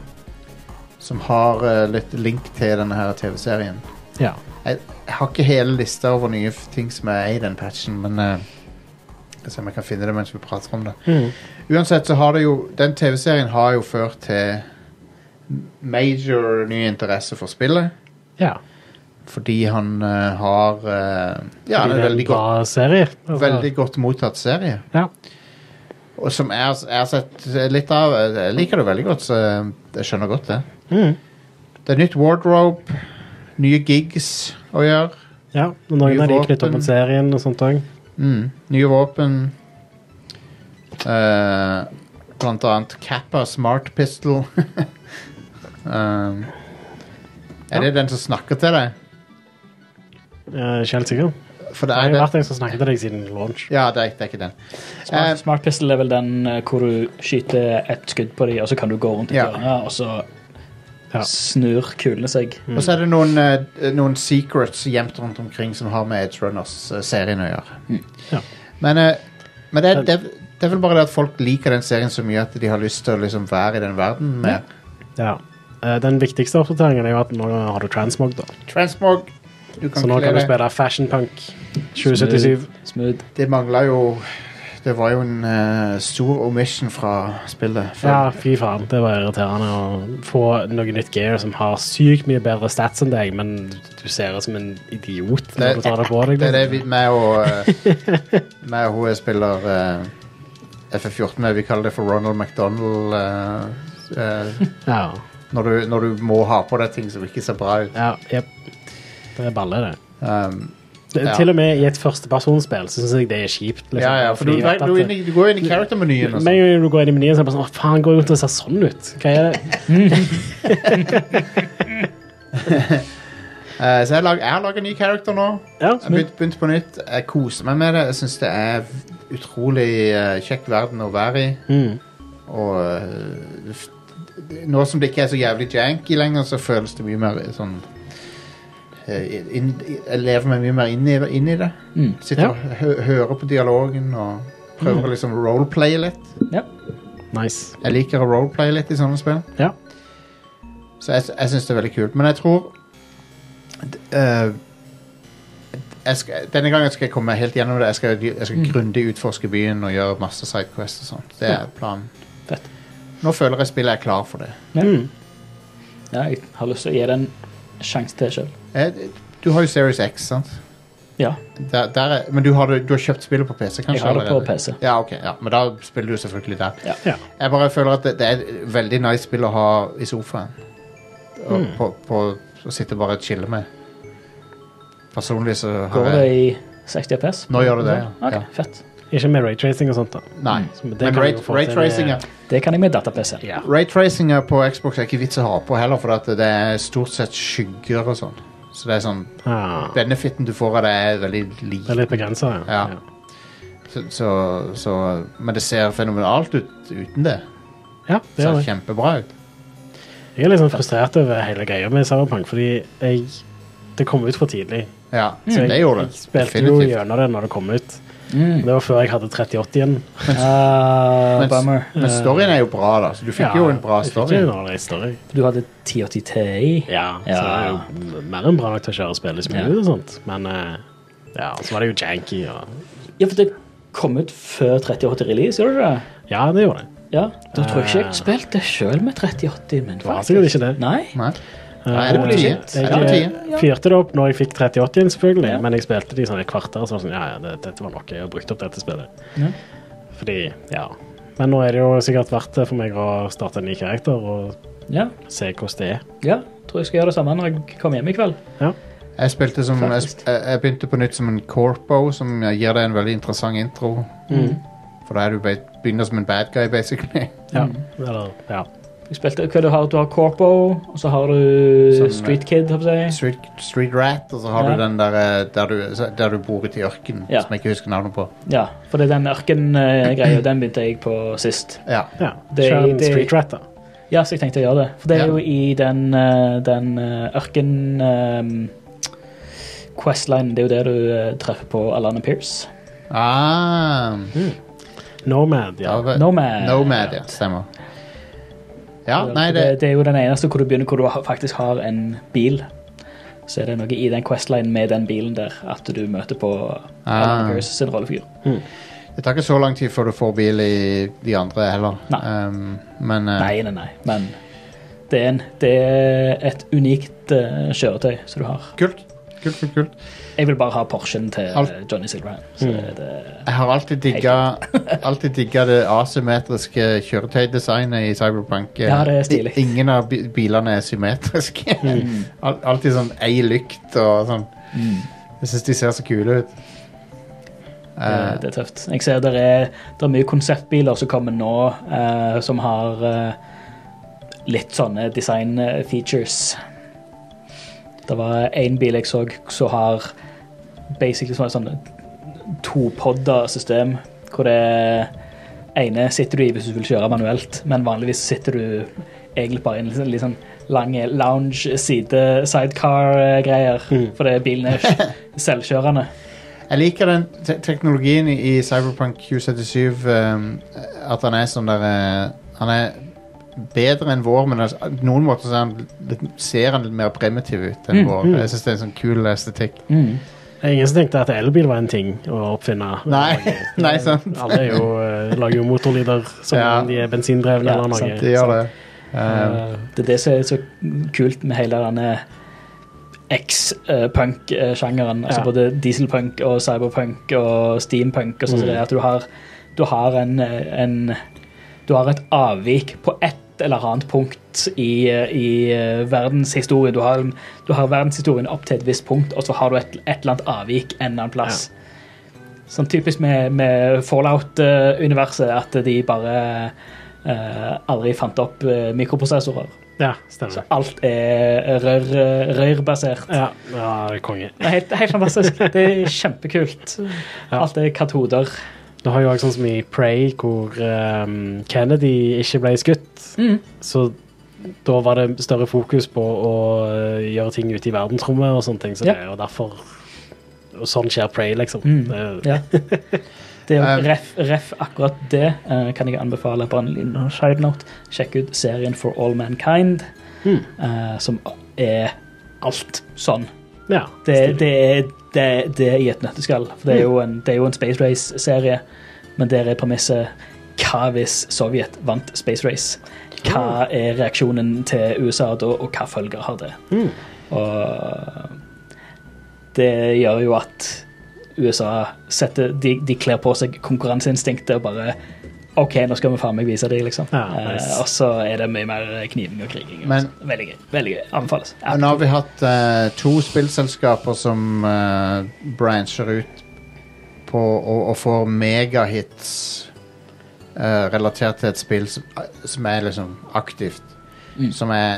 [SPEAKER 4] Som har eh, litt link til denne her TV-serien.
[SPEAKER 5] ja.
[SPEAKER 4] Jeg har ikke hele lista over nye f- ting som er i den patchen, men eh, skal se om jeg kan finne det mens vi prater om det.
[SPEAKER 5] Mm.
[SPEAKER 4] Uansett så har det jo Den TV-serien har jo ført til major ny interesse for spillet.
[SPEAKER 5] ja.
[SPEAKER 4] Fordi han eh, har eh, Ja, han
[SPEAKER 5] Fordi
[SPEAKER 4] er
[SPEAKER 5] det
[SPEAKER 4] en veldig,
[SPEAKER 5] bra
[SPEAKER 4] godt,
[SPEAKER 5] serie. altså.
[SPEAKER 4] veldig godt mottatt serie.
[SPEAKER 5] Ja.
[SPEAKER 4] Og som jeg har- jeg har sett litt av. eh, Jeg liker det veldig godt, så eh, jeg skjønner godt det.
[SPEAKER 5] Mm.
[SPEAKER 4] Det er nytt wardrobe, nye gigs å gjøre.
[SPEAKER 5] ja. Og noen
[SPEAKER 4] Nye
[SPEAKER 5] av de
[SPEAKER 4] våpen.
[SPEAKER 5] knyttet opp mot serien og sånt òg.
[SPEAKER 4] Mm, nye våpen. Eh, blant annet Kappa Smart Pistol. um, er det den som snakker til deg?
[SPEAKER 5] Eh, Ikke helt sikker.
[SPEAKER 4] For det
[SPEAKER 5] Det har
[SPEAKER 4] er
[SPEAKER 5] jo
[SPEAKER 4] den.
[SPEAKER 5] vært en som snakket til deg siden launch.
[SPEAKER 4] Ja, det er, det er ikke den.
[SPEAKER 6] Smart,
[SPEAKER 4] Eh,
[SPEAKER 6] smart pistol er vel den eh, hvor du skyter ett skudd på dem, og så kan du gå rundt i
[SPEAKER 4] Ja.
[SPEAKER 6] hjørnet, og så
[SPEAKER 5] Ja.
[SPEAKER 6] snur kulene seg.
[SPEAKER 4] Og så er det noen, eh, noen secrets gjemt rundt omkring som har med Edge Runners-serien å gjøre.
[SPEAKER 5] Ja.
[SPEAKER 4] Men, eh, men det, er- det, er- det er vel bare det at folk liker den serien så mye at de har lyst til å liksom være i den verden med
[SPEAKER 5] Ja. Eh, Den viktigste oppdateringen er jo at nå har du transmog, da.
[SPEAKER 4] Transmog. Du kan
[SPEAKER 5] Så nå
[SPEAKER 4] kle
[SPEAKER 5] kan du
[SPEAKER 4] deg-
[SPEAKER 5] spille Fashion Punk 2077.
[SPEAKER 6] Smooth.
[SPEAKER 4] Det mangla jo Det var jo en eh, stor omission fra spillet. før.
[SPEAKER 5] Ja, fy faen. Det var irriterende å få noe nytt gear som har sykt mye bedre stats enn deg, men du ser ut som en idiot når du tar det på deg.
[SPEAKER 4] det er det
[SPEAKER 5] liksom.
[SPEAKER 4] vi meg og eh, meg og hun jeg spiller eh, FF14 med. Vi kaller det for Ronald McDonald. eh, eh,
[SPEAKER 5] Ja,
[SPEAKER 4] når, du, når du må ha på deg ting som ikke ser bra ut.
[SPEAKER 5] ja, jep. Det er balle, det.
[SPEAKER 4] Um,
[SPEAKER 5] det
[SPEAKER 4] Ja.
[SPEAKER 5] Til og med i et førstepersonsspill så syns jeg det er kjipt. Liksom.
[SPEAKER 4] ja, ja, for du,
[SPEAKER 5] Fordi
[SPEAKER 4] du,
[SPEAKER 5] jeg vet
[SPEAKER 4] er
[SPEAKER 5] at-
[SPEAKER 4] inne i- du går inn i character-menyen. og
[SPEAKER 5] Med en
[SPEAKER 4] sånn.
[SPEAKER 5] gang du går inn i menyen, så er det bare sånn Å, faen, går jo til å se sånn ut. Hva er det?
[SPEAKER 4] Eh, Så jeg lag- jeg har laga ny character nå.
[SPEAKER 5] Ja,
[SPEAKER 4] Jeg begynte begynt på nytt. Jeg koser meg med det. Jeg syns det er utrolig eh, kjekk verden å være i.
[SPEAKER 5] Mm.
[SPEAKER 4] Og øh, f- d- nå som det ikke er så jævlig janky lenger, så føles det mye mer sånn eh, inn, Jeg lever meg mye mer inn i, inn i det.
[SPEAKER 6] Mm.
[SPEAKER 4] Sitter
[SPEAKER 5] Ja. Mm.
[SPEAKER 4] og hø hører på dialogen og prøver å liksom roleplaye litt.
[SPEAKER 6] Ja.
[SPEAKER 5] Nice.
[SPEAKER 4] Jeg liker å roleplaye litt i sånne spill,
[SPEAKER 5] Ja.
[SPEAKER 4] så jeg, jeg syns det er veldig kult. Men jeg tror d- eh, jeg skal, Denne gangen skal jeg komme meg helt gjennom det. Jeg skal, jeg
[SPEAKER 6] Mm.
[SPEAKER 4] skal grundig utforske byen og gjøre masse sidequests og sånn. Det er planen.
[SPEAKER 6] Fett.
[SPEAKER 4] Nå føler jeg spillet er klar for det.
[SPEAKER 5] Mm.
[SPEAKER 6] ja, jeg har lyst til å gi det en sjanse til sjøl.
[SPEAKER 4] Eh, Du har jo Series X, sant?
[SPEAKER 6] Ja,
[SPEAKER 4] Der, der er, men du har, det- du har kjøpt spillet på PC, kanskje?
[SPEAKER 6] jeg har det på
[SPEAKER 4] allerede?
[SPEAKER 6] PC.
[SPEAKER 4] Ja, ok, ja, Men da spiller du selvfølgelig der.
[SPEAKER 6] Ja.
[SPEAKER 5] Ja.
[SPEAKER 4] Jeg bare føler at det, det er et veldig nice spill å ha i sofaen. Og
[SPEAKER 6] Mm.
[SPEAKER 4] på, på, å sitte bare og chille med. Personlig så har
[SPEAKER 6] Går det
[SPEAKER 4] jeg
[SPEAKER 6] i 60 PS?
[SPEAKER 4] Nå gjør det det, ja.
[SPEAKER 6] Ok,
[SPEAKER 4] Ja.
[SPEAKER 6] Fett.
[SPEAKER 5] Ikke med raytracing og sånt, da.
[SPEAKER 4] Nei.
[SPEAKER 5] Så det
[SPEAKER 4] Men
[SPEAKER 5] kan jeg jo
[SPEAKER 4] rate-
[SPEAKER 5] få til med-
[SPEAKER 4] raytracinga
[SPEAKER 6] Det kan jeg med data-PC.
[SPEAKER 5] Ja.
[SPEAKER 4] Raytracinga på Xbox er ikke vits å ha på heller, for at det er stort sett skygger og sånn. Så det er sånn
[SPEAKER 5] Ah, det
[SPEAKER 4] Benefiten du får av det, er veldig liten.
[SPEAKER 5] er litt begrensa, ja.
[SPEAKER 4] Ja. Så, så, så, men det ser fenomenalt ut uten det.
[SPEAKER 5] Ja,
[SPEAKER 4] Det
[SPEAKER 5] det er
[SPEAKER 4] ser
[SPEAKER 5] det.
[SPEAKER 4] kjempebra ut.
[SPEAKER 5] Jeg er liksom frustrert over hele greia med Cyberpunk, fordi jeg, det kom ut for tidlig.
[SPEAKER 4] Ja,
[SPEAKER 5] Så
[SPEAKER 4] Mm,
[SPEAKER 5] jeg,
[SPEAKER 4] det gjorde det.
[SPEAKER 5] Mm. Jeg spilte jo
[SPEAKER 4] Definitivt.
[SPEAKER 5] gjennom det når det kom ut.
[SPEAKER 6] Mm.
[SPEAKER 5] Det var før jeg hadde 3080 igjen.
[SPEAKER 6] Ah,
[SPEAKER 4] Men,
[SPEAKER 6] bummer.
[SPEAKER 4] men storyen er jo bra, da. Så du fikk jo en bra
[SPEAKER 5] jeg fikk
[SPEAKER 4] story.
[SPEAKER 5] jo en ordentlig story.
[SPEAKER 6] Du hadde 1080 Ti.
[SPEAKER 5] Ja, så det er
[SPEAKER 6] Ja.
[SPEAKER 5] jo m- mer enn bra nok til å kjøre spillet smooth
[SPEAKER 6] Ja.
[SPEAKER 5] og sånt, men eh, ja, så var det jo janky og
[SPEAKER 6] Ja, for det kom ut før 3080 release, gjorde det det?
[SPEAKER 5] Ja, det gjorde det.
[SPEAKER 6] Ja, da tror jeg ikke
[SPEAKER 5] Eh.
[SPEAKER 6] jeg spilte sjøl med 3080, men
[SPEAKER 5] Det var sikkert ikke det.
[SPEAKER 6] Nei.
[SPEAKER 4] Nei. Nei, det er på
[SPEAKER 5] Eh,
[SPEAKER 4] tide. Det er på
[SPEAKER 5] Jeg
[SPEAKER 4] tide.
[SPEAKER 5] eh, fyrte det opp når jeg fikk 3080 igjen, selvfølgelig,
[SPEAKER 6] Ja.
[SPEAKER 5] men jeg spilte det i sånn et kvarter, så var det sånn, ja, ja, det, dette var nok, jeg har brukt opp dette spillet.
[SPEAKER 6] Ja.
[SPEAKER 5] Fordi, ja. Men nå er det jo sikkert verdt det for meg å starte en ny karakter og
[SPEAKER 6] Ja,
[SPEAKER 5] se hvordan det er.
[SPEAKER 6] ja, tror jeg skal gjøre det samme når jeg kommer hjem i kveld.
[SPEAKER 4] Jeg spilte som jeg,
[SPEAKER 6] Faktisk.
[SPEAKER 4] sp- jeg begynte på nytt som en corpo, som gir deg en veldig interessant intro.
[SPEAKER 6] Mm.
[SPEAKER 4] For da er du be- begynner som en bad guy, basically.
[SPEAKER 5] Ja. Mm. Eller, ja.
[SPEAKER 6] Jeg spilte, hva du har, du har Corpo, og så har du
[SPEAKER 4] Sånn,
[SPEAKER 6] Street Kid, håper jeg.
[SPEAKER 4] Street, street rat, og så har
[SPEAKER 6] Ja.
[SPEAKER 4] du den der, eh, der, du, der du bor ute i ørkenen,
[SPEAKER 6] Ja.
[SPEAKER 4] som jeg ikke husker navnet på.
[SPEAKER 6] Ja, for det er den ørken-greia, den eh, begynte jeg på sist.
[SPEAKER 4] Ja.
[SPEAKER 5] ja.
[SPEAKER 6] Det-
[SPEAKER 5] Kjør en
[SPEAKER 6] det-
[SPEAKER 5] street rat, da.
[SPEAKER 6] Ja, så jeg tenkte å gjøre det. For det er
[SPEAKER 4] Ja.
[SPEAKER 6] jo i den, eh, den eh, ørken eh, Questline, det er jo det du eh, treffer på Alana Pierce.
[SPEAKER 4] Ah,
[SPEAKER 5] Nomad, ja.
[SPEAKER 4] da-
[SPEAKER 6] Nomad.
[SPEAKER 4] Eh, Nomad, ja. Stemmer. Ja, nei,
[SPEAKER 6] det...
[SPEAKER 4] det
[SPEAKER 6] det er jo den eneste hvor du begynner hvor du har- faktisk har en bil. Så er det noe i den Questline med den bilen der at du møter på Alana
[SPEAKER 4] Ah.
[SPEAKER 6] Pierce sin rollefigur.
[SPEAKER 4] Det tar ikke så lang tid før du får bil i de andre heller.
[SPEAKER 6] Nei.
[SPEAKER 4] Um, men eh,
[SPEAKER 6] Nei, nei, nei, men det er, en, det er et unikt eh, kjøretøy som du har.
[SPEAKER 4] kult. Kult, kult, kult.
[SPEAKER 6] Jeg vil bare ha Porschen til
[SPEAKER 4] Alt- Mm.
[SPEAKER 6] eh, Johnny Silverhand. Så det,
[SPEAKER 4] Jeg har alltid digga, alltid digga det asymmetriske kjøretøydesignet i Cyberpunk. Eh,
[SPEAKER 6] Ja, det er stilig. Mm.
[SPEAKER 4] I- Ingen av bi bilene er symmetriske. Al alltid sånn ei lykt og sånn. Jeg syns de ser så kule ut.
[SPEAKER 6] det, det er tøft. Jeg ser det er, der er mye konseptbiler som kommer nå, eh, som har eh, litt sånne design eh, features. Det var én bil jeg så som har basically sånn sånn topodda system, hvor det ene sitter du i hvis du vil kjøre manuelt, men vanligvis sitter du egentlig bare i en litt sånn lang lounge-side-sidecar-greier, fordi bilen er selvkjørende.
[SPEAKER 4] Jeg liker den te teknologien i i Cyberpunk 2077, um, at han er sånn der eh, Han er bedre enn vår, men altså, på noen måter så er han litt, ser han litt mer primitiv ut
[SPEAKER 6] Mm,
[SPEAKER 4] enn vår. Jeg syns det er en sånn kul estetikk.
[SPEAKER 5] Det er Ingen som tenkte at elbil var en ting å oppfinne.
[SPEAKER 4] Nei, nei, sant.
[SPEAKER 5] Alle er jo, eh, lager jo motorlyder som
[SPEAKER 4] Ja.
[SPEAKER 5] om de er bensindrevne
[SPEAKER 6] Ja,
[SPEAKER 5] eller noe.
[SPEAKER 6] sant,
[SPEAKER 4] De gjør det. Um,
[SPEAKER 6] Eh, Det er det som er så kult med hele denne X-punk-sjangeren. Altså
[SPEAKER 5] Ja.
[SPEAKER 6] både dieselpunk og cyberpunk og steampunk og sånn som det er. At du har, du har en, eh, en Du har et avvik på ett eller annet punkt i, i eh, verdenshistorien. Du har, du har verdenshistorien opp til et visst punkt, og så har du et, et eller annet avvik en eller annen plass. Sånn typisk med, med Fallout-universet, at de bare eh, aldri fant opp eh, mikroprosessorer.
[SPEAKER 5] Ja,
[SPEAKER 6] Så
[SPEAKER 5] stemmer.
[SPEAKER 6] alt er rør, rørbasert.
[SPEAKER 5] Ja, ja konge.
[SPEAKER 6] Det er Helt, helt fantastisk. Det er kjempekult.
[SPEAKER 5] Ja.
[SPEAKER 6] Alt er katoder.
[SPEAKER 5] Du har jo også sånn som i Prey, hvor ehm, Kennedy ikke ble skutt.
[SPEAKER 6] Mm.
[SPEAKER 5] Så da var det større fokus på å eh, gjøre ting ute i verdensrommet og sånne ting. Så
[SPEAKER 6] Ja. Mm.
[SPEAKER 5] det er jo derfor og sånn skjer Prey, liksom. Det er-
[SPEAKER 6] Ja. Det er
[SPEAKER 4] Um,
[SPEAKER 6] jo ref, ref akkurat det eh, kan jeg anbefale på en liten side note. Sjekk ut serien For All Mankind, eh, som er alt sånn.
[SPEAKER 5] ja.
[SPEAKER 6] Det, det, er, det, er- det er i et nøtteskall. For
[SPEAKER 4] Mm.
[SPEAKER 6] det er jo en, det er jo en Space Race-serie, men der er premisset hva hvis Sovjet vant Space Race?
[SPEAKER 4] Ah.
[SPEAKER 6] Hva er reaksjonen til USA da, og hva følger har det?
[SPEAKER 4] Mm.
[SPEAKER 6] Og det gjør jo at USA setter De, de kler på seg konkurranseinstinktet og bare OK, nå skal vi faen meg vise dem, liksom.
[SPEAKER 5] Ja, nice.
[SPEAKER 6] eh, og så er det mye mer kniving og kriging. og
[SPEAKER 4] Ah, Men-
[SPEAKER 6] sånn. veldig gøy. veldig gøy, Anbefales.
[SPEAKER 4] Og nå har vi hatt eh, to spillselskaper som eh, brancher ut på og, og får megahits eh, relatert til et spill som, eh, som er liksom aktivt. Som er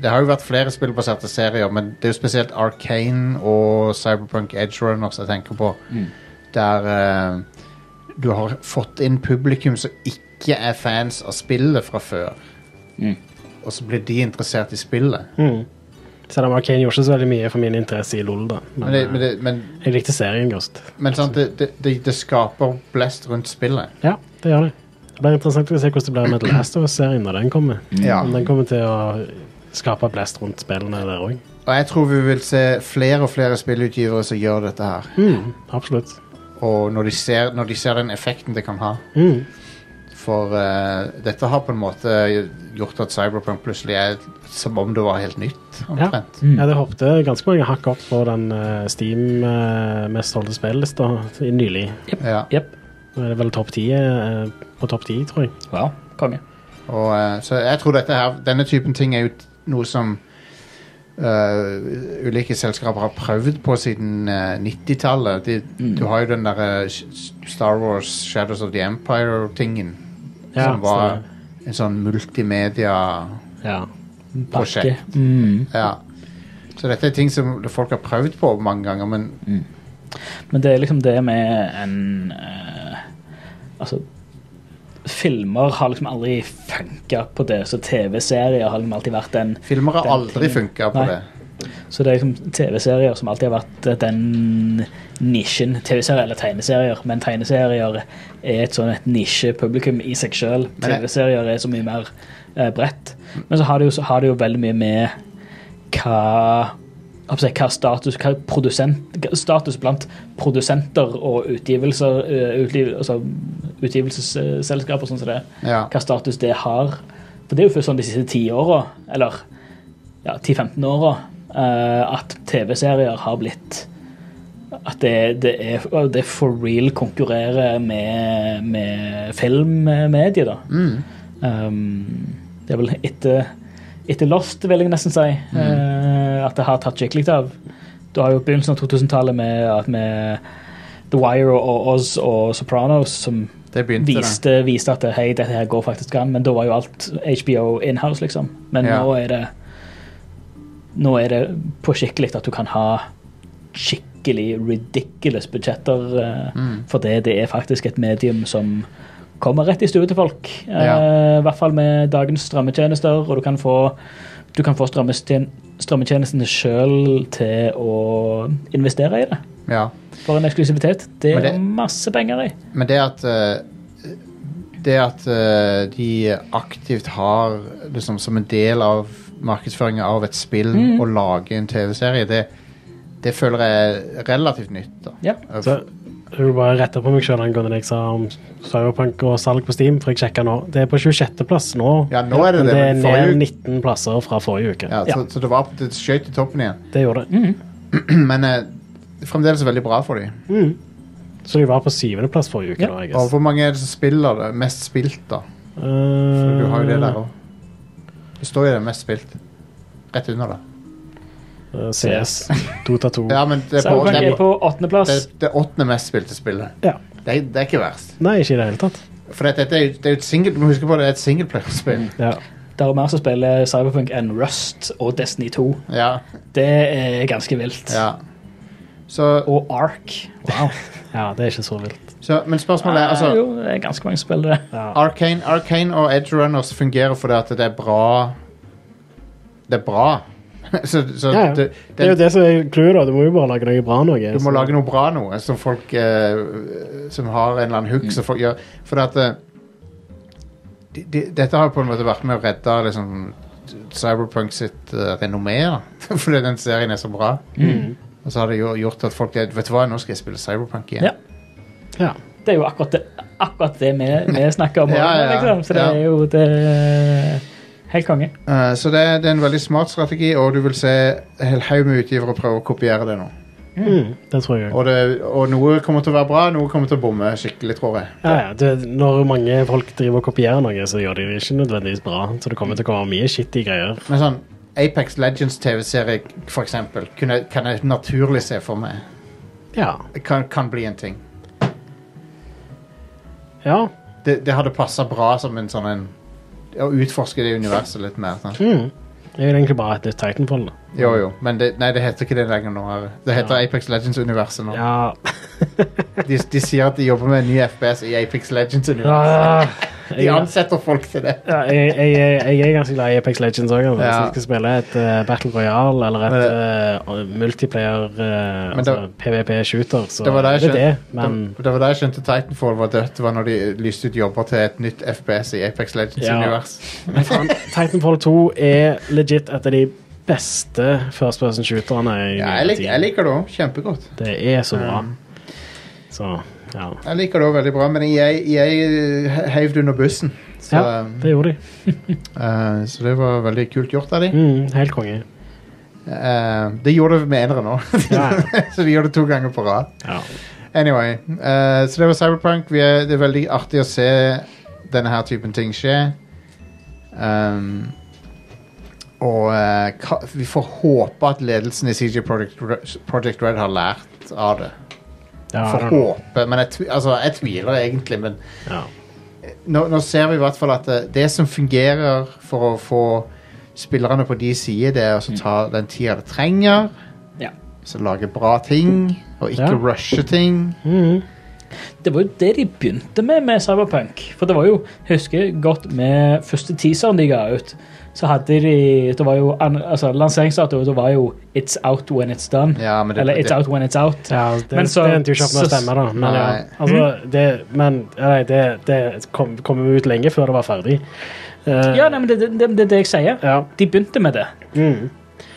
[SPEAKER 4] Det har jo vært flere spillbaserte serier, men det er jo spesielt Arcane og Cyberpunk Edgerunners jeg tenker på. Der eh, du har fått inn publikum som ikke er fans av spillet fra før. Og så blir de interessert i spillet.
[SPEAKER 5] Selv om Arkane gjorde ikke så veldig mye for min interesse i LOL, da. Men,
[SPEAKER 4] Men, det, men, det, men,
[SPEAKER 5] eh, jeg likte serien godt.
[SPEAKER 4] men sant, det, det- det, det skaper blest rundt spillet.
[SPEAKER 5] Ja, det gjør det. Det blir interessant å se hvordan det blir med The Last of Us-serien når den kommer.
[SPEAKER 4] Ja.
[SPEAKER 5] Om den kommer til å skape blest rundt spillene der òg.
[SPEAKER 4] Og jeg tror vi vil se flere og flere spillutgivere som gjør dette her.
[SPEAKER 6] Mm.
[SPEAKER 5] Absolutt.
[SPEAKER 4] Og når de ser, når de ser den effekten det kan ha.
[SPEAKER 5] Mm.
[SPEAKER 4] For eh, dette har på en måte gjort at Cyberpunk plutselig er som om det var helt nytt.
[SPEAKER 5] Ja. Mm.
[SPEAKER 4] omtrent.
[SPEAKER 5] ja, det hoppet ganske mange hakk opp på den eh, Steam eh, mest solgte spillelista i- nylig.
[SPEAKER 4] Ja.
[SPEAKER 6] Jepp.
[SPEAKER 5] Nå er det vel topp 10 eh, på topp 10, tror jeg.
[SPEAKER 6] Wow. Konge.
[SPEAKER 4] Og, eh, så jeg tror dette her, denne typen ting er jo t- noe som eh, ulike selskaper har prøvd på siden eh, 90-tallet. De-
[SPEAKER 6] Mm.
[SPEAKER 4] Du har jo den der eh, Sh- Star Wars Shadows of the Empire-tingen.
[SPEAKER 5] Ja,
[SPEAKER 4] som var
[SPEAKER 5] stemmer.
[SPEAKER 4] en sånn multimedia-prosjekt.
[SPEAKER 5] Ja.
[SPEAKER 4] Ja. Så dette er ting som folk har prøvd på mange ganger, men
[SPEAKER 6] Mm. Men det er liksom det med en eh, Altså filmer har liksom aldri funka på det, så TV-serier har liksom alltid vært den
[SPEAKER 4] Filmer har
[SPEAKER 6] Den
[SPEAKER 4] aldri
[SPEAKER 6] tingen.
[SPEAKER 4] funka på
[SPEAKER 6] Nei.
[SPEAKER 4] det.
[SPEAKER 6] Så det er liksom TV-serier som alltid har vært eh, den nisjen. TV-serier eller tegneserier, men tegneserier er et sånn et nisjepublikum i seg sjøl.
[SPEAKER 4] Men jeg-
[SPEAKER 6] TV-serier er så mye mer eh, bredt. Men så har det jo, så har det jo veldig mye med hva hva skal jeg si, hva status, hva produsent, hva status blant produsenter og utgivelser, eh, utgiv, altså utgivelsesselskaper, sånn som det er
[SPEAKER 4] Ja.
[SPEAKER 6] hva status det har. For det er jo først sånn de siste ti åra, eller ja, 10-15 åra, eh, at TV-serier har blitt At det, det, er, og det for real konkurrerer med, med filmmediet, da. Um, det er vel etter, etter Lost, vil jeg nesten si,
[SPEAKER 4] Mm.
[SPEAKER 6] eh, at det har tatt skikkelig av. Du har jo begynnelsen av 2000-tallet med, at med The Wire og, og Oz og Sopranos, som
[SPEAKER 4] Det begynte det.
[SPEAKER 6] viste, viste at hei, dette her går faktisk an, men da var jo alt HBO inhouse, liksom. Men
[SPEAKER 4] Ja.
[SPEAKER 6] nå er det nå er det på skikkelig at du kan ha skikkelig ridiculous budsjetter, eh,
[SPEAKER 4] Mm.
[SPEAKER 6] for det, det er faktisk et medium som kommer rett i stue til folk. eh,
[SPEAKER 4] Ja.
[SPEAKER 6] I hvert fall med dagens strømmetjenester, og du kan få, du kan få strømmetjen- strømmetjenestene sjøl til å investere i det.
[SPEAKER 4] Ja.
[SPEAKER 6] For en eksklusivitet. Det
[SPEAKER 4] Men
[SPEAKER 6] er
[SPEAKER 4] det-
[SPEAKER 6] masse penger i.
[SPEAKER 4] Men det at eh, Det at eh, de aktivt har liksom som en del av markedsføringen av et spill å lage en TV-serie, det, det føler jeg er relativt nytt. da.
[SPEAKER 6] Ja.
[SPEAKER 5] Så jeg vil bare rette på meg sjøl angående det jeg sa om Cyberpunk og salg på Steam, for jeg sjekka nå. Det er på 26.-plass nå.
[SPEAKER 4] Ja, nå er det
[SPEAKER 5] men
[SPEAKER 4] det, men
[SPEAKER 5] det er
[SPEAKER 4] forrige
[SPEAKER 5] ned
[SPEAKER 4] uke-
[SPEAKER 5] 19 plasser fra forrige uke.
[SPEAKER 4] Ja, så, så det var det skjøt til toppen igjen.
[SPEAKER 5] Det gjorde det.
[SPEAKER 4] Men eh, det er fremdeles veldig bra for dem.
[SPEAKER 5] Så de var på syvendeplass forrige uke
[SPEAKER 6] Ja.
[SPEAKER 5] nå, jeg
[SPEAKER 4] Og
[SPEAKER 5] guess. Eh,
[SPEAKER 4] hvor mange er det som spiller det? Mest spilt, da? For du har jo det der òg. Det står jo det mest spilt. Rett under det.
[SPEAKER 5] Eh, CS. Dota 2.
[SPEAKER 4] Ja, men det er på,
[SPEAKER 6] Cyberpunk
[SPEAKER 4] det
[SPEAKER 6] er
[SPEAKER 4] er på,
[SPEAKER 6] på åttendeplass.
[SPEAKER 4] det, det åttende mest spilte spillet.
[SPEAKER 5] Ja.
[SPEAKER 4] Det, er- det er ikke verst.
[SPEAKER 5] Nei, ikke i det hele tatt.
[SPEAKER 4] For dette, dette er jo- det er jo et single, du må huske på det er et singleplayerspill.
[SPEAKER 5] Ja.
[SPEAKER 6] Det er mer som spiller Cyberpunk enn Rust og Destiny 2.
[SPEAKER 4] Ja,
[SPEAKER 6] Det er ganske vilt.
[SPEAKER 4] ja. Så,
[SPEAKER 6] Og Ark. Wow.
[SPEAKER 5] ja, det er ikke så vilt.
[SPEAKER 4] så, men spørsmålet er
[SPEAKER 6] Eh,
[SPEAKER 5] Ah,
[SPEAKER 4] altså
[SPEAKER 6] jo, det er ganske mange spill, det.
[SPEAKER 4] Arcane, Arcane og Edge Runners fungerer fordi at det er bra Det er bra. så så
[SPEAKER 5] Ja, ja.
[SPEAKER 4] det-
[SPEAKER 5] Det er jo
[SPEAKER 4] det,
[SPEAKER 5] det som er clouet, da. Du må jo bare lage noe bra noe.
[SPEAKER 4] du må lage noe bra noe som folk eh, Som har en eller annen hook som folk gjør. Fordi at eh, de, de, Dette har jo på en måte vært med å redde liksom, Cyberpunk sitt eh, renommé. da. fordi den serien er så bra. Og så har det jo gjort at folk er, Vet du hva, nå skal jeg spille Cyberpunk igjen.
[SPEAKER 6] Ja.
[SPEAKER 5] Ja.
[SPEAKER 6] Det er jo akkurat det, akkurat det vi, vi snakker om.
[SPEAKER 4] Ja, ja, ja.
[SPEAKER 6] Liksom. Så det
[SPEAKER 4] Ja.
[SPEAKER 6] er jo det er Helt konge.
[SPEAKER 4] Eh, så det, det er en veldig smart strategi, og du vil se en hel haug med utgivere prøve å kopiere det nå.
[SPEAKER 5] Mm, det tror jeg òg.
[SPEAKER 4] Og, det, og noe kommer til å være bra, noe kommer til å bomme skikkelig, tror jeg.
[SPEAKER 5] Ja, ja. Det- Når mange folk driver og kopierer noe, så gjør de det ikke nødvendigvis bra. Så det kommer til å komme mye skittige greier.
[SPEAKER 4] Men sånn Apex Legends TV-serie, for eksempel, kunne, kan jeg naturlig se for meg.
[SPEAKER 5] Ja.
[SPEAKER 4] Det kan, kan bli en ting.
[SPEAKER 5] ja.
[SPEAKER 4] Det, det hadde passa bra som en sånn en Å utforske det universet litt mer. Sant?
[SPEAKER 5] Mm. Det er jo egentlig bare et nytt Titanfall. Da.
[SPEAKER 4] Jo, jo. Men det, nei, det heter ikke det lenger nå. Are. Det heter Apex Legends-universet nå.
[SPEAKER 5] Ja.
[SPEAKER 4] De, de sier at de jobber med en ny FPS i Apex Legends-universet.
[SPEAKER 5] Ah,
[SPEAKER 4] De
[SPEAKER 5] jeg, ja,
[SPEAKER 4] ansetter folk til det.
[SPEAKER 5] jeg, jeg, jeg er ganske glad i Apex Legends òg. Hvis
[SPEAKER 4] Ja.
[SPEAKER 5] jeg skal spille et eh, Battle Royale eller et eh, multiplayer eh,
[SPEAKER 4] Men det-
[SPEAKER 5] altså, PVP-shooter, så
[SPEAKER 4] Det var da jeg
[SPEAKER 5] er det det.
[SPEAKER 4] skjønte,
[SPEAKER 5] Men
[SPEAKER 4] det, det var da jeg skjønte Titanfall var dødt. Det var når de lyste ut jobber til et nytt FPS i Apex
[SPEAKER 5] Ja.
[SPEAKER 4] Legends-univers.
[SPEAKER 5] Men faen, Titanfall 2 er legit et av de beste first person shooterne i
[SPEAKER 4] Ja,
[SPEAKER 5] nyere
[SPEAKER 4] jeg, lik,
[SPEAKER 5] tid.
[SPEAKER 4] jeg liker det òg. Kjempegodt.
[SPEAKER 5] Det er så bra. Så, ja.
[SPEAKER 4] Jeg liker det også veldig bra, men jeg, jeg heiv det under bussen. Så, um,
[SPEAKER 5] ja. Det gjorde de.
[SPEAKER 4] eh, så det var veldig kult gjort av de.
[SPEAKER 5] Mm, helt konge.
[SPEAKER 4] Eh, det gjorde det med enere nå.
[SPEAKER 5] Ja,
[SPEAKER 4] så de gjorde det to ganger på rad.
[SPEAKER 5] ja.
[SPEAKER 4] Anyway, eh, så det var Cyberpunk. Vi er, det er veldig artig å se denne her typen ting skje. Um, og eh, ka- vi får håpe at ledelsen i CJ Project, Re- Project Red har lært av det.
[SPEAKER 5] Ja, I
[SPEAKER 4] Får
[SPEAKER 5] don't know.
[SPEAKER 4] håpe, men jeg, tvi- altså, jeg tviler egentlig. Men
[SPEAKER 5] ja.
[SPEAKER 4] nå, nå ser vi i hvert fall at det, det som fungerer for å få spillerne på de sider, det er å så
[SPEAKER 5] Mm.
[SPEAKER 4] ta den tida det trenger.
[SPEAKER 6] Ja.
[SPEAKER 4] Så lage bra ting, og ikke
[SPEAKER 5] Ja.
[SPEAKER 4] rushe ting.
[SPEAKER 5] Mhm.
[SPEAKER 6] Det var jo det de begynte med med Cyberpunk. For det var jo, jeg husker godt med første teaseren de ga ut, så hadde de Det var jo an- altså, lanseringsdato, og det var jo 'It's out when it's done'.
[SPEAKER 4] Ja, men det-
[SPEAKER 6] Eller 'It's
[SPEAKER 4] det-
[SPEAKER 6] out when it's out'.
[SPEAKER 5] Ja, det,
[SPEAKER 6] Men så-
[SPEAKER 5] det endte jo ikke opp med å
[SPEAKER 6] så-
[SPEAKER 5] stemme, da. Men, ja,
[SPEAKER 4] Nei.
[SPEAKER 5] altså, det, men ja, nei, det, det kom, kom jo ut lenge før det var ferdig. Eh,
[SPEAKER 6] Ja, nei, men det, det, det er det jeg sier.
[SPEAKER 5] ja.
[SPEAKER 6] De begynte med det.
[SPEAKER 5] Mm.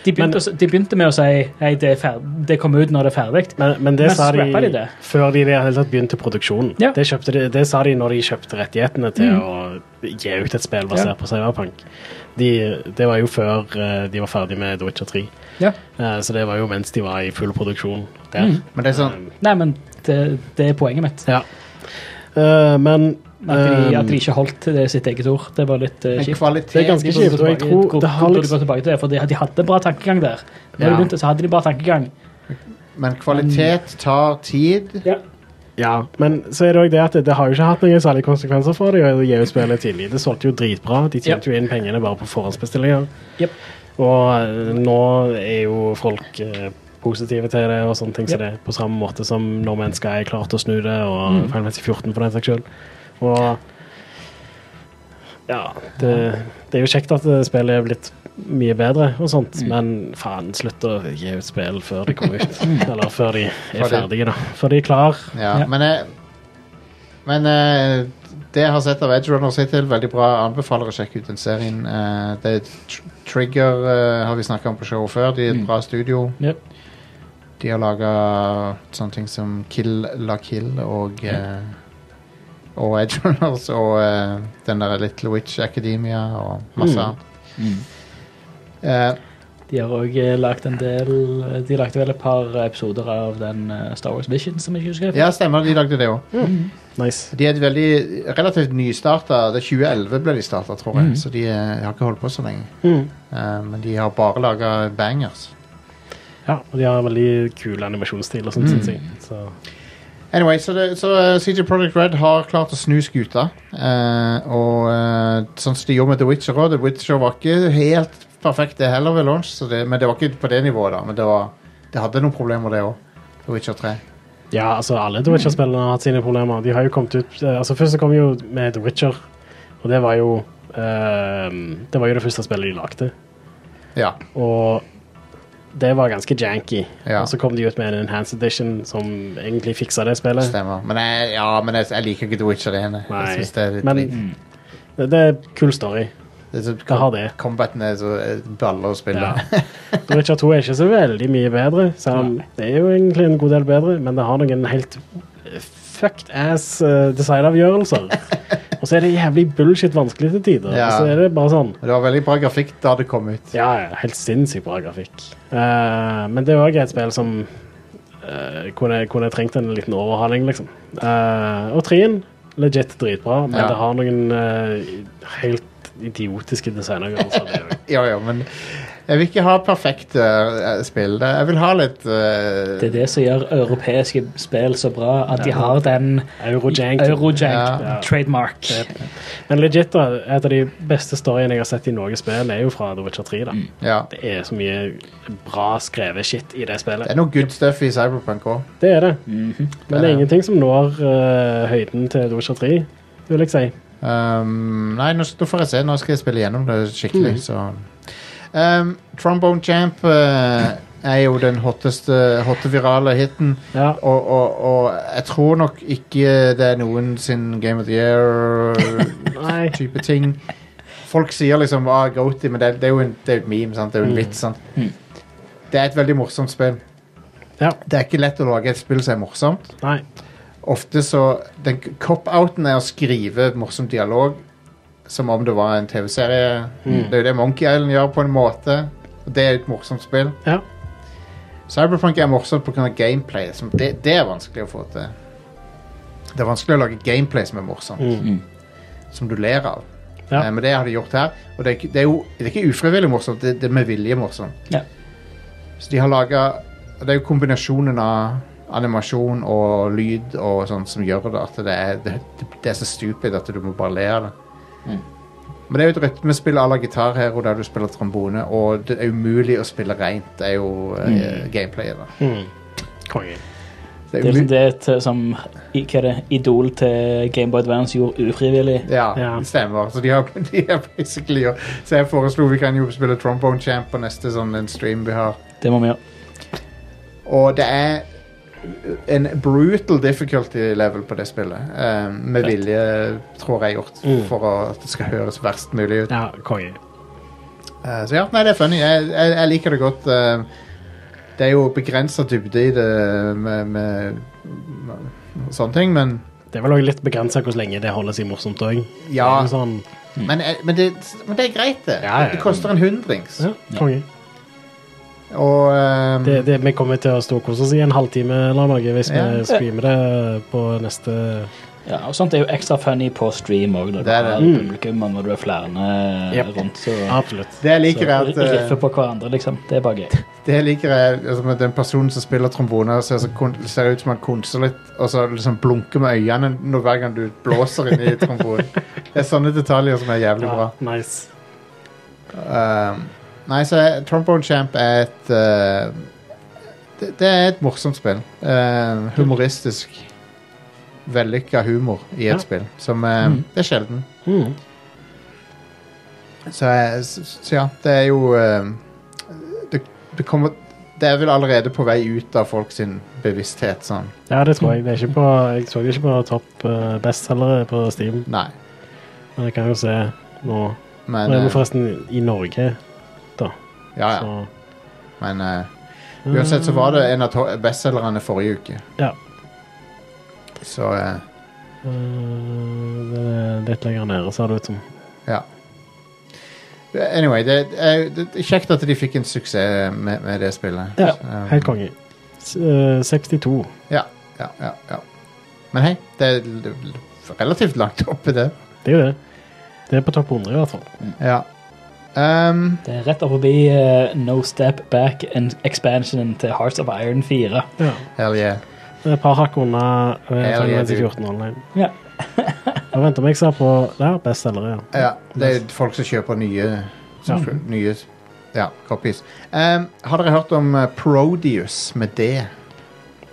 [SPEAKER 6] De begynte,
[SPEAKER 5] Men-
[SPEAKER 6] å s- de begynte med å si Hei, det, er ferd- det kommer ut når det er ferdig.
[SPEAKER 5] Men, men det
[SPEAKER 6] Men
[SPEAKER 5] sa de,
[SPEAKER 6] scrappa de det?
[SPEAKER 5] før de i det hele tatt begynte produksjonen.
[SPEAKER 6] Ja. Mm.
[SPEAKER 5] Det, kjøpte de, det sa de når de kjøpte rettighetene til å gi ut et spill basert
[SPEAKER 6] Ja.
[SPEAKER 5] på Cyberpunk. De, det var jo før eh, de var ferdig med The Witcher 3.
[SPEAKER 6] Ja.
[SPEAKER 5] Eh, så det var jo mens de var i full produksjon der.
[SPEAKER 6] Mm.
[SPEAKER 4] Men det er sånn
[SPEAKER 6] Nei, men det, det er poenget mitt.
[SPEAKER 5] Ja. Eh, men
[SPEAKER 6] At de, at de
[SPEAKER 5] eh,
[SPEAKER 6] ikke holdt til det sitt eget ord. Det var litt eh,
[SPEAKER 4] Men
[SPEAKER 6] kjipt.
[SPEAKER 4] kvalitet
[SPEAKER 5] Det er ganske
[SPEAKER 6] De
[SPEAKER 5] kjipt, og jeg
[SPEAKER 6] burde
[SPEAKER 5] tror
[SPEAKER 6] gå-
[SPEAKER 5] det har
[SPEAKER 6] burde
[SPEAKER 5] liksom-
[SPEAKER 6] gå tilbake til det, for de, de hadde bra tankegang der. Når
[SPEAKER 4] Ja.
[SPEAKER 6] de begynte, så hadde de bra tankegang.
[SPEAKER 4] Men
[SPEAKER 5] Mm.
[SPEAKER 4] kvalitet tar tid.
[SPEAKER 5] Ja, men så er det også det at det, det har jo ikke hatt noen særlige konsekvenser for det å gi ut spillet tidlig. Det solgte jo dritbra. De tjente jo inn pengene bare på forhåndsbestillinger.
[SPEAKER 6] Jep.
[SPEAKER 5] Og eh, nå er jo folk eh, positive til det og sånne ting som
[SPEAKER 6] Jep.
[SPEAKER 5] det, på samme måte som No Man's Sky klarte å snu det,
[SPEAKER 4] Mm.
[SPEAKER 5] og Final Fantasy 14 for den saks skyld. Og ja, det, det er jo kjekt at eh, spillet er blitt mye bedre og sånt,
[SPEAKER 4] Mm.
[SPEAKER 5] men faen, slutt å gi ut spill før de kommer ut. Eller før de er
[SPEAKER 4] Mm. Før de-
[SPEAKER 5] ferdige, da. Før de er klar.
[SPEAKER 4] Ja,
[SPEAKER 6] Ja.
[SPEAKER 4] men jeg, Men eh, det jeg har sett av Edge Runners hittil, veldig bra. Jeg Anbefaler å sjekke ut den serien. Eh, det er tr Trigger eh, har vi snakka om på showet før. De er
[SPEAKER 5] Mm.
[SPEAKER 4] et bra studio.
[SPEAKER 6] Yep.
[SPEAKER 4] De har laga sånne ting som Kill La Kill og eh, Og Edge Runners og eh, den der Little Witch Academia og masse annet. Eh,
[SPEAKER 6] De har òg lagd en del eh, De lagde vel et par episoder av den eh, Star Wars Vision, som jeg ikke husker.
[SPEAKER 4] ja, stemmer. De lagde det òg.
[SPEAKER 5] Nice.
[SPEAKER 4] De er et veldig relativt nystarta. Det er 2011 ble de starta, tror jeg. Så de eh, har ikke holdt på så lenge. Eh, men de har bare laga bangers.
[SPEAKER 5] Ja, og de har en veldig kul animasjonsstil og sånt,
[SPEAKER 4] Mm.
[SPEAKER 5] synes jeg. Så,
[SPEAKER 4] Anyway, så, det, så eh, CJ Project Red har klart å snu skuta. eh, og eh, sånn som de gjorde med The Witcher òg. The Witcher var ikke helt perfekt, det heller, ved launch. Så det, men det var ikke på det nivået, da. Men det, var, det hadde noen problemer, det òg. The Witcher 3.
[SPEAKER 5] ja, altså alle The Witcher-spillene har hatt sine problemer. De har jo kommet ut, eh, altså Først så kom jo med The Witcher, og det var jo ehm, Det var jo det første spillet de lagde.
[SPEAKER 4] Ja.
[SPEAKER 5] Og det var ganske janky.
[SPEAKER 4] Ja.
[SPEAKER 5] Og så kom de ut med en enhanced edition som egentlig fiksa det spillet.
[SPEAKER 4] Stemmer. Men jeg, ja, men jeg, jeg liker ikke The Witcher 1. Jeg synes det er litt,
[SPEAKER 5] Men det, det er kul story.
[SPEAKER 4] det er så,
[SPEAKER 5] Hva har det?
[SPEAKER 4] Combaten er så eh, baller å spille.
[SPEAKER 5] Ja. The Witcher 2 er ikke så veldig mye bedre, selv om det er jo egentlig en god del bedre, men det har noen helt eh, fucked ass eh, designavgjørelser. Og så er det jævlig bullshit vanskelig til tider.
[SPEAKER 4] Ja.
[SPEAKER 5] Og så er det bare sånn
[SPEAKER 4] Men Det var veldig bra grafikk da det kom ut.
[SPEAKER 5] Ja, ja, helt sinnssykt bra grafikk. Eh, men det er òg et spill som eh, kunne, kunne trengt en liten overhaling, liksom. Eh, og trien, legit dritbra, men
[SPEAKER 4] Ja.
[SPEAKER 5] det har noen eh, helt idiotiske designavgjørelser. det også.
[SPEAKER 4] Ja, ja, men jeg vil ikke ha perfekte eh, spill. Jeg vil ha litt eh,
[SPEAKER 6] Det er det som gjør europeiske spill så bra, at de har den
[SPEAKER 5] Eurojank. Ja.
[SPEAKER 6] Eurojank-trademark.
[SPEAKER 5] Men legit, da, et av de beste storyene jeg har sett i noe spill, er jo fra The Witcher 3. da.
[SPEAKER 4] Ja.
[SPEAKER 5] Det er så mye bra skrevet shit i det
[SPEAKER 4] Det
[SPEAKER 5] spillet.
[SPEAKER 4] er noe good stuff i Cyberpunk òg.
[SPEAKER 5] Det er det. Men
[SPEAKER 4] Ja.
[SPEAKER 5] det er ingenting som når eh, høyden til The Witcher 3, vil jeg si.
[SPEAKER 4] Um, nei, nå, nå får jeg se. Nå skal jeg spille gjennom det skikkelig,
[SPEAKER 5] Mm.
[SPEAKER 4] så um, Trombone Champ eh, er jo den hotteste hotte virale hiten.
[SPEAKER 5] Ja.
[SPEAKER 4] Og, og, og jeg tror nok ikke det er noen sin Game of the Year
[SPEAKER 5] Nei.
[SPEAKER 4] type ting. Folk sier liksom ah, Goaty, men det, det er jo en, det er jo et meme, sant? det
[SPEAKER 5] Mm.
[SPEAKER 4] er jo en vits. Sant? Det er et veldig morsomt spill.
[SPEAKER 5] Ja.
[SPEAKER 4] Det er ikke lett å lage et spill som er morsomt.
[SPEAKER 5] Nei.
[SPEAKER 4] Ofte så den Cop-outen er å skrive morsom dialog som om det var en TV-serie. Det er jo det Monkey Island gjør på en måte. Og det er et morsomt spill.
[SPEAKER 5] Ja.
[SPEAKER 4] Cyberpunk er morsomt pga. gameplay. Som det, det er vanskelig å få til. Det er vanskelig å lage gameplay som er morsomt. Som du ler av.
[SPEAKER 5] Ja.
[SPEAKER 4] Eh, Men det har de gjort her. Og det er, ikke- det er jo det er ikke ufrivillig morsomt, det, det er med vilje morsomt.
[SPEAKER 6] Ja.
[SPEAKER 4] Så de har laga Det er jo kombinasjonen av animasjon og lyd og sånt som gjør det at det er, det, det er så stupid at du må bare le av det. Men det er jo et rytmespill à la Guitar Hero der du spiller trombone, og det er umulig å spille reint. Det er jo eh, gameplayet, da.
[SPEAKER 5] Konge.
[SPEAKER 4] Det
[SPEAKER 6] Det er liksom det til, som i- hva er det, Idol til Gameboy Advance gjorde ufrivillig.
[SPEAKER 4] Ja,
[SPEAKER 5] Ja.
[SPEAKER 4] det stemmer. Så de har, de har basically gjort- Så jeg foreslo vi kan jo spille Trombone Champ på neste sånn en stream vi har.
[SPEAKER 6] Det må vi gjøre.
[SPEAKER 4] Og det er en brutal difficulty level på det spillet. eh, med
[SPEAKER 6] Fett.
[SPEAKER 4] vilje, tror jeg, gjort
[SPEAKER 5] Mm.
[SPEAKER 4] for å, at det skal høres verst mulig ut.
[SPEAKER 5] Ja, konge.
[SPEAKER 4] Eh, så ja, nei, det er funny. Jeg, jeg, jeg liker det godt. eh, det er jo begrensa dybde i det med, med, med sånne ting, men
[SPEAKER 5] Det er vel òg litt begrensa hvor lenge det holder seg morsomt òg.
[SPEAKER 4] Ja.
[SPEAKER 5] Sånn,
[SPEAKER 4] men, eh, men, det, men det er greit, det.
[SPEAKER 5] Ja, ja, ja.
[SPEAKER 4] Det koster en hundrings.
[SPEAKER 5] ja, konge.
[SPEAKER 4] Og eh,
[SPEAKER 5] Det, det, vi kommer til å storkose oss i en halvtime eller noe hvis
[SPEAKER 4] Ja.
[SPEAKER 5] vi streamer det på neste
[SPEAKER 6] Ja, og sånt er jo ekstra funny på stream òg, når du
[SPEAKER 4] Det er det.
[SPEAKER 6] har publikum og når du er flere eh,
[SPEAKER 5] Yep.
[SPEAKER 6] rundt. Så,
[SPEAKER 5] Absolutt.
[SPEAKER 4] Det jeg
[SPEAKER 6] så
[SPEAKER 4] liker, er at eh,
[SPEAKER 6] riffer på hverandre, liksom. Det er bare gøy.
[SPEAKER 4] Det jeg liker er altså, at den personen som spiller tromboner ser, så kon- ser ut som han konser litt, og så liksom blunker med øynene når hver gang du blåser inn i trombonen. Det er sånne detaljer som er jævlig bra.
[SPEAKER 5] Ja, nice.
[SPEAKER 4] Um, nei, så eh, Trombone Champ er et eh, det, det er et morsomt spill. Eh, humoristisk. Vellykka humor i et
[SPEAKER 5] Ja.
[SPEAKER 4] spill, som eh, det er sjelden.
[SPEAKER 5] Mm.
[SPEAKER 4] Så, jeg- s- s- så ja, det er jo eh, det, det kommer Det er vel allerede på vei ut av folk sin bevissthet, sånn.
[SPEAKER 5] Ja, det tror jeg. Det er ikke på, jeg så det ikke på topp eh, bestselgere på Steam,
[SPEAKER 4] Nei.
[SPEAKER 5] men jeg kan jo se nå.
[SPEAKER 4] Men,
[SPEAKER 5] Nå er
[SPEAKER 4] eh,
[SPEAKER 5] vi forresten i Norge, da.
[SPEAKER 4] Ah, ja, ja.
[SPEAKER 5] Så
[SPEAKER 4] men eh, uansett så var det en av to- bestselgerne forrige uke.
[SPEAKER 5] Ja.
[SPEAKER 4] Så eh,
[SPEAKER 5] eh, det er litt lenger nede, ser det ut som.
[SPEAKER 4] ja. Anyway, det, er- det, det er kjekt at de fikk en suksess med, med det spillet.
[SPEAKER 5] Ja,
[SPEAKER 4] Um,
[SPEAKER 5] helt konge. S- eh, 62.
[SPEAKER 4] Ja, ja, ja, ja. Men hei, det er l- l- relativt langt oppe, det.
[SPEAKER 5] Det er jo det. Det er på topp 100 i hvert fall.
[SPEAKER 4] Ja. Um,
[SPEAKER 6] Det er rett opp forbi eh, No Step Back and expansionen til Hearts of Iron 4.
[SPEAKER 5] Ja.
[SPEAKER 4] hell yeah.
[SPEAKER 5] Det er Et par hakk unna eh,
[SPEAKER 4] Hell
[SPEAKER 5] Final
[SPEAKER 4] yeah,
[SPEAKER 5] Fantasy
[SPEAKER 4] dude.
[SPEAKER 5] 14 online.
[SPEAKER 6] Ja.
[SPEAKER 5] Og venter meg ser på Der, bestselgere, ja.
[SPEAKER 4] Ja, det er folk som kjøper nye som kjø- Nye ja, copies. Um, har dere hørt om eh, Prodeus med D?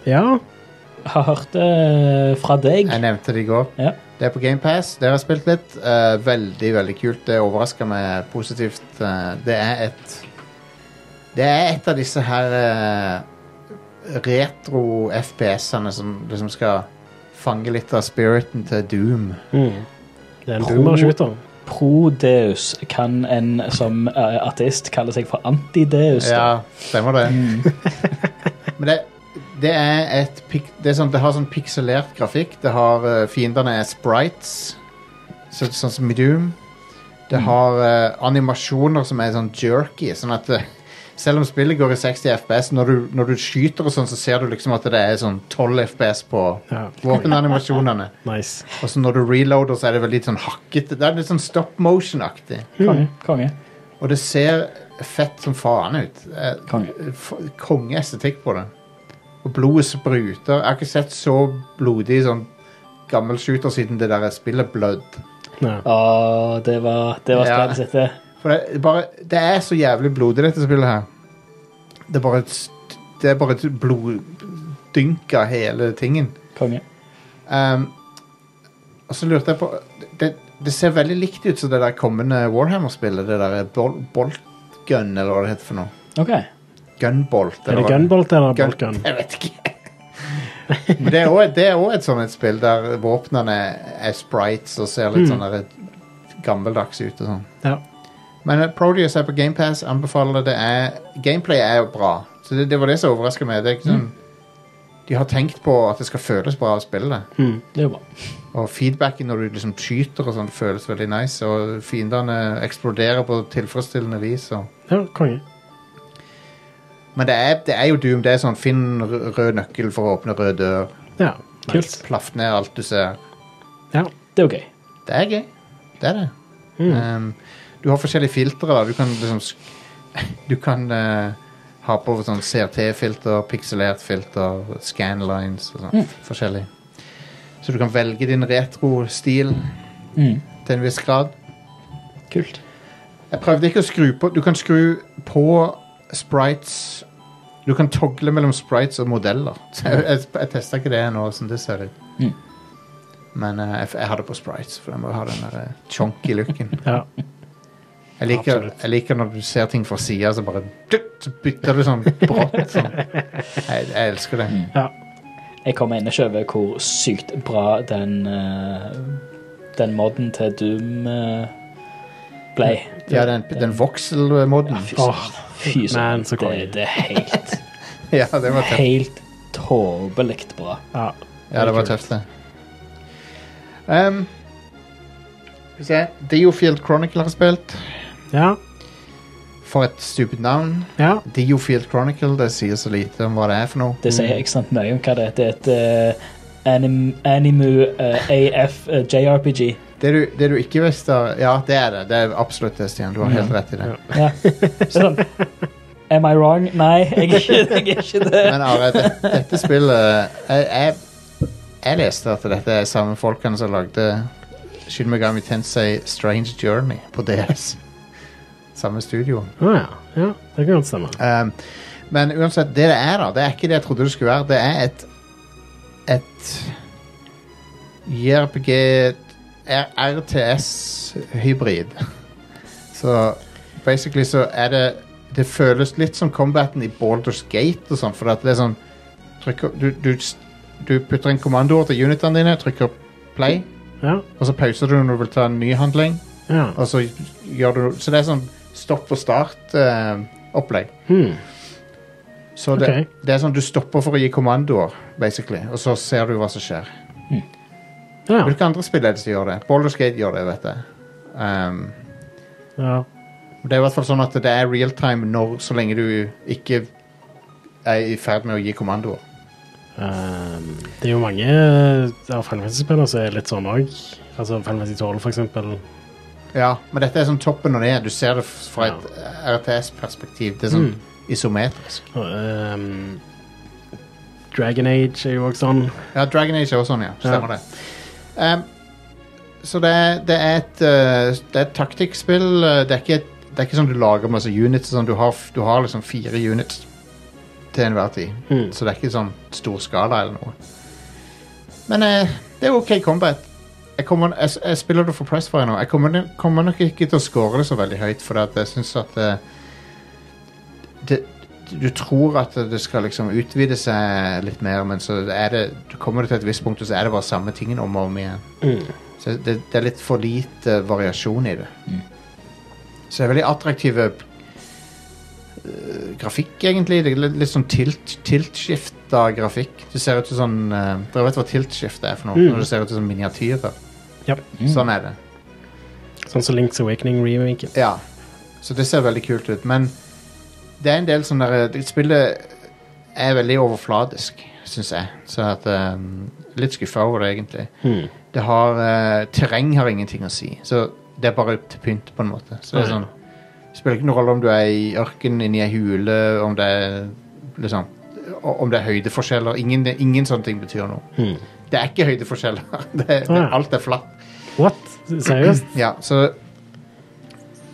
[SPEAKER 5] Ja,
[SPEAKER 6] Har hørt det fra deg.
[SPEAKER 4] Jeg nevnte det i går.
[SPEAKER 6] Ja.
[SPEAKER 4] Det er på GamePass. Dere har spilt litt. Eh, veldig, veldig kult. Det overrasker meg positivt. Eh, det er et Det er et av disse her eh, retro FPS-ene som liksom skal fange litt av spiriten til Doom.
[SPEAKER 5] det er en boomer shooter.
[SPEAKER 6] Prodeus kan en som eh, ateist kalle seg for antideus. da.
[SPEAKER 4] Ja, stemmer det. Mm. Men det, det er et pik- det, er sånn, det har sånn pikselert grafikk. Det har eh, Fiendene er sprites, så, sånn som i Doom. Det har eh, animasjoner som er sånn jerky, sånn at eh, selv om spillet går i 60 FPS, når du, når du skyter og sånn, så ser du liksom at det er sånn 12 FPS på
[SPEAKER 5] Ja.
[SPEAKER 4] våpenanimasjonene.
[SPEAKER 5] Nice.
[SPEAKER 4] Og så når du reloader, så er det vel litt sånn hakkete. Det er litt sånn stop motion-aktig.
[SPEAKER 6] Konge. konge.
[SPEAKER 4] Og det ser fett som faen ut. Eh,
[SPEAKER 6] Konge.
[SPEAKER 4] f- Kongeestetikk på det. Og blodet spruter. Jeg har ikke sett så blodig sånn gammel shooter siden det der spillet Blood.
[SPEAKER 5] Ja.
[SPEAKER 6] Å, det var, det var
[SPEAKER 4] Ja.
[SPEAKER 6] stedet sitt, det.
[SPEAKER 4] For det, er bare, det er så jævlig blodig, dette spillet her. Det er bare, et st- det er bare et bloddynk av hele tingen.
[SPEAKER 6] Konge.
[SPEAKER 4] Ehm, og så lurte jeg på det, det ser veldig likt ut som det der kommende Warhammer-spillet. Det der Bol Boltgun, eller hva det heter for noe.
[SPEAKER 6] OK.
[SPEAKER 4] Gunbolt.
[SPEAKER 5] Er det
[SPEAKER 4] hva-
[SPEAKER 5] gunbolt eller
[SPEAKER 4] Gun-
[SPEAKER 5] boltgun?
[SPEAKER 4] Jeg vet ikke. Men det er også- det er òg et sånt et spill der våpnene er sprites og ser
[SPEAKER 6] Mm.
[SPEAKER 4] litt sånn der gammeldags ut. og sånn.
[SPEAKER 5] Ja.
[SPEAKER 4] Men eh, Prodeus er på GamePass. Anbefaler det. det er, gameplay er jo bra. Så det, det var det som overrasker meg. Det er ikke
[SPEAKER 6] Mm.
[SPEAKER 4] sånn, De har tenkt på at det skal føles bra å spille det.
[SPEAKER 6] Mm, Det er jo bra.
[SPEAKER 4] Og feedbacken når du liksom skyter og sånn, føles veldig nice. Og fiendene eksploderer på tilfredsstillende vis. og...
[SPEAKER 5] ja, konge.
[SPEAKER 4] Men det er, det er jo Doom. Det er sånn finn rød rød nøkkel for å åpne rød dør.
[SPEAKER 5] Ja.
[SPEAKER 6] Kult.
[SPEAKER 4] Plaff ned alt du ser.
[SPEAKER 5] Ja.
[SPEAKER 6] Det er jo gøy.
[SPEAKER 4] Det er gøy. Det er det.
[SPEAKER 6] Mm.
[SPEAKER 4] Um, du har forskjellige filtre. da. Du kan liksom sk- Du kan eh, ha på sånn CRT-filter, pikselert filter, scanlines og
[SPEAKER 6] Mm.
[SPEAKER 4] sånn. Forskjellig. Så du kan velge din retro-stil
[SPEAKER 6] Mm.
[SPEAKER 4] til en viss grad.
[SPEAKER 6] Kult.
[SPEAKER 4] Jeg prøvde ikke å skru på Du kan skru på sprites Du kan togle mellom sprites og modeller. Så Jeg, jeg, jeg testa ikke det ennå, hvordan det ser ut.
[SPEAKER 7] Mm.
[SPEAKER 4] Men eh, jeg, jeg har det på sprites, for jeg må ha den der eh, chunky looken.
[SPEAKER 5] Ja.
[SPEAKER 4] Jeg liker,
[SPEAKER 5] Absolutt.
[SPEAKER 4] jeg liker når du ser ting fra sida, så bare dutt, så bytter du sånn brått. Sånn. Jeg, jeg elsker det.
[SPEAKER 5] Mm.
[SPEAKER 6] Jeg kommer inn og kjøper hvor sykt bra den eh, Den modden til Doom eh, ble.
[SPEAKER 4] Ja, den, den voxel-moden.
[SPEAKER 5] Åh,
[SPEAKER 6] Fy
[SPEAKER 5] Man,
[SPEAKER 6] søren.
[SPEAKER 5] så
[SPEAKER 6] Det,
[SPEAKER 5] konge.
[SPEAKER 6] det er helt,
[SPEAKER 4] Ja, det var tøft.
[SPEAKER 6] helt tåpelig bra.
[SPEAKER 5] ja.
[SPEAKER 4] Ja, det var tøft, det. Um, skal vi se. Diofield Chronicle har spilt.
[SPEAKER 5] Ja,
[SPEAKER 4] For et stupid navn.
[SPEAKER 5] ja.
[SPEAKER 4] Diofield Chronicle, det sier så lite om hva det er for noe.
[SPEAKER 6] Det
[SPEAKER 5] Mm.
[SPEAKER 6] sier ekstremt mye om hva det er. Det er et eh, anim, Animu eh, AF eh, JRPG.
[SPEAKER 4] Det du, det du ikke visste Ja, det er det. Det er absolutt det, Stian. Du har helt rett i det.
[SPEAKER 6] Ja. Det er sånn Am I wrong? Nei, jeg er ikke, jeg er ikke det.
[SPEAKER 4] Men Are, det, dette spillet jeg, jeg, jeg leste at dette er samme folkene som lagde Shin Megami Tensei Strange Journey på DS. Samme studio.
[SPEAKER 5] Å ja. ja. Det kan godt stemme.
[SPEAKER 4] Um, men uansett, det det er, da, det er ikke det jeg trodde det skulle være. Det er et et JRPG R- RTS-hybrid. Så basically så er det Det føles litt som combaten i Baldur's Gate og sånn, for at det er sånn trykker, du, du, s- du putter inn kommandoer til unitene dine, trykker play,
[SPEAKER 5] Ja.
[SPEAKER 4] og så pauser du når du vil ta en ny handling.
[SPEAKER 5] ja.
[SPEAKER 4] Og så Altså, gjør du Så det er sånn stopp og start-opplegg.
[SPEAKER 5] Hmm.
[SPEAKER 4] Så det,
[SPEAKER 5] Ok.
[SPEAKER 4] det er sånn du stopper for å gi kommandoer, basically, og så ser du hva som skjer.
[SPEAKER 5] Hmm. ja.
[SPEAKER 4] Hvilke andre spill er det som gjør det? Baldur's Gate gjør det, vet jeg. Um,
[SPEAKER 5] ja.
[SPEAKER 4] det er i hvert fall sånn at det er real time når, så lenge du ikke er i ferd med å gi kommandoer.
[SPEAKER 5] Ehm, det er jo mange av Final Fantasy-spillere som er litt sånn òg. Altså Final Fantasy 12, for eksempel.
[SPEAKER 4] Ja, men dette er sånn toppen og ned. Du ser det f- fra et RTS-perspektiv. Det er sånn
[SPEAKER 5] Hmm.
[SPEAKER 4] isometrisk.
[SPEAKER 5] Og, ehm, Dragon Age er jo òg sånn.
[SPEAKER 4] Ja, Dragon Age er også sånn, ja. Stemmer det. Ehm, så det er, det er et eh, Det er et taktikkspill. eh, Det er ikke, et- det er ikke sånn du lager masse units. Sånn, du, har, f- du har liksom fire units til enhver tid.
[SPEAKER 5] Mm.
[SPEAKER 4] Så det er ikke sånn stor skala eller noe. Men eh, det er OK combat. Jeg, kommer, jeg, s- jeg spiller det for Pressfire nå. Jeg kommer, nok- kommer nok ikke til å score det så veldig høyt, for at jeg syns at eh, det, du tror at det skal liksom utvide seg litt mer, men så er det, du kommer til et visst punkt, og så er det bare samme tingen om og om igjen. Så det, det er litt for lite variasjon i det. Så det er veldig attraktive eh, grafikk, egentlig. Det er litt, litt sånn tilt, tiltskifta grafikk. Det ser ut som sånn eh, Dere vet hva tiltskift er for noe? Når det ser ut som miniatyrer.
[SPEAKER 5] Japp.
[SPEAKER 4] Sånn er det.
[SPEAKER 5] Sånn som Links Awakening remaken.
[SPEAKER 4] Ja. Så det ser veldig kult ut. Men det er en del sånn der det- Spillet er veldig overfladisk, syns jeg. Så at um, Litt skuffa over det, egentlig.
[SPEAKER 5] Hmm.
[SPEAKER 4] Det har eh, Terreng har ingenting å si. Så det er bare til pynt, på en måte. Så det er
[SPEAKER 5] Ja.
[SPEAKER 4] sånn det Spiller ikke noen rolle om du er i ørken, inni ei hule, om det er liksom Om det er høydeforskjeller. Ingen, ingen sånne ting betyr noe.
[SPEAKER 5] Hmm.
[SPEAKER 4] Det er ikke høydeforskjeller. Det, er- det,
[SPEAKER 5] Ah.
[SPEAKER 4] alt er flatt.
[SPEAKER 5] What? Seriøst?
[SPEAKER 4] Ja, så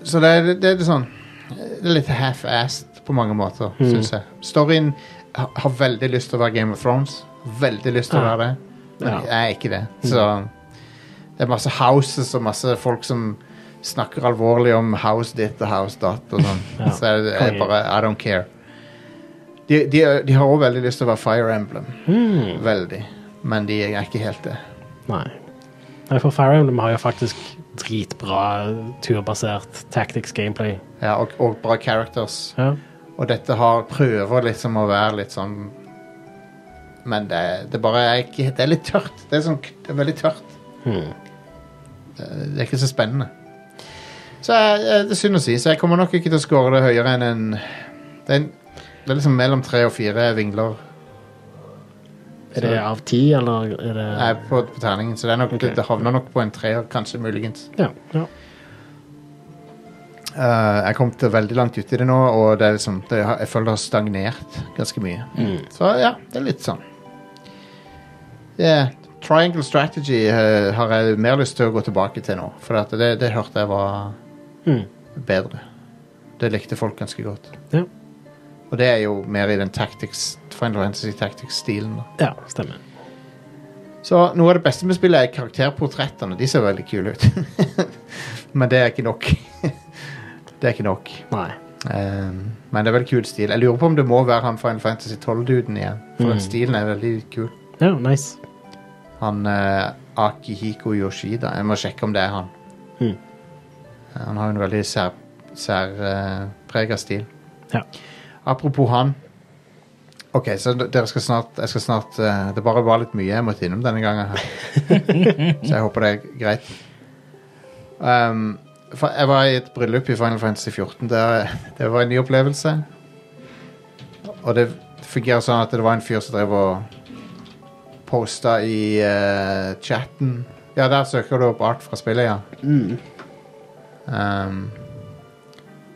[SPEAKER 4] Så det er, det er litt sånn Det er litt half-assed på mange måter,
[SPEAKER 5] Mm.
[SPEAKER 4] synes jeg. Storyen ha- har veldig lyst til å være Game of Thrones. Veldig lyst til å
[SPEAKER 5] Ja.
[SPEAKER 4] være det, men
[SPEAKER 5] Ja. Mm.
[SPEAKER 4] jeg er ikke det. Så det er masse houses og masse folk som snakker alvorlig om house ditt og house datt og sånn.
[SPEAKER 5] Ja.
[SPEAKER 4] Så jeg, jeg
[SPEAKER 5] Konge.
[SPEAKER 4] bare I don't care. De, de, de har òg veldig lyst til å være Fire Emblem.
[SPEAKER 5] Hmm.
[SPEAKER 4] Veldig. Men de er ikke helt det.
[SPEAKER 5] Nei. Nei, for Fire Emblem har jo faktisk dritbra turbasert tactics gameplay.
[SPEAKER 4] Ja, og, og bra characters.
[SPEAKER 5] Ja.
[SPEAKER 4] Og dette har prøver liksom å være litt sånn Men det, det bare er ikke Det er litt tørt. Det er, sånn, det er veldig tørt.
[SPEAKER 5] Hmm.
[SPEAKER 4] Det det er ikke så spennende. Så jeg, jeg- det er synd å si, så jeg kommer nok ikke til å score det høyere enn en det er, en, det er liksom mellom tre og fire vingler
[SPEAKER 5] Er det av ti, eller er det
[SPEAKER 4] Nei, på, på terningen, så det, er nok,
[SPEAKER 5] Ok.
[SPEAKER 4] det havner nok på en treer, kanskje, muligens.
[SPEAKER 5] Ja. ja.
[SPEAKER 4] Eh, jeg kom til veldig langt ut i det nå, og det er liksom, det, har- jeg føler det har stagnert ganske mye. Så ja, det er litt sånn. Ja, Triangle Strategy eh, har jeg mer lyst til å gå tilbake til nå, for at det, det hørte jeg var
[SPEAKER 5] Mm.
[SPEAKER 4] bedre. Det likte folk ganske godt.
[SPEAKER 5] Ja.
[SPEAKER 4] Og det er jo mer i den tactics, Final Fantasy Tactics-stilen. da.
[SPEAKER 5] Ja, stemmer.
[SPEAKER 4] Så noe av det beste med spillet er karakterportrettene. De ser veldig kule ut. Men det er ikke nok. det er ikke nok.
[SPEAKER 5] Nei.
[SPEAKER 4] Ehm, men det er veldig kul stil. Jeg lurer på om det må være han Final Fantasy 12-duden igjen. For den stilen er veldig kul.
[SPEAKER 5] Ja, nice.
[SPEAKER 4] Han eh, Akihiko Yoshida. Jeg må sjekke om det er han.
[SPEAKER 5] Mhm.
[SPEAKER 4] Han har en veldig sær, sær eh, preg av stil.
[SPEAKER 5] Ja.
[SPEAKER 4] Apropos han. Ok, så d- dere skal snart, jeg skal snart eh, Det bare var litt mye jeg måtte innom denne gangen. her Så jeg håper det er greit. Um, fa- jeg var i et bryllup i Final Fantasy 14. Der, det var en ny opplevelse. Og det fungerer sånn at det var en fyr som drev og posta i eh, chatten. Ja, der søker du opp art fra spillet, ja. Um,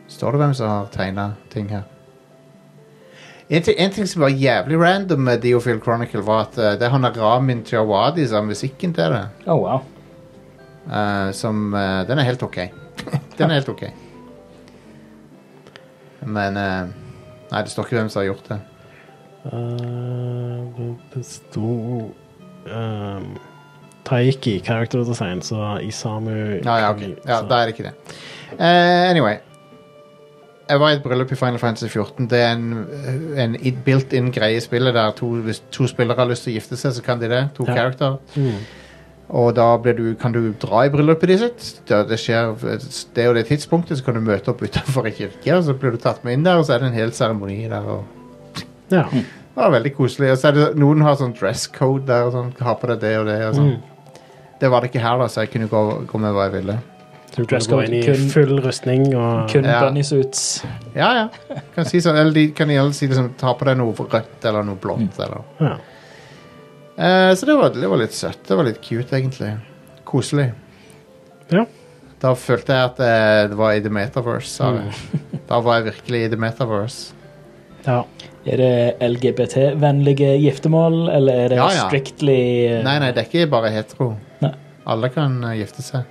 [SPEAKER 4] står det hvem som har tegna ting her? En ting, en ting som var jævlig random med Diophil Chronicle, var at eh, det er han der Ramin Jawadi som har musikken til det.
[SPEAKER 6] Oh, wow.
[SPEAKER 4] Eh, som eh, Den er helt ok. den er helt ok. Men eh, Nei, det står ikke hvem som har gjort det.
[SPEAKER 5] Eh, det- det sto ehm, Taiki, character design, så Isamu
[SPEAKER 4] Nei, ja, ok. ja, da er det ikke det. Eh, anyway. Jeg var i et bryllup i Final Fantasy 14. Det er en, en i- built-in greie i spillet der to, hvis to spillere har lyst til å gifte seg, så kan de det. To
[SPEAKER 5] Ja.
[SPEAKER 4] character.
[SPEAKER 5] Mm.
[SPEAKER 4] Og da blir du, kan du dra i bryllupet ditt. sitt. Da Det skjer det og det tidspunktet, så kan du møte opp utenfor ei kirke, og så blir du tatt med inn der, og så er det en hel seremoni der. og
[SPEAKER 5] Ja.
[SPEAKER 4] Det var veldig koselig. Og så er det, noen har sånn dress code der og sånn. Ha på deg det og det. Og sånn.
[SPEAKER 5] Mm.
[SPEAKER 4] Det var det ikke her, da, så jeg kunne gå, gå med hva jeg ville.
[SPEAKER 5] Så du kunne
[SPEAKER 6] Dress
[SPEAKER 5] gå
[SPEAKER 6] code,
[SPEAKER 5] inn i
[SPEAKER 6] kun-
[SPEAKER 5] full rustning og
[SPEAKER 6] Kun
[SPEAKER 4] Ja.
[SPEAKER 6] bunny suits.
[SPEAKER 4] Ja, ja. Kan si sånn, eller de kan gjerne si liksom, ta på deg noe rødt eller noe blått.
[SPEAKER 6] Mm.
[SPEAKER 4] Eller.
[SPEAKER 5] ja.
[SPEAKER 4] Eh, så det var, det var litt søtt. Det var litt cute, egentlig. Koselig.
[SPEAKER 5] ja.
[SPEAKER 4] Da følte jeg at eh, det var i The Metaverse. Sa jeg.
[SPEAKER 6] Mm.
[SPEAKER 4] Da var jeg virkelig i The Metaverse.
[SPEAKER 5] ja.
[SPEAKER 6] Er det LGBT-vennlige giftermål, eller er det
[SPEAKER 4] Ja, ja.
[SPEAKER 6] strictly eh,
[SPEAKER 4] Nei, nei, det er ikke bare hetero.
[SPEAKER 6] Nei.
[SPEAKER 4] Alle kan eh, gifte seg.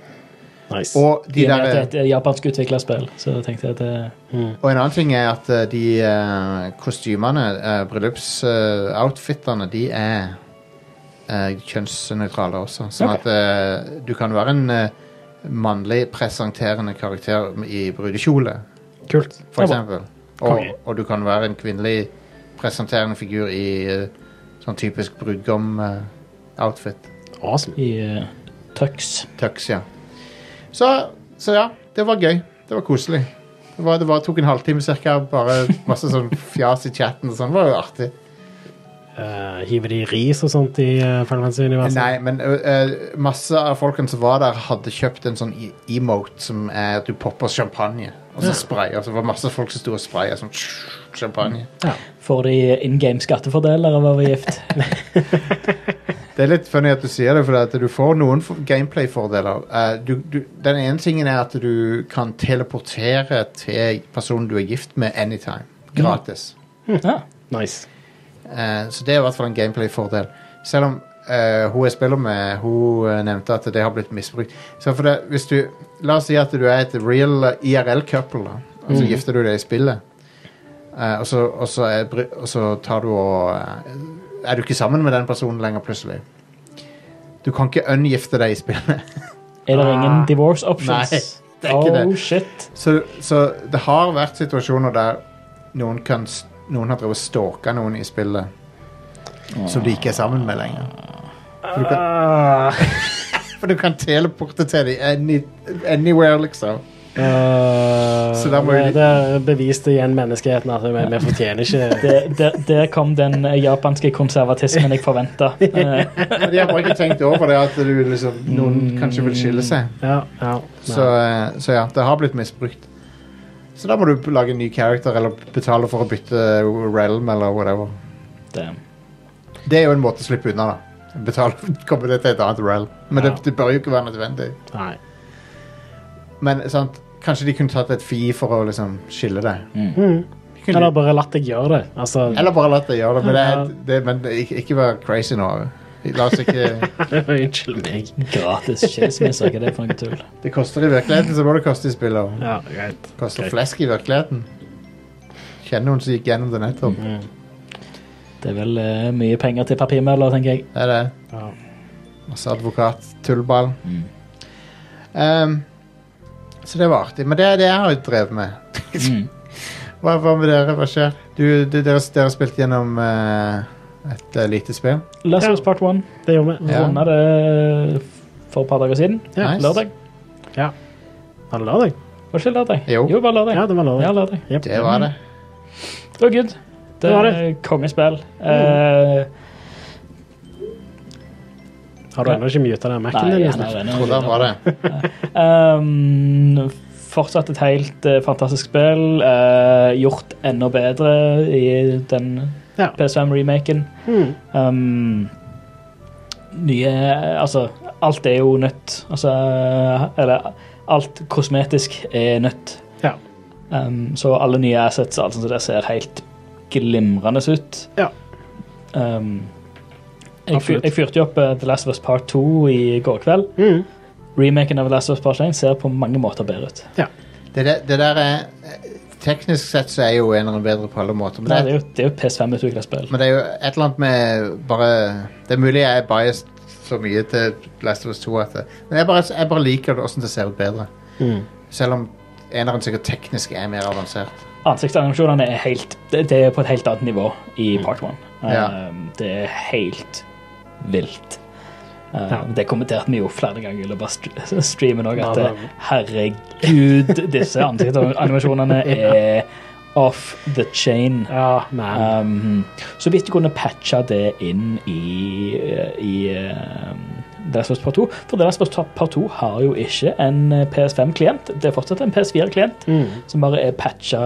[SPEAKER 5] Nice.
[SPEAKER 4] Og,
[SPEAKER 6] i
[SPEAKER 4] de
[SPEAKER 6] og med
[SPEAKER 4] der,
[SPEAKER 6] at det er et eh, japansk utvikla spill, så tenkte jeg at eh, det
[SPEAKER 4] og en annen ting er at eh, de eh, kostymene, uh, bryllupsoutfittene, de er eh, kjønnsnøytrale også. Sånn
[SPEAKER 6] Ok.
[SPEAKER 4] at eh, du kan være en eh, mannlig presenterende karakter i brudekjole,
[SPEAKER 5] Kult.
[SPEAKER 4] for
[SPEAKER 6] Ja, bra.
[SPEAKER 4] eksempel. Og,
[SPEAKER 5] Konge.
[SPEAKER 4] og du kan være en kvinnelig presenterende figur i eh, sånn typisk eh, brudgom-outfit.
[SPEAKER 5] Awesome.
[SPEAKER 6] i eh, Tux.
[SPEAKER 4] Tux, ja. Så, så ja, det var gøy. Det var koselig. Det, var, det var, tok en halvtime cirka, bare masse sånn fjas i chatten og sånn. Det var jo artig.
[SPEAKER 5] Eh, hiver de ris og sånt i uh, Final Fantasy-universet?
[SPEAKER 4] Nei, men ø, ø, masse av folkene som var der, hadde kjøpt en sånn e- emote som er at du popper champagne, og så sprayer. Så det var masse folk som sto og spraya sånn champagne.
[SPEAKER 6] Får de in game skattefordeler av å være gift?
[SPEAKER 4] Det er litt funny at du sier det, for at du får noen f- gameplay-fordeler. Eh, du, du, den ene tingen er at du kan teleportere til personen du er gift med anytime. Gratis.
[SPEAKER 6] ja.
[SPEAKER 5] Nice.
[SPEAKER 4] Eh, så det er i hvert fall en gameplay-fordel. Selv om eh, hun jeg spiller med, hun eh, nevnte at det har blitt misbrukt. Så for det, hvis du, La oss si at du er et real eh, IRL-couple, da, og så gifter du deg i spillet. Eh, og, så, og, så er, bry- og så tar du og eh, Er du ikke sammen med den personen lenger, plutselig? Du kan ikke ungifte deg i spillet.
[SPEAKER 6] Er det ingen divorce options?
[SPEAKER 4] Ah, Nei, det er ikke
[SPEAKER 6] oh,
[SPEAKER 4] det.
[SPEAKER 6] shit.
[SPEAKER 4] så, så det har vært situasjoner der noen, kan, s- noen har drevet og stalka noen i spillet som de ikke er sammen med lenger. For du kan,
[SPEAKER 5] Ah.
[SPEAKER 4] For du kan teleporte til dem any, anywhere, liksom.
[SPEAKER 5] Eh,
[SPEAKER 4] Så da må
[SPEAKER 5] men
[SPEAKER 4] vi-
[SPEAKER 5] Der beviste igjen menneskeheten at vi, vi fortjener ikke
[SPEAKER 6] Det, der, der kom den eh, japanske konservatismen jeg Eh, forventa.
[SPEAKER 4] Men de har bare ikke tenkt over det at du liksom, noen kanskje vil skille seg.
[SPEAKER 5] Ja, ja.
[SPEAKER 4] Så, eh, så ja, det har blitt misbrukt. Så da må du lage en ny character eller betale for å bytte realm eller whatever. Det er jo en måte å slippe unna, da. Betale, komme det til et annet realm. Men det,
[SPEAKER 5] Ja.
[SPEAKER 4] det bør jo ikke være nødvendig.
[SPEAKER 5] Nei.
[SPEAKER 4] Men sant, kanskje de kunne tatt et fee for å liksom skille det.
[SPEAKER 5] Mm.
[SPEAKER 4] De kunne-
[SPEAKER 5] Eller bare latt deg gjøre det. Altså,
[SPEAKER 4] eller bare latt det gjøre det. Men, det,
[SPEAKER 5] Ja.
[SPEAKER 4] det, men ikke, ikke vær crazy nå. La oss ikke
[SPEAKER 5] unnskyld meg.
[SPEAKER 6] Gratis skilsmisse, hva er det for noe tull?
[SPEAKER 4] Det koster i virkeligheten, så må det koste i spillet.
[SPEAKER 5] Ja, greit.
[SPEAKER 4] Koster
[SPEAKER 5] Ok.
[SPEAKER 4] flesk i virkeligheten. Kjenner noen som gikk gjennom det nettopp.
[SPEAKER 5] Mm.
[SPEAKER 6] Det er vel eh, mye penger til papirmøller, tenker jeg.
[SPEAKER 4] Det er det.
[SPEAKER 5] Ja.
[SPEAKER 4] Altså advokat-tullball. Um, så det var artig. Men det er det jeg har jo drevet med. hva, hva med dere? Hva skjer? Du, du, dere, dere spilte gjennom eh, et eh, lite spill?
[SPEAKER 6] Last
[SPEAKER 5] Ja.
[SPEAKER 6] of Us Part 1
[SPEAKER 5] Det gjør vi.
[SPEAKER 4] Ja.
[SPEAKER 6] runda det eh, for et par dager siden.
[SPEAKER 4] Ja. Nice.
[SPEAKER 6] Lørdag.
[SPEAKER 5] Var det lørdag?
[SPEAKER 6] Var det ikke lørdag?
[SPEAKER 4] Jo.
[SPEAKER 6] jo bare lørdag.
[SPEAKER 5] Ja, det var lørdag.
[SPEAKER 6] Ja, lørdag.
[SPEAKER 5] Jep.
[SPEAKER 4] Det var det.
[SPEAKER 6] Det var good. Det,
[SPEAKER 5] Det var det.
[SPEAKER 6] er kongespill.
[SPEAKER 4] Mm.
[SPEAKER 6] Eh,
[SPEAKER 5] Har du ennå ikke muta den Mac-en
[SPEAKER 6] nei, han
[SPEAKER 5] din? Jostein?
[SPEAKER 6] er
[SPEAKER 4] Jeg Tror det
[SPEAKER 6] ennå-
[SPEAKER 4] var det.
[SPEAKER 6] Ehm, fortsatt et helt eh, fantastisk spill. eh, gjort enda bedre i den
[SPEAKER 5] Ja.
[SPEAKER 6] PS5-remaken.
[SPEAKER 5] Mm.
[SPEAKER 6] Ehm, nye Altså, alt er jo nytt. Altså Eller alt kosmetisk er nytt.
[SPEAKER 5] Ja.
[SPEAKER 6] Ehm, så alle nye assets og alt sånt, så det ser helt glimrende ut.
[SPEAKER 5] Ja.
[SPEAKER 6] Ehm, jeg, fyr,
[SPEAKER 5] Absolutt.
[SPEAKER 6] jeg fyrte jo opp eh, The Last of Us Part 2 i går kveld.
[SPEAKER 5] Mm.
[SPEAKER 6] Remaken av The Last of Us Part 1 ser på mange måter bedre ut.
[SPEAKER 4] Det, det, det der er eh, Teknisk sett så er jo eneren bedre på alle måter. Men
[SPEAKER 6] Nei, det
[SPEAKER 4] det,
[SPEAKER 6] er jo, det er jo PS5-utvikla spill.
[SPEAKER 4] men det er jo et eller annet med bare Det er mulig jeg er biased så mye til Last of Us 2 at det, Men jeg bare, jeg bare liker det åssen det ser ut bedre.
[SPEAKER 5] Mm.
[SPEAKER 4] Selv om eneren sikkert teknisk er mer avansert.
[SPEAKER 6] Ansiktsanimasjonene er helt det, det er på et helt annet nivå i
[SPEAKER 5] Mm.
[SPEAKER 6] Part 1.
[SPEAKER 4] Ja.
[SPEAKER 6] Um, det er helt vilt. Um,
[SPEAKER 5] Ja.
[SPEAKER 6] Det kommenterte vi jo flere ganger i løpet av st- streamen òg, at
[SPEAKER 5] Ja,
[SPEAKER 6] eh, herregud, disse ansiktsanimasjonene er off the chain.
[SPEAKER 5] Ja, men
[SPEAKER 6] Um, så hvis du kunne patcha det inn i, eh, i um, The Last of Us Part 2 For The Last of Us Part 2 har jo ikke en eh, PS5-klient. Det er fortsatt en PS4-klient
[SPEAKER 5] Mm.
[SPEAKER 6] som bare er patcha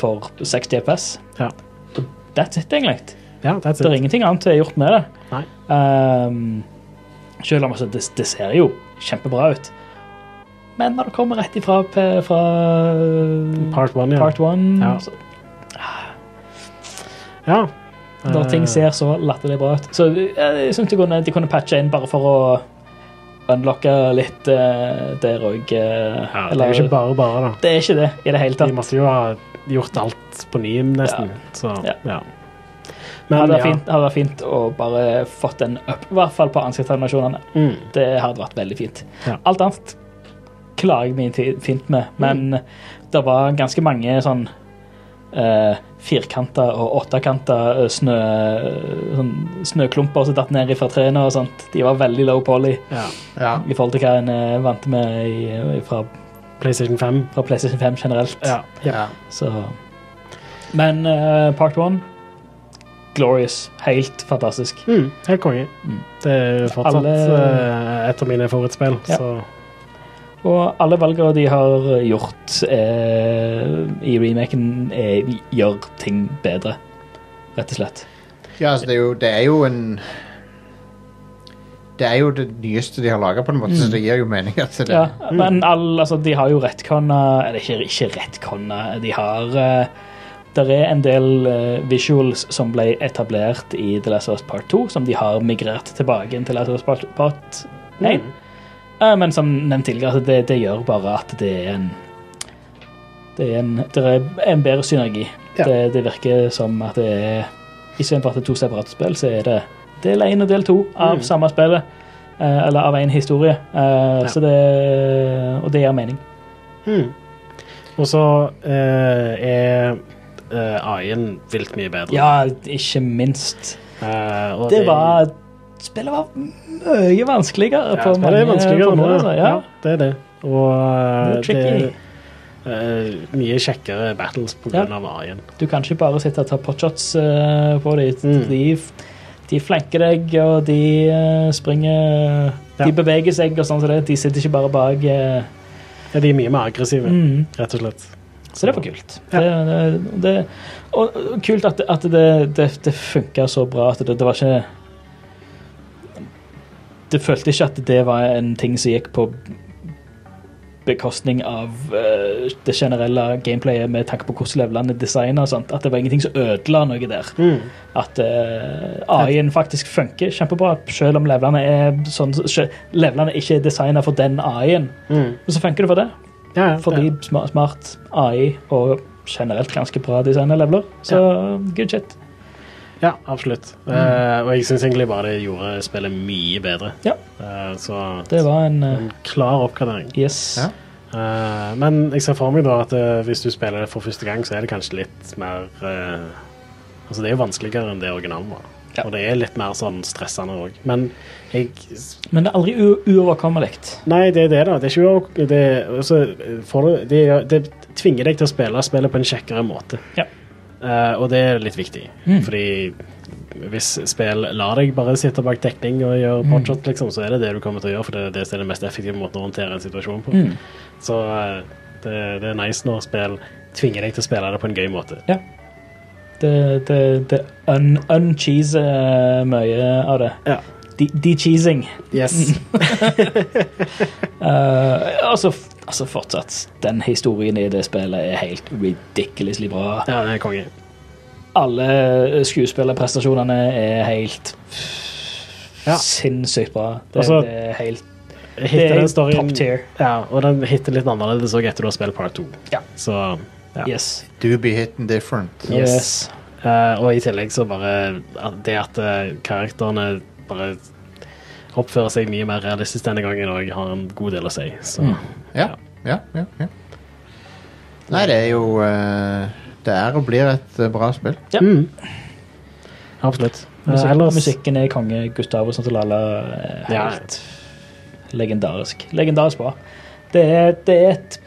[SPEAKER 6] for 60 FPS.
[SPEAKER 5] Ja.
[SPEAKER 6] That's it, egentlig.
[SPEAKER 5] ja, that's
[SPEAKER 6] Det er
[SPEAKER 5] it.
[SPEAKER 6] ingenting annet som er gjort med det.
[SPEAKER 5] Nei.
[SPEAKER 6] Um, selv om altså, det, det ser jo kjempebra ut. Men når det kommer rett ifra P- fra
[SPEAKER 5] Part one, ja.
[SPEAKER 6] Part one,
[SPEAKER 5] Ja.
[SPEAKER 6] så-
[SPEAKER 5] ja.
[SPEAKER 6] Når
[SPEAKER 5] Eh,
[SPEAKER 6] ting ser så latterlig bra ut. Så eh, jeg synes de kunne, de kunne patche inn bare for å unlocke litt eh, der òg.
[SPEAKER 5] ja, Det er jo ikke bare bare, da.
[SPEAKER 6] det er ikke det i det hele
[SPEAKER 5] De
[SPEAKER 6] tatt.
[SPEAKER 5] måtte jo ha gjort alt på ny, nesten. Så,
[SPEAKER 6] Ja.
[SPEAKER 5] ja. Men
[SPEAKER 6] hadde, vært
[SPEAKER 5] ja.
[SPEAKER 6] fint, hadde vært fint å bare fått en up, i hvert fall på ansiktsanimasjonene.
[SPEAKER 5] Mm.
[SPEAKER 6] Det hadde vært veldig fint.
[SPEAKER 5] Ja. Mm.
[SPEAKER 6] Alt annet klarer jeg meg til- fint med, men det var ganske mange sånn uh, firkanta og åttekanta eh, snø, sånn, snøklumper som datt ned fra trærne og sånt. De var veldig low poly.
[SPEAKER 5] ja.
[SPEAKER 4] Ja.
[SPEAKER 6] i forhold til hva en eh, er vant med i, eh, fra,
[SPEAKER 5] PlayStation 5.
[SPEAKER 6] fra PlayStation 5 generelt.
[SPEAKER 5] Ja.
[SPEAKER 4] ja.
[SPEAKER 6] Så. Men eh, part one Glorious. Helt fantastisk.
[SPEAKER 5] Mm. Helt konge.
[SPEAKER 6] Mm.
[SPEAKER 5] Det er jo fortsatt
[SPEAKER 6] Alle-
[SPEAKER 5] eh, et av mine favorittspill,
[SPEAKER 6] Ja.
[SPEAKER 5] så
[SPEAKER 6] Og alle valgene de har gjort eh, i remaken, er, gjør ting bedre, rett og slett.
[SPEAKER 4] Ja, altså, det, er jo, det er jo en Det er jo det nyeste de har laga, på en måte, så det gir jo mening. at det
[SPEAKER 6] Ja, men all, altså, de har jo retconna Eller ikke, ikke retconna, de har Det er en del eh, visuals som ble etablert i The Last of Us Part 2, som de har migrert tilbake inn til Last of Us Part, part 1. Eh, men som nevnt tidligere, altså, det, det gjør bare at det er en Det er en, det er en bedre synergi.
[SPEAKER 5] Ja.
[SPEAKER 6] Det, det virker som at det er Istedenfor at det er to separate spill, så er det del 1 og del 2 av
[SPEAKER 5] Mm.
[SPEAKER 6] samme spillet. Eh, eller av én historie. Eh, Så det Og det gir mening.
[SPEAKER 5] mm. Og så eh, er eh, AI-en vilt mye bedre.
[SPEAKER 6] Ja, ikke minst.
[SPEAKER 5] Eh, og
[SPEAKER 6] Det var Spillet var mye vanskeligere.
[SPEAKER 5] ja,
[SPEAKER 6] på
[SPEAKER 5] men det er
[SPEAKER 6] mange
[SPEAKER 5] vanskeligere nå.
[SPEAKER 6] punkter, altså.
[SPEAKER 5] Ja,
[SPEAKER 6] Ja.
[SPEAKER 5] det er det. Og eh,
[SPEAKER 6] Det er
[SPEAKER 5] det
[SPEAKER 6] tricky.
[SPEAKER 5] er eh, mye kjekkere battles pga.
[SPEAKER 6] Ja.
[SPEAKER 5] Ja. AI-en.
[SPEAKER 6] Du kan ikke bare sitte og ta potshots eh, på dem.
[SPEAKER 5] Mm.
[SPEAKER 6] De, de flanker deg, og de eh, springer
[SPEAKER 5] Ja.
[SPEAKER 6] De beveger seg og sånn som det. De sitter ikke bare bak. eh,
[SPEAKER 5] Ja, de er mye mer aggressive,
[SPEAKER 6] mm.
[SPEAKER 5] rett og slett.
[SPEAKER 6] Så det var kult.
[SPEAKER 5] Ja.
[SPEAKER 6] Det, det, det, og og kult at, at det, det, det funka så bra at det, det var ikke Det følte ikke at det var en ting som gikk på bekostning av eh, det generelle gameplayet med tanke på hvordan levelene er designa. At det var ingenting som ødela noe der.
[SPEAKER 5] Mm.
[SPEAKER 6] At eh, AI-en faktisk funker kjempebra, selv om levelene, er sånn, selv- levelene ikke er designa for den AI-en.
[SPEAKER 5] Mm.
[SPEAKER 6] Men så funker det for det.
[SPEAKER 5] Ja, ja,
[SPEAKER 6] Fordi
[SPEAKER 5] det-
[SPEAKER 6] sma- smart AI og generelt ganske bra design av leveler. Så good shit.
[SPEAKER 5] Ja, absolutt.
[SPEAKER 6] Mm.
[SPEAKER 5] Eh, og jeg syns egentlig bare det gjorde spillet mye bedre.
[SPEAKER 6] Ja.
[SPEAKER 5] Eh, så
[SPEAKER 6] Det var en eh,
[SPEAKER 5] en klar oppgradering.
[SPEAKER 6] Yes.
[SPEAKER 4] Ja.
[SPEAKER 5] Eh, men jeg ser for meg da at eh, hvis du spiller det for første gang, så er det kanskje litt mer eh, Altså, det er jo vanskeligere enn det originalen var.
[SPEAKER 6] Ja.
[SPEAKER 5] Og det er litt mer sånn stressende òg. Men jeg
[SPEAKER 6] Men det er aldri u- uoverkommelig.
[SPEAKER 5] Nei, det er det, da. Det, er ikke uover- det, altså, får du, det, det tvinger deg til å spille spillet på en kjekkere måte.
[SPEAKER 6] Ja.
[SPEAKER 5] Eh, og det er litt viktig,
[SPEAKER 6] Mm.
[SPEAKER 5] fordi hvis spill lar deg bare sitte bak dekning og gjøre
[SPEAKER 6] Mm.
[SPEAKER 5] potshot, liksom, så er det det du kommer til å gjøre, for det er det som er den mest effektive måten å håndtere en situasjon på.
[SPEAKER 6] Mm.
[SPEAKER 5] Så eh, det, det er nice når spill tvinger deg til å spille det på en gøy måte.
[SPEAKER 6] Det, det, det un, uncheeser mye av det.
[SPEAKER 5] Ja.
[SPEAKER 6] De- De-cheesing.
[SPEAKER 5] Yes.
[SPEAKER 6] Mm. Eh, altså, f- altså fortsatt, den historien i det spillet er helt ridiculously bra.
[SPEAKER 5] Ja, det er konge.
[SPEAKER 6] Alle eh, skuespillerprestasjonene er helt
[SPEAKER 5] Ja.
[SPEAKER 6] sinnssykt bra. Det,
[SPEAKER 5] Altså,
[SPEAKER 6] det er helt
[SPEAKER 5] Hitter
[SPEAKER 6] er
[SPEAKER 5] den storyen-
[SPEAKER 6] top tier.
[SPEAKER 5] Ja, og den hitter litt annerledes òg etter du har spilt part 2.
[SPEAKER 6] Ja.
[SPEAKER 5] Så ja.
[SPEAKER 6] Yes.
[SPEAKER 4] Do be hitting different.
[SPEAKER 5] Yes.
[SPEAKER 6] yes.
[SPEAKER 5] Eh, og i tillegg så bare at det at eh, karakterene bare oppfører seg mye mer realistisk denne gangen òg, har en god del å si. Så
[SPEAKER 4] Ja, ja, ja. ja. Nei, det er jo eh, Det er og blir et eh, bra spill.
[SPEAKER 5] absolutt. Eh,
[SPEAKER 6] Musikk,
[SPEAKER 5] ellers
[SPEAKER 6] Musikken er konge. sånn Gustavo Santalala er
[SPEAKER 5] Ja.
[SPEAKER 6] helt eh, legendarisk. Legendarisk bra. Det er, det er et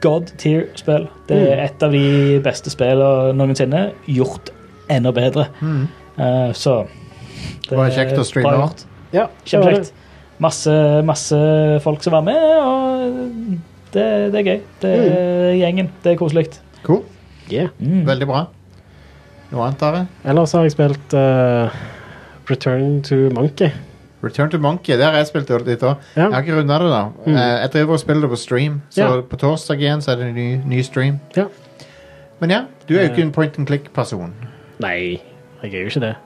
[SPEAKER 6] god tier-spill. Det
[SPEAKER 4] Mm.
[SPEAKER 6] er et av de beste spillene noensinne. Gjort enda bedre. Eh, så
[SPEAKER 4] Det Mm. var kjekt å streame
[SPEAKER 6] bra
[SPEAKER 4] da.
[SPEAKER 6] gjort.
[SPEAKER 5] Ja, det var
[SPEAKER 6] Kjempekjekt.
[SPEAKER 5] det.
[SPEAKER 6] Masse, masse folk som var med, og det, det er gøy. Det er
[SPEAKER 4] Mm.
[SPEAKER 6] gjengen. Det er koselig.
[SPEAKER 4] Cool.
[SPEAKER 5] Yeah.
[SPEAKER 4] Veldig bra. Noe annet, Are?
[SPEAKER 5] Ellers har jeg spilt eh, Return to Monkey.
[SPEAKER 4] Return to Monkey. Der har jeg spilt det litt òg.
[SPEAKER 5] Ja.
[SPEAKER 4] Jeg
[SPEAKER 5] Mm.
[SPEAKER 4] har ikke runda det, da. Eh, Jeg driver og spiller det på stream, så
[SPEAKER 5] Ja.
[SPEAKER 4] på torsdag igjen så er det en ny, ny stream.
[SPEAKER 5] Ja.
[SPEAKER 4] Men ja, du er jo ikke en point and click-person,
[SPEAKER 5] Nei, jeg er jo ikke det.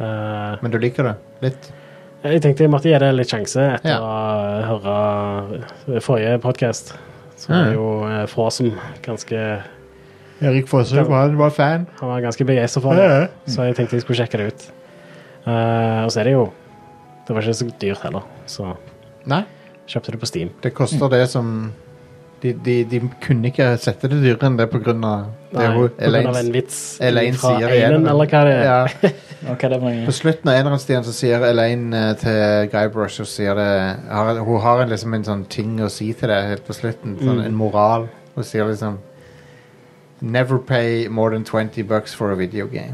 [SPEAKER 5] Eh,
[SPEAKER 4] men du liker det litt.
[SPEAKER 5] jeg tenkte jeg måtte gi det litt sjanse etter
[SPEAKER 4] Ja.
[SPEAKER 5] å høre forrige podkast. Så
[SPEAKER 4] Ja.
[SPEAKER 5] er jo uh, Frozen ganske
[SPEAKER 4] Erik Fossum var, var fan.
[SPEAKER 5] Han var ganske begeistra for det,
[SPEAKER 4] Ja, ja.
[SPEAKER 6] Mm.
[SPEAKER 5] så jeg tenkte jeg skulle sjekke det ut. Eh, og så er det jo Det var ikke så dyrt heller, så
[SPEAKER 4] Nei,
[SPEAKER 5] kjøpte det på Steam.
[SPEAKER 4] det koster det som de, de, de kunne ikke sette det dyrere enn det på grunn av det
[SPEAKER 5] Nei,
[SPEAKER 4] hun
[SPEAKER 5] på grunn av en
[SPEAKER 4] Elaine,
[SPEAKER 5] vits
[SPEAKER 4] Elaine
[SPEAKER 5] fra
[SPEAKER 4] sier i
[SPEAKER 5] Eilen,
[SPEAKER 4] eneren.
[SPEAKER 5] eller hva det er.
[SPEAKER 4] Ja.
[SPEAKER 6] Og hva er det for noe?
[SPEAKER 4] På slutten av enerhetsstien så sier Elaine eh, til Guybrush og sier det har, Hun har en, liksom en sånn ting å si til deg helt på slutten.
[SPEAKER 6] Mm.
[SPEAKER 4] Sånn, En moral. Hun sier liksom Never pay more than 20 bucks for a video game.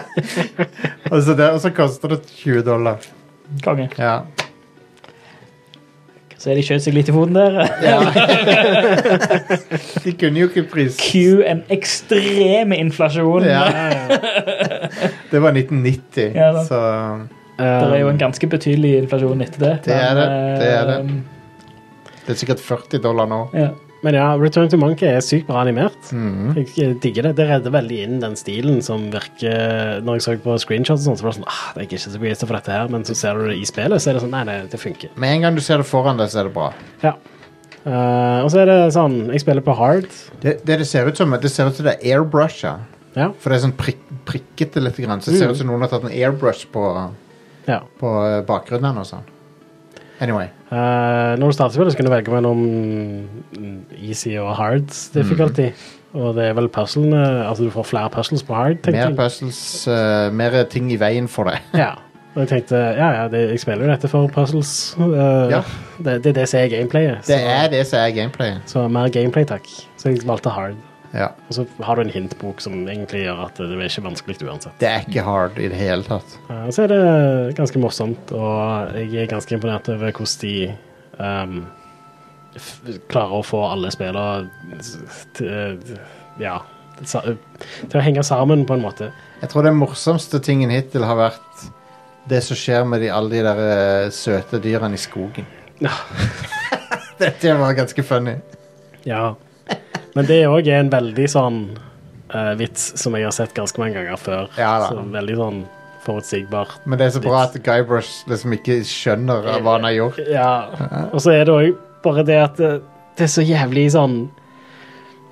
[SPEAKER 4] og, så det, og så koster det 20 dollar.
[SPEAKER 6] Konge.
[SPEAKER 4] Ja.
[SPEAKER 6] Så er de skjøt seg litt i foten der.
[SPEAKER 4] De kunne jo ikke pris
[SPEAKER 6] Q en ekstrem inflasjon.
[SPEAKER 4] ja. Det var 1990,
[SPEAKER 6] Ja da.
[SPEAKER 4] så um,
[SPEAKER 5] Eh,
[SPEAKER 6] Det er jo en ganske betydelig inflasjon etter det.
[SPEAKER 4] Det er det,
[SPEAKER 6] men,
[SPEAKER 4] det er det.
[SPEAKER 6] eh,
[SPEAKER 4] det er sikkert 40 dollar nå.
[SPEAKER 6] Ja.
[SPEAKER 5] Men ja, Return to Monkey er sykt bra animert.
[SPEAKER 4] Mhm.
[SPEAKER 5] Jeg, jeg digger det. Det redder veldig inn den stilen som virker Når jeg så på screenshots, og sånt, så var det sånn ah, det er ikke så begeistra for dette her, men så ser du det i spillet, så er det sånn Nei, det, det funker.
[SPEAKER 4] Med en gang du ser det foran deg, så er det bra.
[SPEAKER 5] Ja. Eh, og så er det sånn Jeg spiller på hard.
[SPEAKER 4] Det, det, det ser ut som Det ser ut som det er airbrusha.
[SPEAKER 5] Ja.
[SPEAKER 4] For det er sånn prik prikkete litt, grann, så det ser ut som noen har tatt en airbrush på,
[SPEAKER 5] ja.
[SPEAKER 4] på eh, bakgrunnen. og sånn. Anyway.
[SPEAKER 5] Eh, når du starter spillet, så kan du velge mellom easy og hard difficulty. Og det er vel puzzlene Altså du får flere puzzles på hard,
[SPEAKER 4] Mhm. Mer
[SPEAKER 5] tenker jeg.
[SPEAKER 4] puzzles, eh, mer ting i veien for deg.
[SPEAKER 5] Ja. Og jeg tenkte ja, ja, det, jeg spiller jo dette for puzzles. Eh,
[SPEAKER 4] Ja.
[SPEAKER 5] det, det er det som er gameplayet. Så,
[SPEAKER 4] Det er det som er gameplayet.
[SPEAKER 5] så mer gameplay, takk. Så jeg valgte hard.
[SPEAKER 4] Ja.
[SPEAKER 5] Og så har du en hintbok som egentlig gjør at det er ikke vanskelig uansett.
[SPEAKER 4] Det er ikke hard i det hele tatt.
[SPEAKER 5] Eh, så er det ganske morsomt, og jeg er ganske imponert over hvordan de ehm, f klarer å få alle spillene til, eh, ja, sa- til å henge sammen på en måte.
[SPEAKER 4] Jeg tror den morsomste tingen hittil har vært det som skjer med de, alle de der eh, søte dyrene i skogen.
[SPEAKER 5] Ja.
[SPEAKER 4] Dette var ganske funny.
[SPEAKER 5] Ja. Men det òg er en veldig sånn eh, vits som jeg har sett ganske mange ganger før.
[SPEAKER 4] Ja da.
[SPEAKER 5] så veldig sånn forutsigbar.
[SPEAKER 4] Men det er så bra at Guybrush liksom ikke skjønner hva han har gjort.
[SPEAKER 5] eh, Ja. Og så er det òg bare det at det, det er så jævlig sånn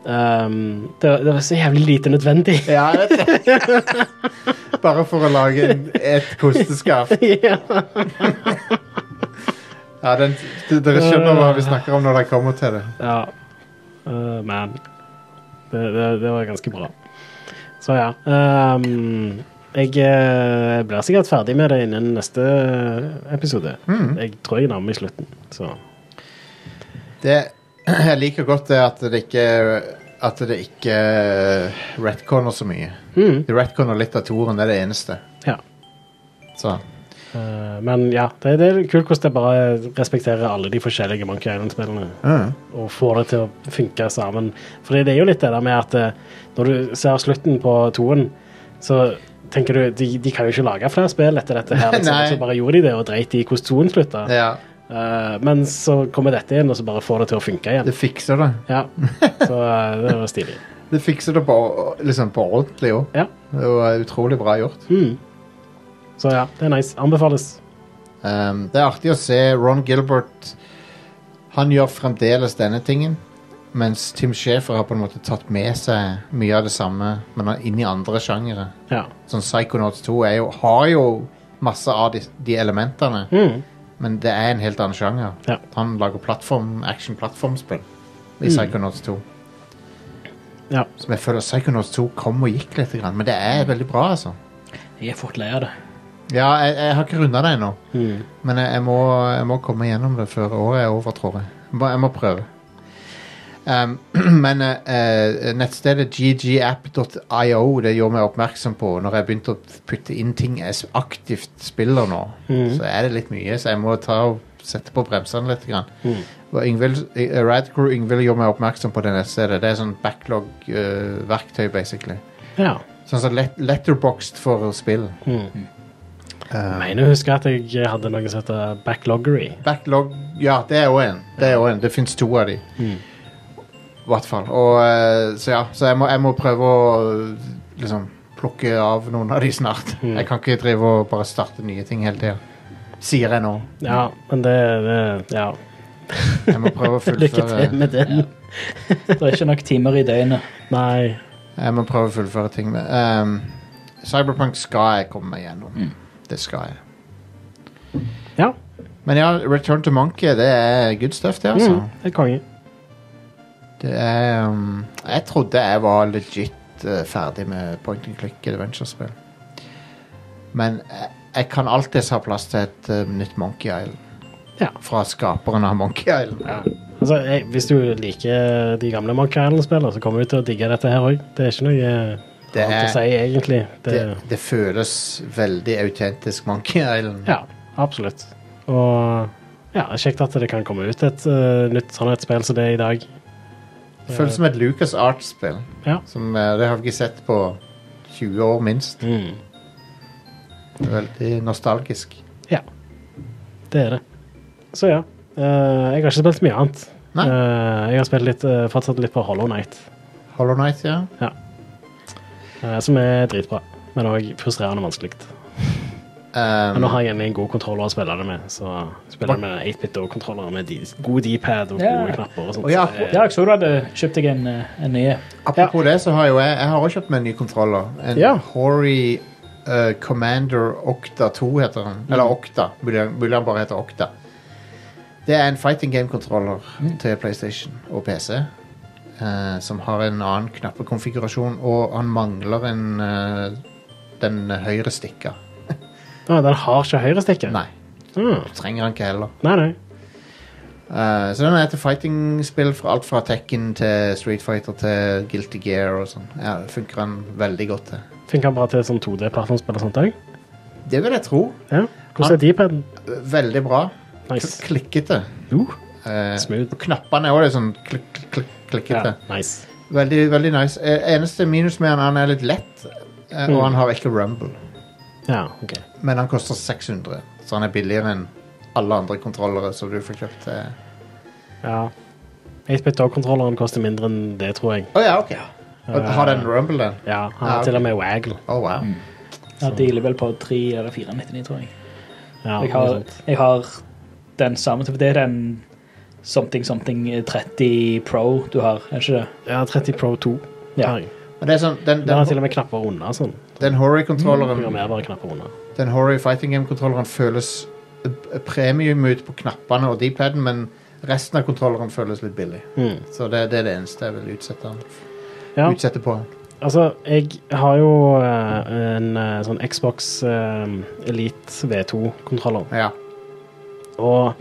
[SPEAKER 5] Ehm, det, var- det var så jævlig lite nødvendig.
[SPEAKER 4] Ja, jeg vet det. Bare for å lage en, et kosteskaft.
[SPEAKER 5] ja.
[SPEAKER 4] Ja, den, d- dere skjønner hva vi snakker om når dere kommer til det.
[SPEAKER 5] ja. Eh, men det, det, det var ganske bra. Så ja. ehm, jeg eh, blir sikkert ferdig med det innen neste episode. Jeg tror jeg nærmer meg slutten. Så.
[SPEAKER 4] det jeg liker godt det at det ikke at det ikke eh, retconner så mye.
[SPEAKER 5] Mm.
[SPEAKER 4] De retconner litt av toeren, det er det eneste.
[SPEAKER 5] Ja.
[SPEAKER 4] Så.
[SPEAKER 5] Eh, men ja, det, det er kult hvordan det bare respekterer alle de forskjellige Monkey Island-spillene.
[SPEAKER 4] Mm.
[SPEAKER 5] og får det til å funke sammen. For det er jo litt det der med at eh, når du ser slutten på toen, så tenker du de, de kan jo ikke lage flere spill etter dette her, liksom.
[SPEAKER 4] Nei.
[SPEAKER 5] så bare gjorde de det og dreit i hvordan toen slutta.
[SPEAKER 4] Ja,
[SPEAKER 5] Eh, men så kommer dette inn, og så bare får det til å funke igjen.
[SPEAKER 4] det fikser det.
[SPEAKER 5] Ja, Så eh, det var stilig.
[SPEAKER 4] Det fikser det på, liksom på ordentlig òg.
[SPEAKER 5] Ja.
[SPEAKER 4] Det var utrolig bra gjort.
[SPEAKER 5] Mm. Så ja, det er nice. Anbefales.
[SPEAKER 4] Um, det er artig å se Ron Gilbert Han gjør fremdeles denne tingen. Mens Tim Schafer har på en måte tatt med seg mye av det samme, men han er inn i andre sjangere.
[SPEAKER 5] Ja.
[SPEAKER 4] Sånn Psychonauts 2 er jo, har jo masse av de, de elementene,
[SPEAKER 5] Mm.
[SPEAKER 4] men det er en helt annen sjanger.
[SPEAKER 5] Ja. Mm.
[SPEAKER 4] Han lager plattform, action-plattformspill i Psychonauts 2.
[SPEAKER 5] Ja.
[SPEAKER 4] Som jeg føler Psychonauts 2 kom og gikk litt, grann, men det er
[SPEAKER 5] Mm.
[SPEAKER 4] veldig bra, altså.
[SPEAKER 6] Jeg er fort lei av det.
[SPEAKER 4] Ja, jeg, jeg har ikke runda det ennå,
[SPEAKER 5] Mm.
[SPEAKER 4] men jeg, jeg, må, jeg må komme gjennom det før året er over, tror jeg. Jeg må, jeg må prøve. Um, men eh, eh, nettstedet ggapp.io det gjorde meg oppmerksom på når jeg begynte å putte inn ting jeg s- aktivt spiller nå.
[SPEAKER 5] Mm.
[SPEAKER 4] Så er det litt mye, så jeg må ta og sette på bremsene litt. Grann.
[SPEAKER 5] Mm.
[SPEAKER 4] Og Yngvild, eh, Radcrew Yngvild gjorde meg oppmerksom på det nettstedet. Det er sånn backlog-verktøy, basically.
[SPEAKER 5] ja.
[SPEAKER 4] Sånn som let letterboxed for spill.
[SPEAKER 5] Mm.
[SPEAKER 4] Eh,
[SPEAKER 5] Jeg mener å huske at jeg hadde noe som heter backloggery.
[SPEAKER 4] Backlog Ja, det er jo en. Det, er jo en. det fins to av de.
[SPEAKER 5] Mm.
[SPEAKER 4] I hvert fall. Og, eh, så ja, så jeg må, jeg må prøve å liksom plukke av noen av de snart.
[SPEAKER 5] Mm.
[SPEAKER 4] Jeg kan ikke drive og bare starte nye ting hele tida. Sier jeg nå.
[SPEAKER 5] Ja, men det, det Ja.
[SPEAKER 4] Jeg må prøve å
[SPEAKER 5] Lykke
[SPEAKER 4] fullføre
[SPEAKER 5] til med den.
[SPEAKER 6] Det er ikke nok timer i døgnet.
[SPEAKER 5] Nei.
[SPEAKER 4] Jeg må prøve å fullføre ting med ehm, Cyberpunk skal jeg komme meg gjennom.
[SPEAKER 5] Mm.
[SPEAKER 4] Det skal jeg.
[SPEAKER 5] Ja.
[SPEAKER 4] Men ja, Return to Monkey, det er good stuff, det, altså.
[SPEAKER 5] Mm, det er konge.
[SPEAKER 4] Det er ehm, Jeg trodde jeg var legit eh, ferdig med point and click adventure-spill. Men jeg, jeg kan alltids ha plass til et eh, nytt Monkey Island.
[SPEAKER 5] Ja.
[SPEAKER 4] Fra skaperen av Monkey Island.
[SPEAKER 5] Altså, jeg, hvis du liker de gamle Monkey Island-spillene, så kommer du til å digge dette her òg. Det er ikke noe
[SPEAKER 4] Det
[SPEAKER 5] annet å
[SPEAKER 4] er-
[SPEAKER 5] si, egentlig. Det,
[SPEAKER 4] Det, det føles veldig autentisk Monkey Island.
[SPEAKER 5] Ja, absolutt. Og ja, kjekt at det kan komme ut et eh, nytt sannhetsspill som det er i dag.
[SPEAKER 4] Det føles som et Lucas Art-spill.
[SPEAKER 5] Ja.
[SPEAKER 4] Som eh, det har vi ikke sett på 20 år, minst.
[SPEAKER 5] Mm.
[SPEAKER 4] Veldig nostalgisk.
[SPEAKER 5] Ja. Det er det. Så ja. eh, jeg har ikke spilt mye annet.
[SPEAKER 4] Nei.
[SPEAKER 5] Eh, jeg har spilt litt, eh, fortsatt litt på Hollow Night,
[SPEAKER 4] Hollow Knight, ja.
[SPEAKER 5] eh, som er dritbra. Men òg frustrerende vanskelig.
[SPEAKER 4] Um,
[SPEAKER 5] Men nå har jeg egentlig en god kontroller å spille det med. Så spiller jeg med 8-bit-kontroller med de, god D-pad og
[SPEAKER 6] Ja.
[SPEAKER 5] gode knapper. og sånt.
[SPEAKER 4] Å ja.
[SPEAKER 5] så det er-
[SPEAKER 6] Ja, jeg så du hadde kjøpt deg en, eh, en ny.
[SPEAKER 4] apropos det, så har jo jeg, jeg har også kjøpt meg en ny kontroller. En
[SPEAKER 5] Ja.
[SPEAKER 4] Hori eh, Commander Okta 2 heter den. Eller Okta. Mulig han- Mulig han bare heter Okta. Det er en fighting game-kontroller til PlayStation og PC. eh, som har en annen knappekonfigurasjon, og han mangler en eh, den høyre stikka.
[SPEAKER 5] Å, den har ikke høyrestikket?
[SPEAKER 4] Nei,
[SPEAKER 5] Mm.
[SPEAKER 4] trenger han ikke heller.
[SPEAKER 5] nei. nei.
[SPEAKER 4] Eh, så den er til fighting-spill fra alt fra Tekken til Street Fighter til Guilty Gear og sånn. Ja, det funker han veldig godt til.
[SPEAKER 5] Funker den bare til sånn 2D-plattformspill og sånt òg?
[SPEAKER 4] Det vil jeg tro.
[SPEAKER 5] Ja. Hvordan er D-paden?
[SPEAKER 4] Veldig bra. Kl-
[SPEAKER 5] Nice.
[SPEAKER 4] Klikkete.
[SPEAKER 5] Uh,
[SPEAKER 4] Eh,
[SPEAKER 5] Smooth.
[SPEAKER 4] og knappene er også sånn klikk, klikk, klikk, klikkete.
[SPEAKER 5] ja, nice.
[SPEAKER 4] Veldig, veldig nice. Eh, eneste minus med han, han er litt lett, eh,
[SPEAKER 5] Mm.
[SPEAKER 4] og han har ikke rumble.
[SPEAKER 5] Ja, ok.
[SPEAKER 4] Men han koster 600, så han er billigere enn alle andre kontrollere som du får kjøpt. eh.
[SPEAKER 5] Ja. 8-bit-dog-kontrolleren koster mindre enn det, tror jeg.
[SPEAKER 4] Å ja, ok. Og Har den rumble, den?
[SPEAKER 5] Ja, Mm. Han
[SPEAKER 4] Ja,
[SPEAKER 5] har
[SPEAKER 4] ok.
[SPEAKER 5] til og med waggle.
[SPEAKER 4] Å, wow.
[SPEAKER 6] Ja,
[SPEAKER 4] Sånn.
[SPEAKER 6] dealer vel på 3 eller 4,99, tror jeg.
[SPEAKER 5] Ja,
[SPEAKER 6] Jeg har,
[SPEAKER 4] sånn.
[SPEAKER 5] noe sånt.
[SPEAKER 6] jeg har den samme type. Det er den something something 30 Pro du har, er det ikke det?
[SPEAKER 5] Ja, 30 Pro 2.
[SPEAKER 6] Ja.
[SPEAKER 5] har jeg.
[SPEAKER 4] Men det er sånn, den,
[SPEAKER 5] Der er til
[SPEAKER 4] den,
[SPEAKER 5] og med Mm, knapper unna. sånn.
[SPEAKER 4] den Hori-kontrolleren
[SPEAKER 5] Programmerbare knapper unna.
[SPEAKER 4] Den Hori Fighting Game-kontrolleren føles eh, premium ut på knappene og D-paden, men resten av kontrolleren føles litt billig.
[SPEAKER 5] Mm.
[SPEAKER 4] Så det, det er det eneste jeg vil utsette, den.
[SPEAKER 5] Ja.
[SPEAKER 4] utsette på. den.
[SPEAKER 5] Altså, jeg har jo eh, en eh, sånn Xbox eh, Elite V2-kontroller.
[SPEAKER 4] Ja.
[SPEAKER 5] Og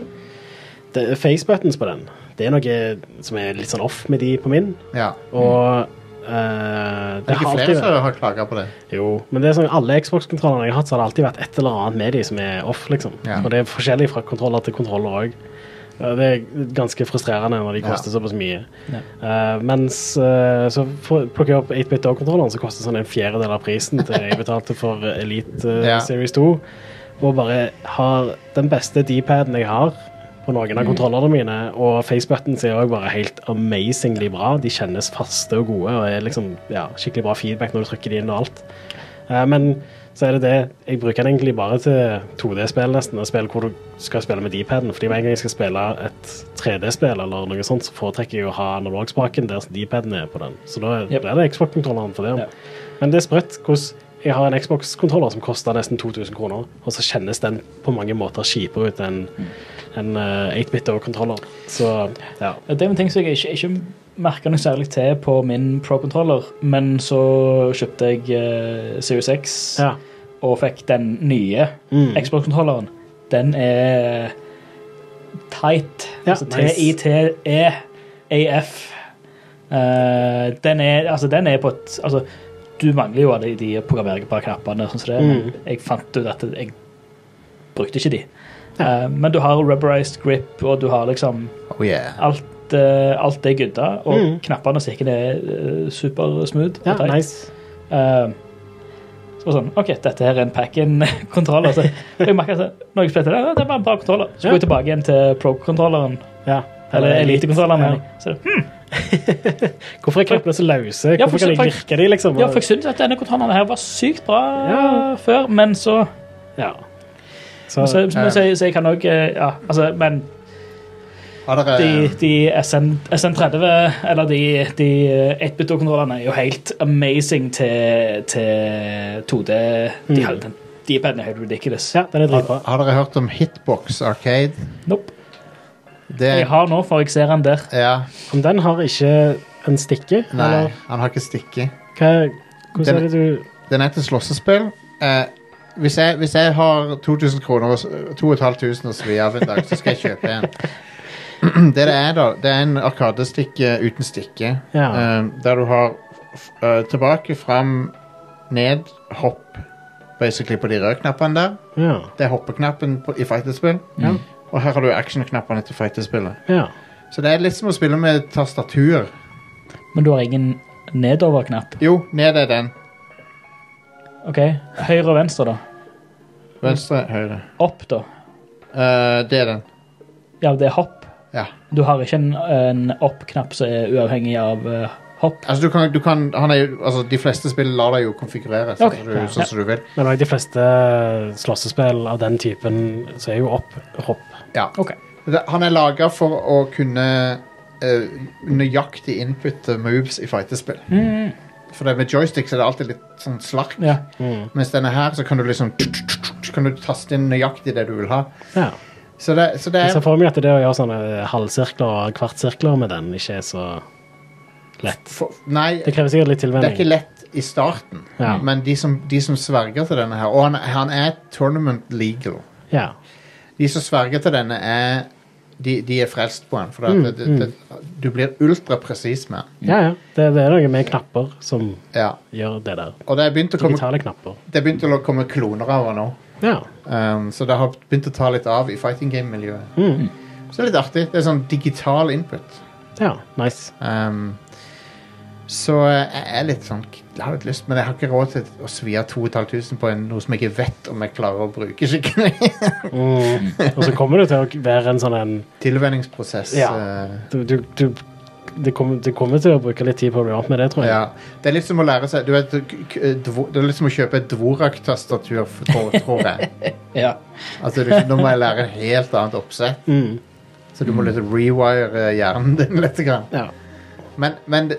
[SPEAKER 5] det- facebuttons på den, det er noe som er litt sånn off med de på min.
[SPEAKER 4] ja.
[SPEAKER 5] Og eh,
[SPEAKER 4] Det Mm. er ikke
[SPEAKER 5] har
[SPEAKER 4] flere
[SPEAKER 5] alltid vært-
[SPEAKER 4] som har klaga på det.
[SPEAKER 5] Jo, men det er sånn, alle Xbox-kontrollene jeg har hatt, så har det alltid vært et eller annet med de som er off, liksom.
[SPEAKER 4] Ja.
[SPEAKER 5] Og det er forskjellig fra kontroller til kontroller òg. Det er ganske frustrerende når de
[SPEAKER 4] Ja.
[SPEAKER 5] koster såpass mye. Eh, mens eh, så for, plukker jeg opp 8-bit dog-kontrolleren, som koster sånn en fjerdedel av prisen til jeg betalte for Elite eh,
[SPEAKER 4] Ja.
[SPEAKER 5] Series 2, og bare har den beste D-paden jeg har på noen
[SPEAKER 4] Mm.
[SPEAKER 5] av kontrollerne mine, og facebuttons er òg bare helt amazingly bra. De kjennes faste og gode, og er liksom ja, skikkelig bra feedback når du trykker de inn og alt. Eh, men så er det det Jeg bruker den egentlig bare til 2D-spill, nesten. Og spill hvor du skal spille med D-paden. Fordi med en gang jeg skal spille et 3D-spill, eller noe sånt, så foretrekker jeg å ha analogspaken der D-paden er på den. Så da
[SPEAKER 6] Yep.
[SPEAKER 5] blir det Xbox-kontrolleren for det.
[SPEAKER 6] Ja.
[SPEAKER 5] Men det er sprøtt hvordan jeg har en Xbox-kontroller som koster nesten 2000 kroner, og så kjennes den på mange måter kjipere ut enn en eh, 8-bit-kontroller. Så ja.
[SPEAKER 6] Ja, Det er en ting som jeg ikke, ikke merker noe særlig til på min Pro-controller, men så kjøpte jeg eh, Series X
[SPEAKER 5] ja.
[SPEAKER 6] og fikk den nye
[SPEAKER 5] Mm.
[SPEAKER 6] Xbox-kontrolleren. Den er tight.
[SPEAKER 5] Ja,
[SPEAKER 6] altså
[SPEAKER 5] nice.
[SPEAKER 6] T-I-T-E-A-F. E Eh, den er Altså, den er på et Altså, du mangler jo alle de programmerbare knappene, sånn som det, er,
[SPEAKER 5] Mm.
[SPEAKER 6] men jeg fant ut at jeg brukte ikke de. Eh, men du har rubberized grip, og du har liksom
[SPEAKER 4] Oh yeah.
[SPEAKER 6] Alt, eh, alt er gudda, og
[SPEAKER 5] Mm.
[SPEAKER 6] knappene og stikkene er eh, supersmooth. og
[SPEAKER 5] ja
[SPEAKER 6] tight.
[SPEAKER 5] nice.
[SPEAKER 6] Eh, så var det sånn, ok, dette her er en pack-in-kontroller. Så jeg merket at når jeg spilte det, ja, det var en bra kontroller. Så
[SPEAKER 5] Ja.
[SPEAKER 6] går jeg tilbake igjen til pro-kontrolleren,
[SPEAKER 5] Ja.
[SPEAKER 6] eller elite-kontrolleren. mener jeg. Så det- hm,
[SPEAKER 5] Hvorfor er knappene så løse?
[SPEAKER 6] Ja, for
[SPEAKER 5] Hvorfor kan jeg
[SPEAKER 6] eksempel-
[SPEAKER 5] virke de, liksom?
[SPEAKER 6] ja, for jeg synes at denne kontrolleren her var sykt bra
[SPEAKER 5] Ja.
[SPEAKER 6] før, men så,
[SPEAKER 5] Ja.
[SPEAKER 6] så,
[SPEAKER 5] Så,
[SPEAKER 6] men så, så jeg kan også, eh, ja, altså, men
[SPEAKER 4] Har dere
[SPEAKER 6] de, de SN, SN30, eller de, eh, de 8-bit-kontrollerne, er jo helt amazing til, til 2D. De har den. De paden er helt ridiculous.
[SPEAKER 5] Mm. ja, den er dritbra.
[SPEAKER 4] Har dere hørt om Hitbox Arcade?
[SPEAKER 6] Nope.
[SPEAKER 4] Det
[SPEAKER 6] Jeg har nå, for jeg ser den der.
[SPEAKER 4] Ja.
[SPEAKER 5] Om den har ikke en stikke,
[SPEAKER 4] Nei,
[SPEAKER 5] eller
[SPEAKER 4] han har ikke stikke.
[SPEAKER 5] hva, hvordan
[SPEAKER 4] Den-
[SPEAKER 5] er det du
[SPEAKER 4] Den er til slåssespill. Eh, hvis, jeg, hvis jeg har 2000 kroner og s- 2500 og svir av en dag, så skal jeg kjøpe en. Det det er, da, det er en arkadestikke uten stikke.
[SPEAKER 5] Ja.
[SPEAKER 4] Eh, der du har f- eh, tilbake, fram, ned, hopp. Basically på de røde knappene der.
[SPEAKER 5] Ja.
[SPEAKER 4] Det er hoppeknappen på, i fighterspill.
[SPEAKER 5] Ja.
[SPEAKER 4] Og her har du action-knappene til fighterspillet.
[SPEAKER 5] ja.
[SPEAKER 4] Så det er litt som å spille med tastatur.
[SPEAKER 6] Men du har ingen nedover-knapp.
[SPEAKER 4] Jo, ned er den.
[SPEAKER 6] Ok, Høyre og venstre, da.
[SPEAKER 4] Venstre, høyre.
[SPEAKER 6] Opp, da.
[SPEAKER 4] Eh, det er den.
[SPEAKER 6] Ja, det er hopp.
[SPEAKER 4] Ja.
[SPEAKER 6] Du har ikke en, en opp-knapp som er uavhengig av eh, hopp.
[SPEAKER 4] Altså, du kan, du kan, han er, jo- altså, de fleste spill lar deg jo konfigurere sånn
[SPEAKER 6] Ok,
[SPEAKER 4] som du,
[SPEAKER 6] ja.
[SPEAKER 4] sånn som du vil.
[SPEAKER 5] Men òg de fleste slåssespill av den typen, så er jo opp hopp.
[SPEAKER 4] Ja.
[SPEAKER 6] Ok.
[SPEAKER 4] Det- Han er laga for å kunne eh, nøyaktig inputte moves i fighterspill. For det, med joystick så er det alltid litt sånn slark.
[SPEAKER 6] Ja.
[SPEAKER 4] Mens denne her så kan du liksom så kan du taste inn nøyaktig det du vil ha.
[SPEAKER 5] Ja.
[SPEAKER 4] Så det, så det
[SPEAKER 5] Jeg
[SPEAKER 4] er
[SPEAKER 5] ser for meg at det å gjøre sånne halvsirkler og kvartsirkler med den ikke er så lett.
[SPEAKER 4] for, Nei,
[SPEAKER 5] Det krever sikkert litt
[SPEAKER 4] det er ikke
[SPEAKER 5] tilvenning.
[SPEAKER 4] lett i starten,
[SPEAKER 5] Ja.
[SPEAKER 4] men de som, de som sverger til denne her Og han, han er tournament legal.
[SPEAKER 5] Ja.
[SPEAKER 4] De som sverger til denne, er De, de er frelst på den. For det, det, det, du blir ultrapresis med den.
[SPEAKER 5] ja, ja. Det, det er noe med knapper som
[SPEAKER 4] Ja.
[SPEAKER 5] gjør det der.
[SPEAKER 4] Og det er begynt å komme,
[SPEAKER 5] Digitale knapper.
[SPEAKER 4] det er begynt å komme kloner av den nå.
[SPEAKER 5] Ja.
[SPEAKER 4] Um, så det har begynt å ta litt av i fighting game-miljøet. Så det er litt artig. Det er sånn digital input.
[SPEAKER 5] ja. Nice.
[SPEAKER 4] Um, så jeg er litt sånn Jeg har litt lyst, men jeg har ikke råd til å svi av 2500 på en, noe som jeg ikke vet om jeg klarer å bruke skikkelig.
[SPEAKER 5] Mm. Og så kommer det til å være en sånn en
[SPEAKER 4] Tilvenningsprosess.
[SPEAKER 5] Ja.
[SPEAKER 4] eh,
[SPEAKER 5] du, du, du det, kommer, det kommer til å bruke litt tid på å bli vant med det, tror jeg.
[SPEAKER 4] Ja. Det er litt som å lære seg du vet, k- k- dvo- Det er litt som å kjøpe et Dvorak-tastatur, for- tror, tror jeg.
[SPEAKER 6] Ja.
[SPEAKER 4] Altså, det er liksom, nå må jeg lære et helt annet oppsett.
[SPEAKER 5] Mm.
[SPEAKER 4] Så du må litt rewire eh, hjernen din litt. Grann.
[SPEAKER 5] Ja.
[SPEAKER 4] Men, men det,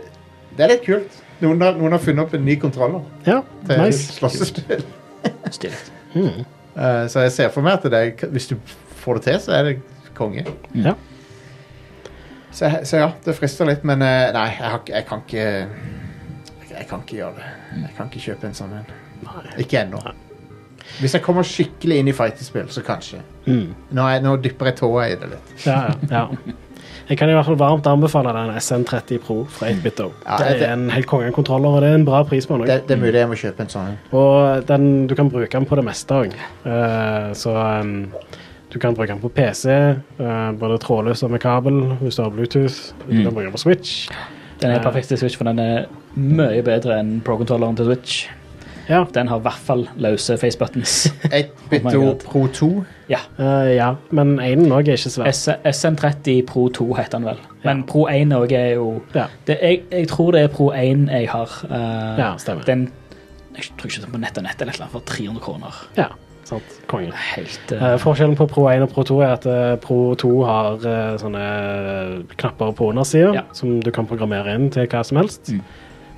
[SPEAKER 4] det er litt kult. Noen har, noen har funnet opp en ny kontroller
[SPEAKER 5] ja
[SPEAKER 4] til
[SPEAKER 5] nice. Mm.
[SPEAKER 4] slåssespill.
[SPEAKER 6] Stilig.
[SPEAKER 4] Eh, så jeg ser for meg at det er, hvis du får det til, så er det konge.
[SPEAKER 5] Ja.
[SPEAKER 4] Så, jeg- så ja, det frister litt, men eh, nei, jeg, har, ikke- jeg kan ikke Jeg kan ikke gjøre det. Jeg kan ikke kjøpe en sånn en. Ikke ennå. Hvis jeg kommer skikkelig inn i fighterspill, så kanskje. Nå, er, nå dypper jeg tåa i det litt.
[SPEAKER 5] Ja, ja, ja. Jeg kan i hvert fall varmt anbefale den SN30 Pro fra 8BitO.
[SPEAKER 4] Ja,
[SPEAKER 5] det
[SPEAKER 4] det-
[SPEAKER 5] er en helt kongekontroller, og det er en bra pris på den.
[SPEAKER 4] Det, det er mulig jeg må kjøpe en sånn en.
[SPEAKER 5] Og den, du kan bruke den på det meste òg. så um, du kan bruke den på PC, eh, både trådløs og med kabel, hvis du har Bluetooth. Du kan bruke den på Switch.
[SPEAKER 6] Den er perfekt til Switch, for den er mye bedre enn Pro-kontrolleren til Switch.
[SPEAKER 5] Ja.
[SPEAKER 6] Den har i hvert fall løse face buttons.
[SPEAKER 4] 8-bit
[SPEAKER 6] Oh my God.
[SPEAKER 4] Pro 2.
[SPEAKER 6] ja.
[SPEAKER 5] Eh, ja. Men einen òg er ikke svær.
[SPEAKER 6] S- SN30 Pro 2 heter den vel. Men Pro 1 òg er jo
[SPEAKER 5] Ja.
[SPEAKER 6] det, jeg, jeg tror det er Pro 1 jeg har. eh,
[SPEAKER 5] Ja, stemmer.
[SPEAKER 6] Den Jeg tror ikke det er på nett og nett eller et eller annet for 300 kroner.
[SPEAKER 5] Ja, sant. Konge.
[SPEAKER 6] Helt eh,
[SPEAKER 5] Eh, forskjellen på Pro 1 og Pro 2 er at eh, Pro 2 har eh, sånne eh, knapper på undersida
[SPEAKER 6] Ja. Mm.
[SPEAKER 5] som du kan programmere inn til hva som helst.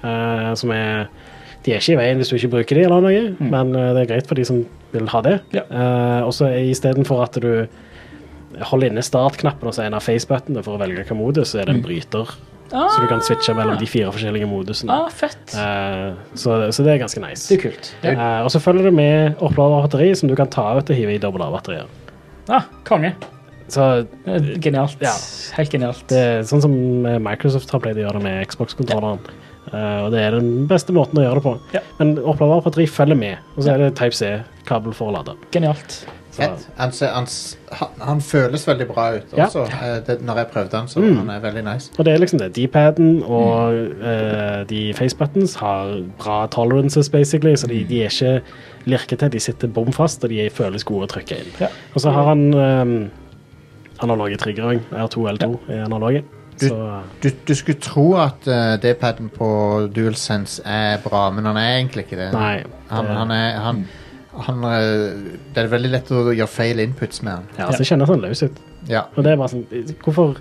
[SPEAKER 5] Eh, som er De er ikke i veien hvis du ikke bruker de, eller noe, men eh, det er greit for de som vil ha det.
[SPEAKER 6] Mm. Ja.
[SPEAKER 5] Eh, og så i stedet for at du holder inne startknappen og så en av facebuttonene for å velge hvilken modus, så er
[SPEAKER 6] Mm.
[SPEAKER 5] det en bryter. Så du kan switche mellom de fire forskjellige modusene.
[SPEAKER 6] ah, Fett.
[SPEAKER 5] Eh, så, så det er ganske nice.
[SPEAKER 6] det er kult. Ja.
[SPEAKER 5] Eh, og så følger det med opplader av batteri som du kan ta ut og hive i dobbel A-batterier.
[SPEAKER 6] Ah, konge.
[SPEAKER 5] Så
[SPEAKER 6] Eh, Genialt.
[SPEAKER 5] Ja.
[SPEAKER 6] Helt genialt.
[SPEAKER 5] det er sånn som eh, Microsoft har pleid å gjøre det med Xbox-kontrolleren. Eh, og det er den beste måten å gjøre det på.
[SPEAKER 6] Ja.
[SPEAKER 5] Men opplader av batteri følger med, og så er det Type-C-kabel for å lade.
[SPEAKER 6] Genialt.
[SPEAKER 5] Så,
[SPEAKER 4] Han, han, ser- han, s- han, han føles veldig bra ut
[SPEAKER 5] Ja.
[SPEAKER 4] også. eh, Det, når jeg prøvde han, så han er veldig nice.
[SPEAKER 5] og det er liksom det. D-paden og eh, de facebuttons har bra tolerances, basically, så de, de er ikke lirkete. De sitter bom fast, og de føles gode å trykke inn.
[SPEAKER 6] Ja.
[SPEAKER 5] Og så har han eh, analoge trigger òg. R2 L2 er analoge.
[SPEAKER 4] Du-
[SPEAKER 5] Så eh,
[SPEAKER 4] Du, du skulle tro at eh, D-paden på DualSense er bra, men han er egentlig ikke det.
[SPEAKER 5] nei.
[SPEAKER 4] Han,
[SPEAKER 5] det-
[SPEAKER 4] han er han, han, eh, Det er veldig lett å gjøre feil inputs med han.
[SPEAKER 5] Ja, altså, det kjennes sånn løs ut.
[SPEAKER 4] Ja.
[SPEAKER 5] Og det er bare sånn Hvorfor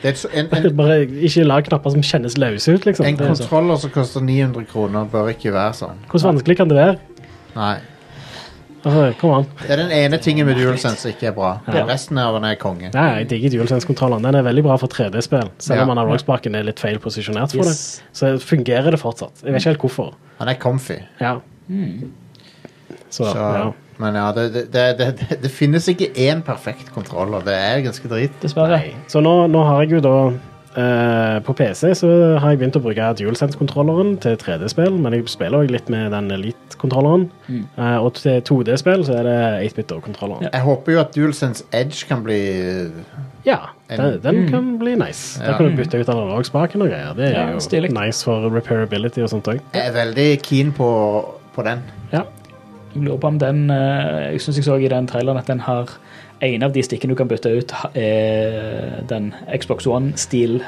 [SPEAKER 4] Det er et så- en, en,
[SPEAKER 5] bare ikke lag knapper som kjennes løse ut, liksom?
[SPEAKER 4] en
[SPEAKER 5] Det er sånn,
[SPEAKER 4] kontroller som koster 900 kroner, bør ikke være sånn.
[SPEAKER 5] Hvordan vanskelig kan det være?
[SPEAKER 4] Nei.
[SPEAKER 5] Altså, kom an.
[SPEAKER 4] Det er den ene tingen med DualSense som ikke er bra. Resten av den er konge.
[SPEAKER 5] Nei, jeg digger DualSense-kontrolleren. Den er veldig bra for 3D-spill, selv om
[SPEAKER 4] Ja.
[SPEAKER 5] analogspaken er litt feil posisjonert for
[SPEAKER 6] Yes.
[SPEAKER 5] det. Så fungerer det fortsatt. Jeg vet ikke helt hvorfor.
[SPEAKER 4] Han er comfy.
[SPEAKER 5] Ja. Så,
[SPEAKER 4] Så,
[SPEAKER 5] ja.
[SPEAKER 4] Men ja, det, det, det, det, det, det finnes ikke én perfekt kontroller. Det er ganske drit.
[SPEAKER 6] Dessverre.
[SPEAKER 5] Så nå, nå har jeg jo da eh, på PC så har jeg begynt å bruke DualSense-kontrolleren til 3D-spill, men jeg spiller også litt med den Elite-kontrolleren. Eh, og til 2D-spill så er det 8-bit-kontrolleren.
[SPEAKER 4] Jeg håper jo at DualSense Edge kan bli
[SPEAKER 5] Ja, den,
[SPEAKER 6] mm.
[SPEAKER 5] den kan bli nice. Da
[SPEAKER 4] Ja.
[SPEAKER 5] kan du bytte ut analogspaken og greier. Det er
[SPEAKER 6] Ja,
[SPEAKER 5] jo
[SPEAKER 6] stilig.
[SPEAKER 5] nice for repairability og sånt òg.
[SPEAKER 4] Jeg er veldig keen på, på den.
[SPEAKER 5] Ja.
[SPEAKER 6] Jeg lurer på om den eh, Jeg synes jeg så i den traileren at den har En av de stikkene du kan bytte ut, ha- er den Xbox One-stil.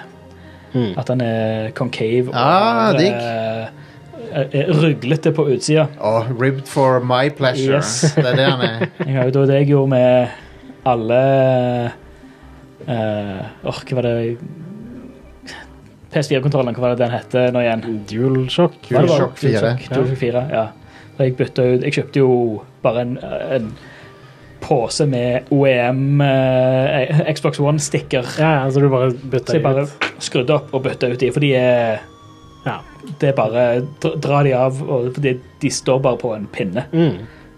[SPEAKER 6] At den er concave
[SPEAKER 4] Ah,
[SPEAKER 6] og
[SPEAKER 4] digg.
[SPEAKER 6] eh, er- er ruglete på utsida.
[SPEAKER 4] Og ribbed for my pleasure.
[SPEAKER 6] Yes.
[SPEAKER 4] Det er det han er.
[SPEAKER 6] Jeg har jo da det jeg gjorde med alle eh, Åh, hva var det jeg- PS4-kontrollen, hva var det den het nå igjen?
[SPEAKER 5] DualShock.
[SPEAKER 6] Hva var det?
[SPEAKER 4] DualShock 4.
[SPEAKER 6] DualShock- DualShock 4, ja. Så jeg bytta ut Jeg kjøpte jo bare en, en pose med OEM eh, Xbox One-stikker.
[SPEAKER 5] Ja, ja, så du bare bytter
[SPEAKER 6] Så jeg
[SPEAKER 5] ut.
[SPEAKER 6] bare skrudde opp og bytta ut de, for de er
[SPEAKER 5] Ja.
[SPEAKER 6] det er bare dra- Dra de av, og for de, de står bare på en pinne.
[SPEAKER 5] Mm.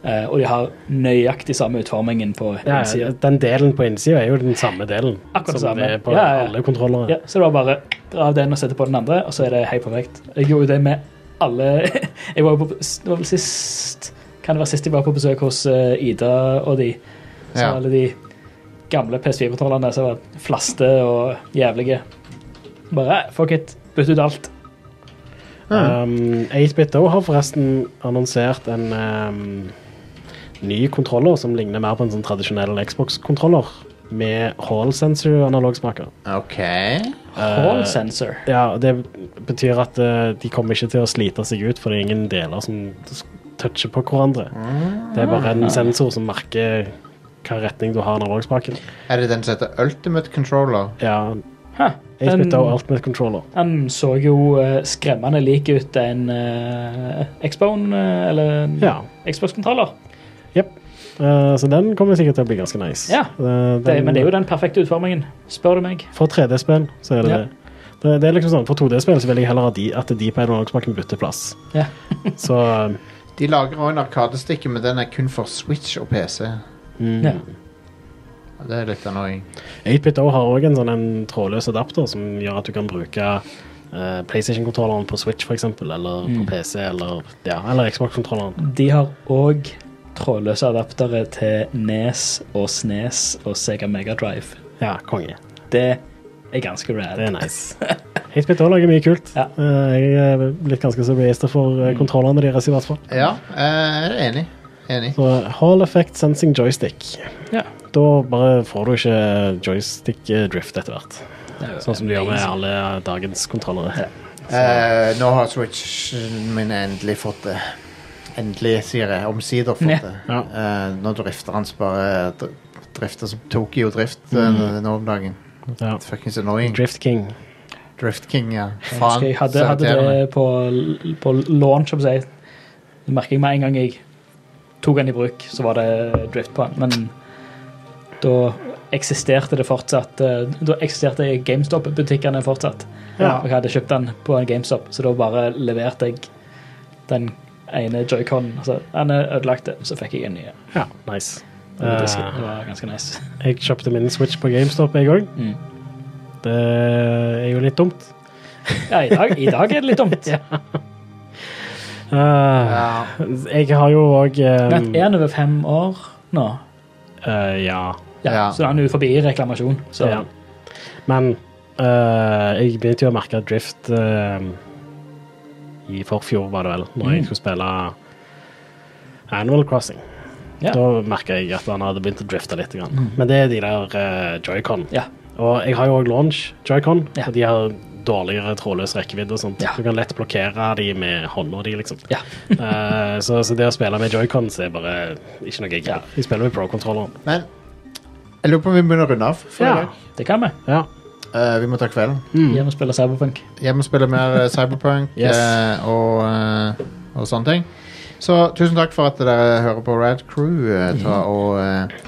[SPEAKER 6] Eh, og de har nøyaktig samme utformingen på
[SPEAKER 5] Ja,
[SPEAKER 6] innsida.
[SPEAKER 5] den delen på innsida er jo den samme delen
[SPEAKER 6] Akkurat
[SPEAKER 5] som
[SPEAKER 6] samme.
[SPEAKER 5] det er på
[SPEAKER 6] Ja, ja, ja.
[SPEAKER 5] alle kontrollere.
[SPEAKER 6] Ja, så det var bare dra av den og sette på den andre, og så er det helt perfekt. Jeg gjorde jo det med alle Jeg var jo på det var vel sist Kan det være sist jeg var på besøk hos eh, Ida og de? Så
[SPEAKER 4] Ja.
[SPEAKER 6] alle de gamle PS4-kontrollene som var flaste og jævlige. Bare eh, fuck it. Bytt ut alt.
[SPEAKER 5] Um, 8BitO har forresten annonsert en um, ny kontroller som ligner mer på en sånn tradisjonell Xbox-kontroller, med hall sensor-analogsmaker.
[SPEAKER 4] OK.
[SPEAKER 6] Hall sensor.
[SPEAKER 5] Ja, og det betyr at eh, de kommer ikke til å slite seg ut, for det er ingen
[SPEAKER 6] Ah.
[SPEAKER 5] deler som s- toucher på hverandre. Det er bare en sensor som merker hva retning du har i analogspaken.
[SPEAKER 4] Er det den som heter Ultimate Controller?
[SPEAKER 5] Ja,
[SPEAKER 6] Huh.
[SPEAKER 5] 8-bit og
[SPEAKER 6] Den,
[SPEAKER 5] Ultimate Controller.
[SPEAKER 6] den så jo eh, skremmende lik ut en uh, Xbone eh, eller en
[SPEAKER 5] Ja.
[SPEAKER 6] Xbox-kontroller.
[SPEAKER 5] Jepp. Eh, så den kommer sikkert til å bli ganske nice.
[SPEAKER 6] Ja,
[SPEAKER 5] Eh,
[SPEAKER 6] Det,
[SPEAKER 5] den-
[SPEAKER 6] men det er jo den perfekte utformingen, spør du meg.
[SPEAKER 5] For 3D-spill så er det
[SPEAKER 6] Ja.
[SPEAKER 5] det. det. Det er liksom sånn, For 2D-spill så vil jeg heller ha de, at de på analogspaken bytter plass.
[SPEAKER 6] Ja.
[SPEAKER 5] så eh,
[SPEAKER 4] De lager også en arkadestikke, men den er kun for Switch og PC.
[SPEAKER 5] mm,
[SPEAKER 6] Ja.
[SPEAKER 4] Det er litt annoying.
[SPEAKER 5] 8-bit O har også en sånn en trådløs adapter som gjør at du kan bruke eh, PlayStation-kontrolleren på Switch, for eksempel, eller
[SPEAKER 6] Mm.
[SPEAKER 5] på PC, eller, ja, eller Xbox-kontrolleren.
[SPEAKER 6] De har òg trådløse adaptere til Nes og Snes og Sega Megadrive.
[SPEAKER 5] Ja, konge.
[SPEAKER 6] Det er ganske rad.
[SPEAKER 5] Det er nice. 8-bit O lager mye kult.
[SPEAKER 6] Ja. Mm.
[SPEAKER 5] Eh, jeg er blitt ganske så begeistra for eh, kontrollene deres, i hvert fall.
[SPEAKER 4] Ja, jeg er enig. Enig.
[SPEAKER 5] Så eh, Hall Effect Sensing Joystick.
[SPEAKER 6] Ja.
[SPEAKER 5] Da bare får du ikke joystick eh, drift etter hvert. Sånn som du gjør med alle dagens kontrollere.
[SPEAKER 4] Eh, nå har Switchen min endelig fått det. Endelig, sier jeg. Omsider fått
[SPEAKER 6] Ja.
[SPEAKER 4] det.
[SPEAKER 5] Ja.
[SPEAKER 4] Eh, nå drifter han så bare dr- Drifter som Tokyo Drift eh, nå om dagen.
[SPEAKER 5] Ja.
[SPEAKER 4] Fuckings annoying.
[SPEAKER 5] Drift King.
[SPEAKER 4] Drift King, ja.
[SPEAKER 6] Jeg husker jeg hadde,
[SPEAKER 4] så
[SPEAKER 6] hadde
[SPEAKER 4] irriterende.
[SPEAKER 6] det på, på launch, om jeg sier. Det merker jeg med en gang jeg tok den i bruk, så var det drift på den. Men da eksisterte det fortsatt eh, Da eksisterte GameStop-butikkene fortsatt.
[SPEAKER 5] Ja.
[SPEAKER 6] Og jeg hadde kjøpt den på en GameStop, så da bare leverte jeg den ene joyconen. Altså, den er ødelagt, så fikk jeg en ny.
[SPEAKER 5] Ja, nice.
[SPEAKER 6] Det var ganske-
[SPEAKER 5] Eh,
[SPEAKER 4] Ah.
[SPEAKER 6] det var ganske nice.
[SPEAKER 5] jeg kjøpte min Switch på GameStop en gang.
[SPEAKER 6] Mm.
[SPEAKER 5] Det er jo litt dumt.
[SPEAKER 6] Ja, i dag, i dag er det litt dumt.
[SPEAKER 5] Eh, Jeg har jo eh, òg
[SPEAKER 6] Men er han over fem år nå?
[SPEAKER 5] eh, Ja.
[SPEAKER 6] Ja,
[SPEAKER 4] Ja.
[SPEAKER 6] Så da er han jo forbi reklamasjon. Så
[SPEAKER 5] ja. Men eh, jeg begynte jo å merke drift eh, i forfjor, var det vel, når
[SPEAKER 6] Mm.
[SPEAKER 5] jeg skulle spille Animal Crossing.
[SPEAKER 6] Ja. Mm.
[SPEAKER 5] Da merka jeg at han hadde begynt å drifte litt. Grann. Men det er de der eh, joycon.
[SPEAKER 6] Ja.
[SPEAKER 5] Og jeg har jo òg launch joycon,
[SPEAKER 6] Ja.
[SPEAKER 5] og de har dårligere trådløs rekkevidde og sånt.
[SPEAKER 6] Ja.
[SPEAKER 5] Du kan lett blokkere de med hånda di, liksom.
[SPEAKER 6] Ja.
[SPEAKER 5] Eh, så, så det å spille med joycons er bare ikke noe jeg
[SPEAKER 6] Ja.
[SPEAKER 5] gjør. Jeg spiller med pro-kontrolleren.
[SPEAKER 4] Men jeg lurer på om vi begynner å runde av for i
[SPEAKER 5] Ja. Mm.
[SPEAKER 4] dag.
[SPEAKER 6] det kan vi.
[SPEAKER 5] Ja.
[SPEAKER 4] Eh, vi må ta kvelden.
[SPEAKER 6] Hjem og spille Cyberpunk.
[SPEAKER 4] Jeg må spille mer eh, Cyberpunk
[SPEAKER 5] Yes.
[SPEAKER 4] eh, og, eh, og sånne ting. Så tusen takk for at dere hører på Rad Crew. eh, ta og eh,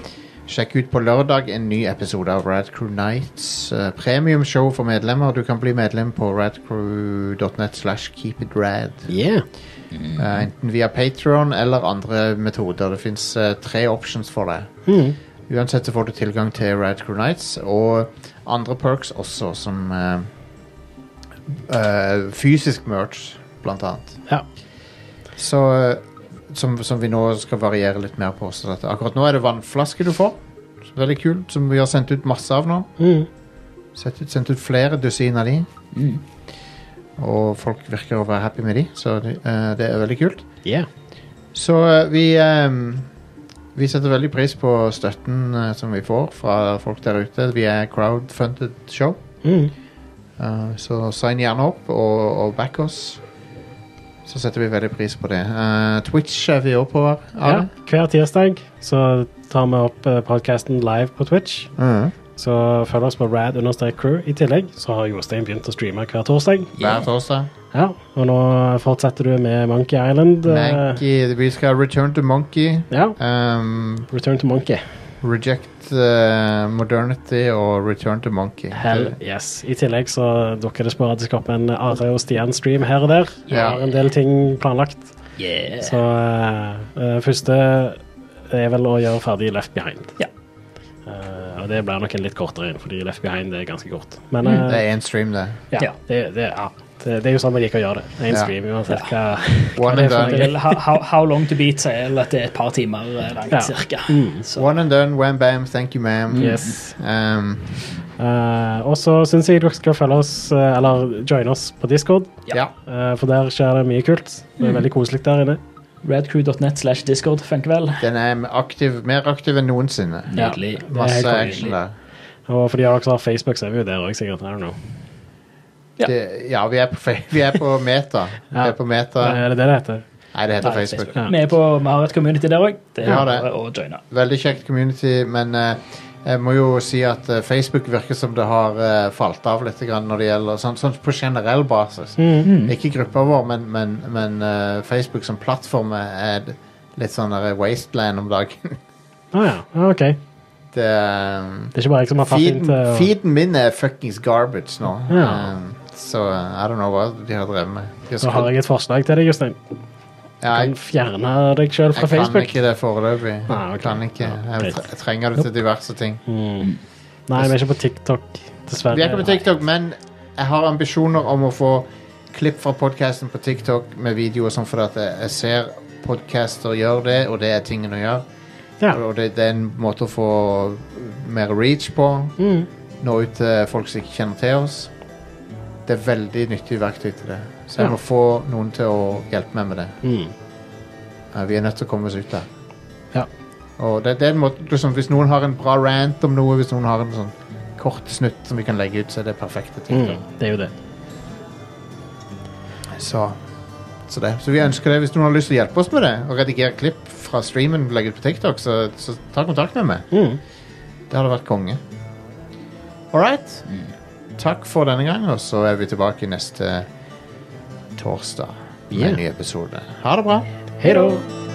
[SPEAKER 4] Sjekk ut på lørdag en ny episode av Rad Crew Nights. eh, Premiumshow for medlemmer. Du kan bli medlem på radcrew.net slash keepitrad.
[SPEAKER 5] Yeah.
[SPEAKER 4] Eh, enten via Patron eller andre metoder. Det fins tre options for det. Uansett så får du tilgang til Rad Crew Nights og andre perks også, som eh, eh, fysisk merch, blant annet.
[SPEAKER 5] Ja.
[SPEAKER 4] Så, eh, som, som vi nå skal variere litt mer på. Så at akkurat nå er det vannflaske du får. som er Veldig kul, som vi har sendt ut masse av nå.
[SPEAKER 5] Mm.
[SPEAKER 4] Sett ut, sendt ut flere dusin av de. Og folk virker å være happy med de, så det, eh, det er veldig kult.
[SPEAKER 5] Yeah.
[SPEAKER 4] Så eh, vi ehm, Vi setter veldig pris på støtten eh, som vi får fra folk der ute. Vi er crowdfunded show,
[SPEAKER 5] Mm.
[SPEAKER 4] Eh, så sign gjerne opp og, og back oss. Så setter vi veldig pris på det. Eh, Twitch er vi òg på.
[SPEAKER 5] Ja,
[SPEAKER 4] Are.
[SPEAKER 5] hver tirsdag så tar vi opp podkasten live på Twitch.
[SPEAKER 4] Mhm.
[SPEAKER 5] Så følg oss på rad understrek crew. I tillegg så har Jostein begynt å streame hver torsdag.
[SPEAKER 4] Hver torsdag.
[SPEAKER 5] Ja, Og nå fortsetter du med Monkey Island. eh,
[SPEAKER 4] Monkey, vi skal return to monkey.
[SPEAKER 5] Ja,
[SPEAKER 4] Ehm,
[SPEAKER 5] Return to Monkey.
[SPEAKER 4] reject eh, modernity og return to monkey.
[SPEAKER 5] Hell yes. I tillegg så dukker det sporadisk opp en Are og Stian-stream her og der. Vi
[SPEAKER 4] Ja.
[SPEAKER 5] har en del ting planlagt. Så eh, eh, første er vel å gjøre ferdig Left Behind.
[SPEAKER 6] Ja.
[SPEAKER 5] Eh, og det blir nok en litt kortere en, fordi Left Behind er ganske kort. Men eh,
[SPEAKER 4] Det er én stream, Mm. det.
[SPEAKER 5] Ja,
[SPEAKER 6] Ja.
[SPEAKER 5] Det, det, ja. Det, det er jo sånn man liker å gjøre det. Én
[SPEAKER 4] Ja.
[SPEAKER 5] stream uansett hva.
[SPEAKER 4] One
[SPEAKER 5] det
[SPEAKER 4] and
[SPEAKER 5] er for
[SPEAKER 4] done.
[SPEAKER 5] noe?
[SPEAKER 6] Eller How, how- how long to beat sier vel at det er et par timer eh, langt,
[SPEAKER 5] Ja. Mm.
[SPEAKER 6] cirka. Så,
[SPEAKER 4] One and done, wam bam, thank you ma'am.
[SPEAKER 5] Yes.
[SPEAKER 4] Ehm,
[SPEAKER 5] Eh, og så syns jeg dere skal følge oss, eh, eller joine oss på Discord,
[SPEAKER 6] Ja.
[SPEAKER 4] ja. Mm.
[SPEAKER 5] eh, for der skjer det mye kult. Det er veldig koselig der inne.
[SPEAKER 6] Radcrew.net slash discord funker vel.
[SPEAKER 4] Den er aktiv, mer aktiv enn noensinne.
[SPEAKER 6] Nydelig.
[SPEAKER 5] Det er
[SPEAKER 4] Masse
[SPEAKER 5] helt konge.
[SPEAKER 4] action der.
[SPEAKER 5] Og for de av dere som har Facebook, så er vi jo der òg, sikkert. I don't know.
[SPEAKER 4] Det, ja, vi er på, fe- vi er på meta. Vi er på meta.
[SPEAKER 5] Er det det det heter?
[SPEAKER 4] Nei, det heter
[SPEAKER 6] Nei,
[SPEAKER 4] Facebook.
[SPEAKER 5] Ja.
[SPEAKER 6] Vi, er på, vi har et community der òg. Det
[SPEAKER 4] Vi
[SPEAKER 6] er
[SPEAKER 4] har det.
[SPEAKER 6] bare å joine.
[SPEAKER 4] Veldig kjekt community, men eh, jeg må jo si at eh, Facebook virker som det har eh, falt av litt grann når det gjelder sånn, sånn på generell basis. Ikke gruppa vår, men, men, men eh, Facebook som plattform er d- litt sånn der wasteland om dagen.
[SPEAKER 5] Å ja. ja, OK. Det
[SPEAKER 4] det, eh,
[SPEAKER 5] er ikke bare jeg som har tatt
[SPEAKER 4] feeden,
[SPEAKER 5] inn til å-
[SPEAKER 4] feeden min er fuckings garbage nå.
[SPEAKER 5] Ja.
[SPEAKER 4] Eh, så eh, I don't know hva de har drevet med. De
[SPEAKER 5] Så har jeg et forslag til deg, Jostein.
[SPEAKER 4] ja,
[SPEAKER 5] Kan
[SPEAKER 4] jeg,
[SPEAKER 5] fjerne deg sjøl fra
[SPEAKER 4] jeg kan
[SPEAKER 5] Facebook.
[SPEAKER 4] ikke det foreløpig.
[SPEAKER 5] Nei, ok.
[SPEAKER 4] Jeg kan ikke. Jeg,
[SPEAKER 5] greit. Mm.
[SPEAKER 4] tre- jeg trenger det til diverse ting.
[SPEAKER 5] Nei, vi er ikke på TikTok, dessverre.
[SPEAKER 4] Vi er ikke på TikTok, men jeg har ambisjoner om å få klipp fra podcasten på TikTok med video og sånn, for at jeg jeg ser podcaster gjøre det, og det er tingen å gjøre.
[SPEAKER 5] Ja.
[SPEAKER 4] Og det, det er en måte å få mer reach på.
[SPEAKER 5] Mm.
[SPEAKER 4] Nå ut til folk som ikke kjenner til oss. Det er veldig nyttig verktøy til det. Så jeg
[SPEAKER 5] Ja.
[SPEAKER 4] må få noen til å hjelpe meg med det.
[SPEAKER 5] Mm.
[SPEAKER 4] Ja, Vi er nødt til å komme oss ut der.
[SPEAKER 5] Ja.
[SPEAKER 4] Og det, det er en måte, liksom, hvis noen har en bra rant om noe, hvis noen har en sånn kort snutt som vi kan legge ut, så er det perfekte ting.
[SPEAKER 5] Mm. Det er jo det.
[SPEAKER 4] Så, så det. Så vi ønsker det. Hvis noen har lyst til å hjelpe oss med det, og redigere klipp fra streamen og legge ut på TikTok, så, så ta kontakt med meg.
[SPEAKER 5] Mm.
[SPEAKER 4] Det hadde vært konge. All right. Takk for denne gang, og så er vi tilbake neste torsdag med en ny episode. Ha det bra.
[SPEAKER 5] Hei da.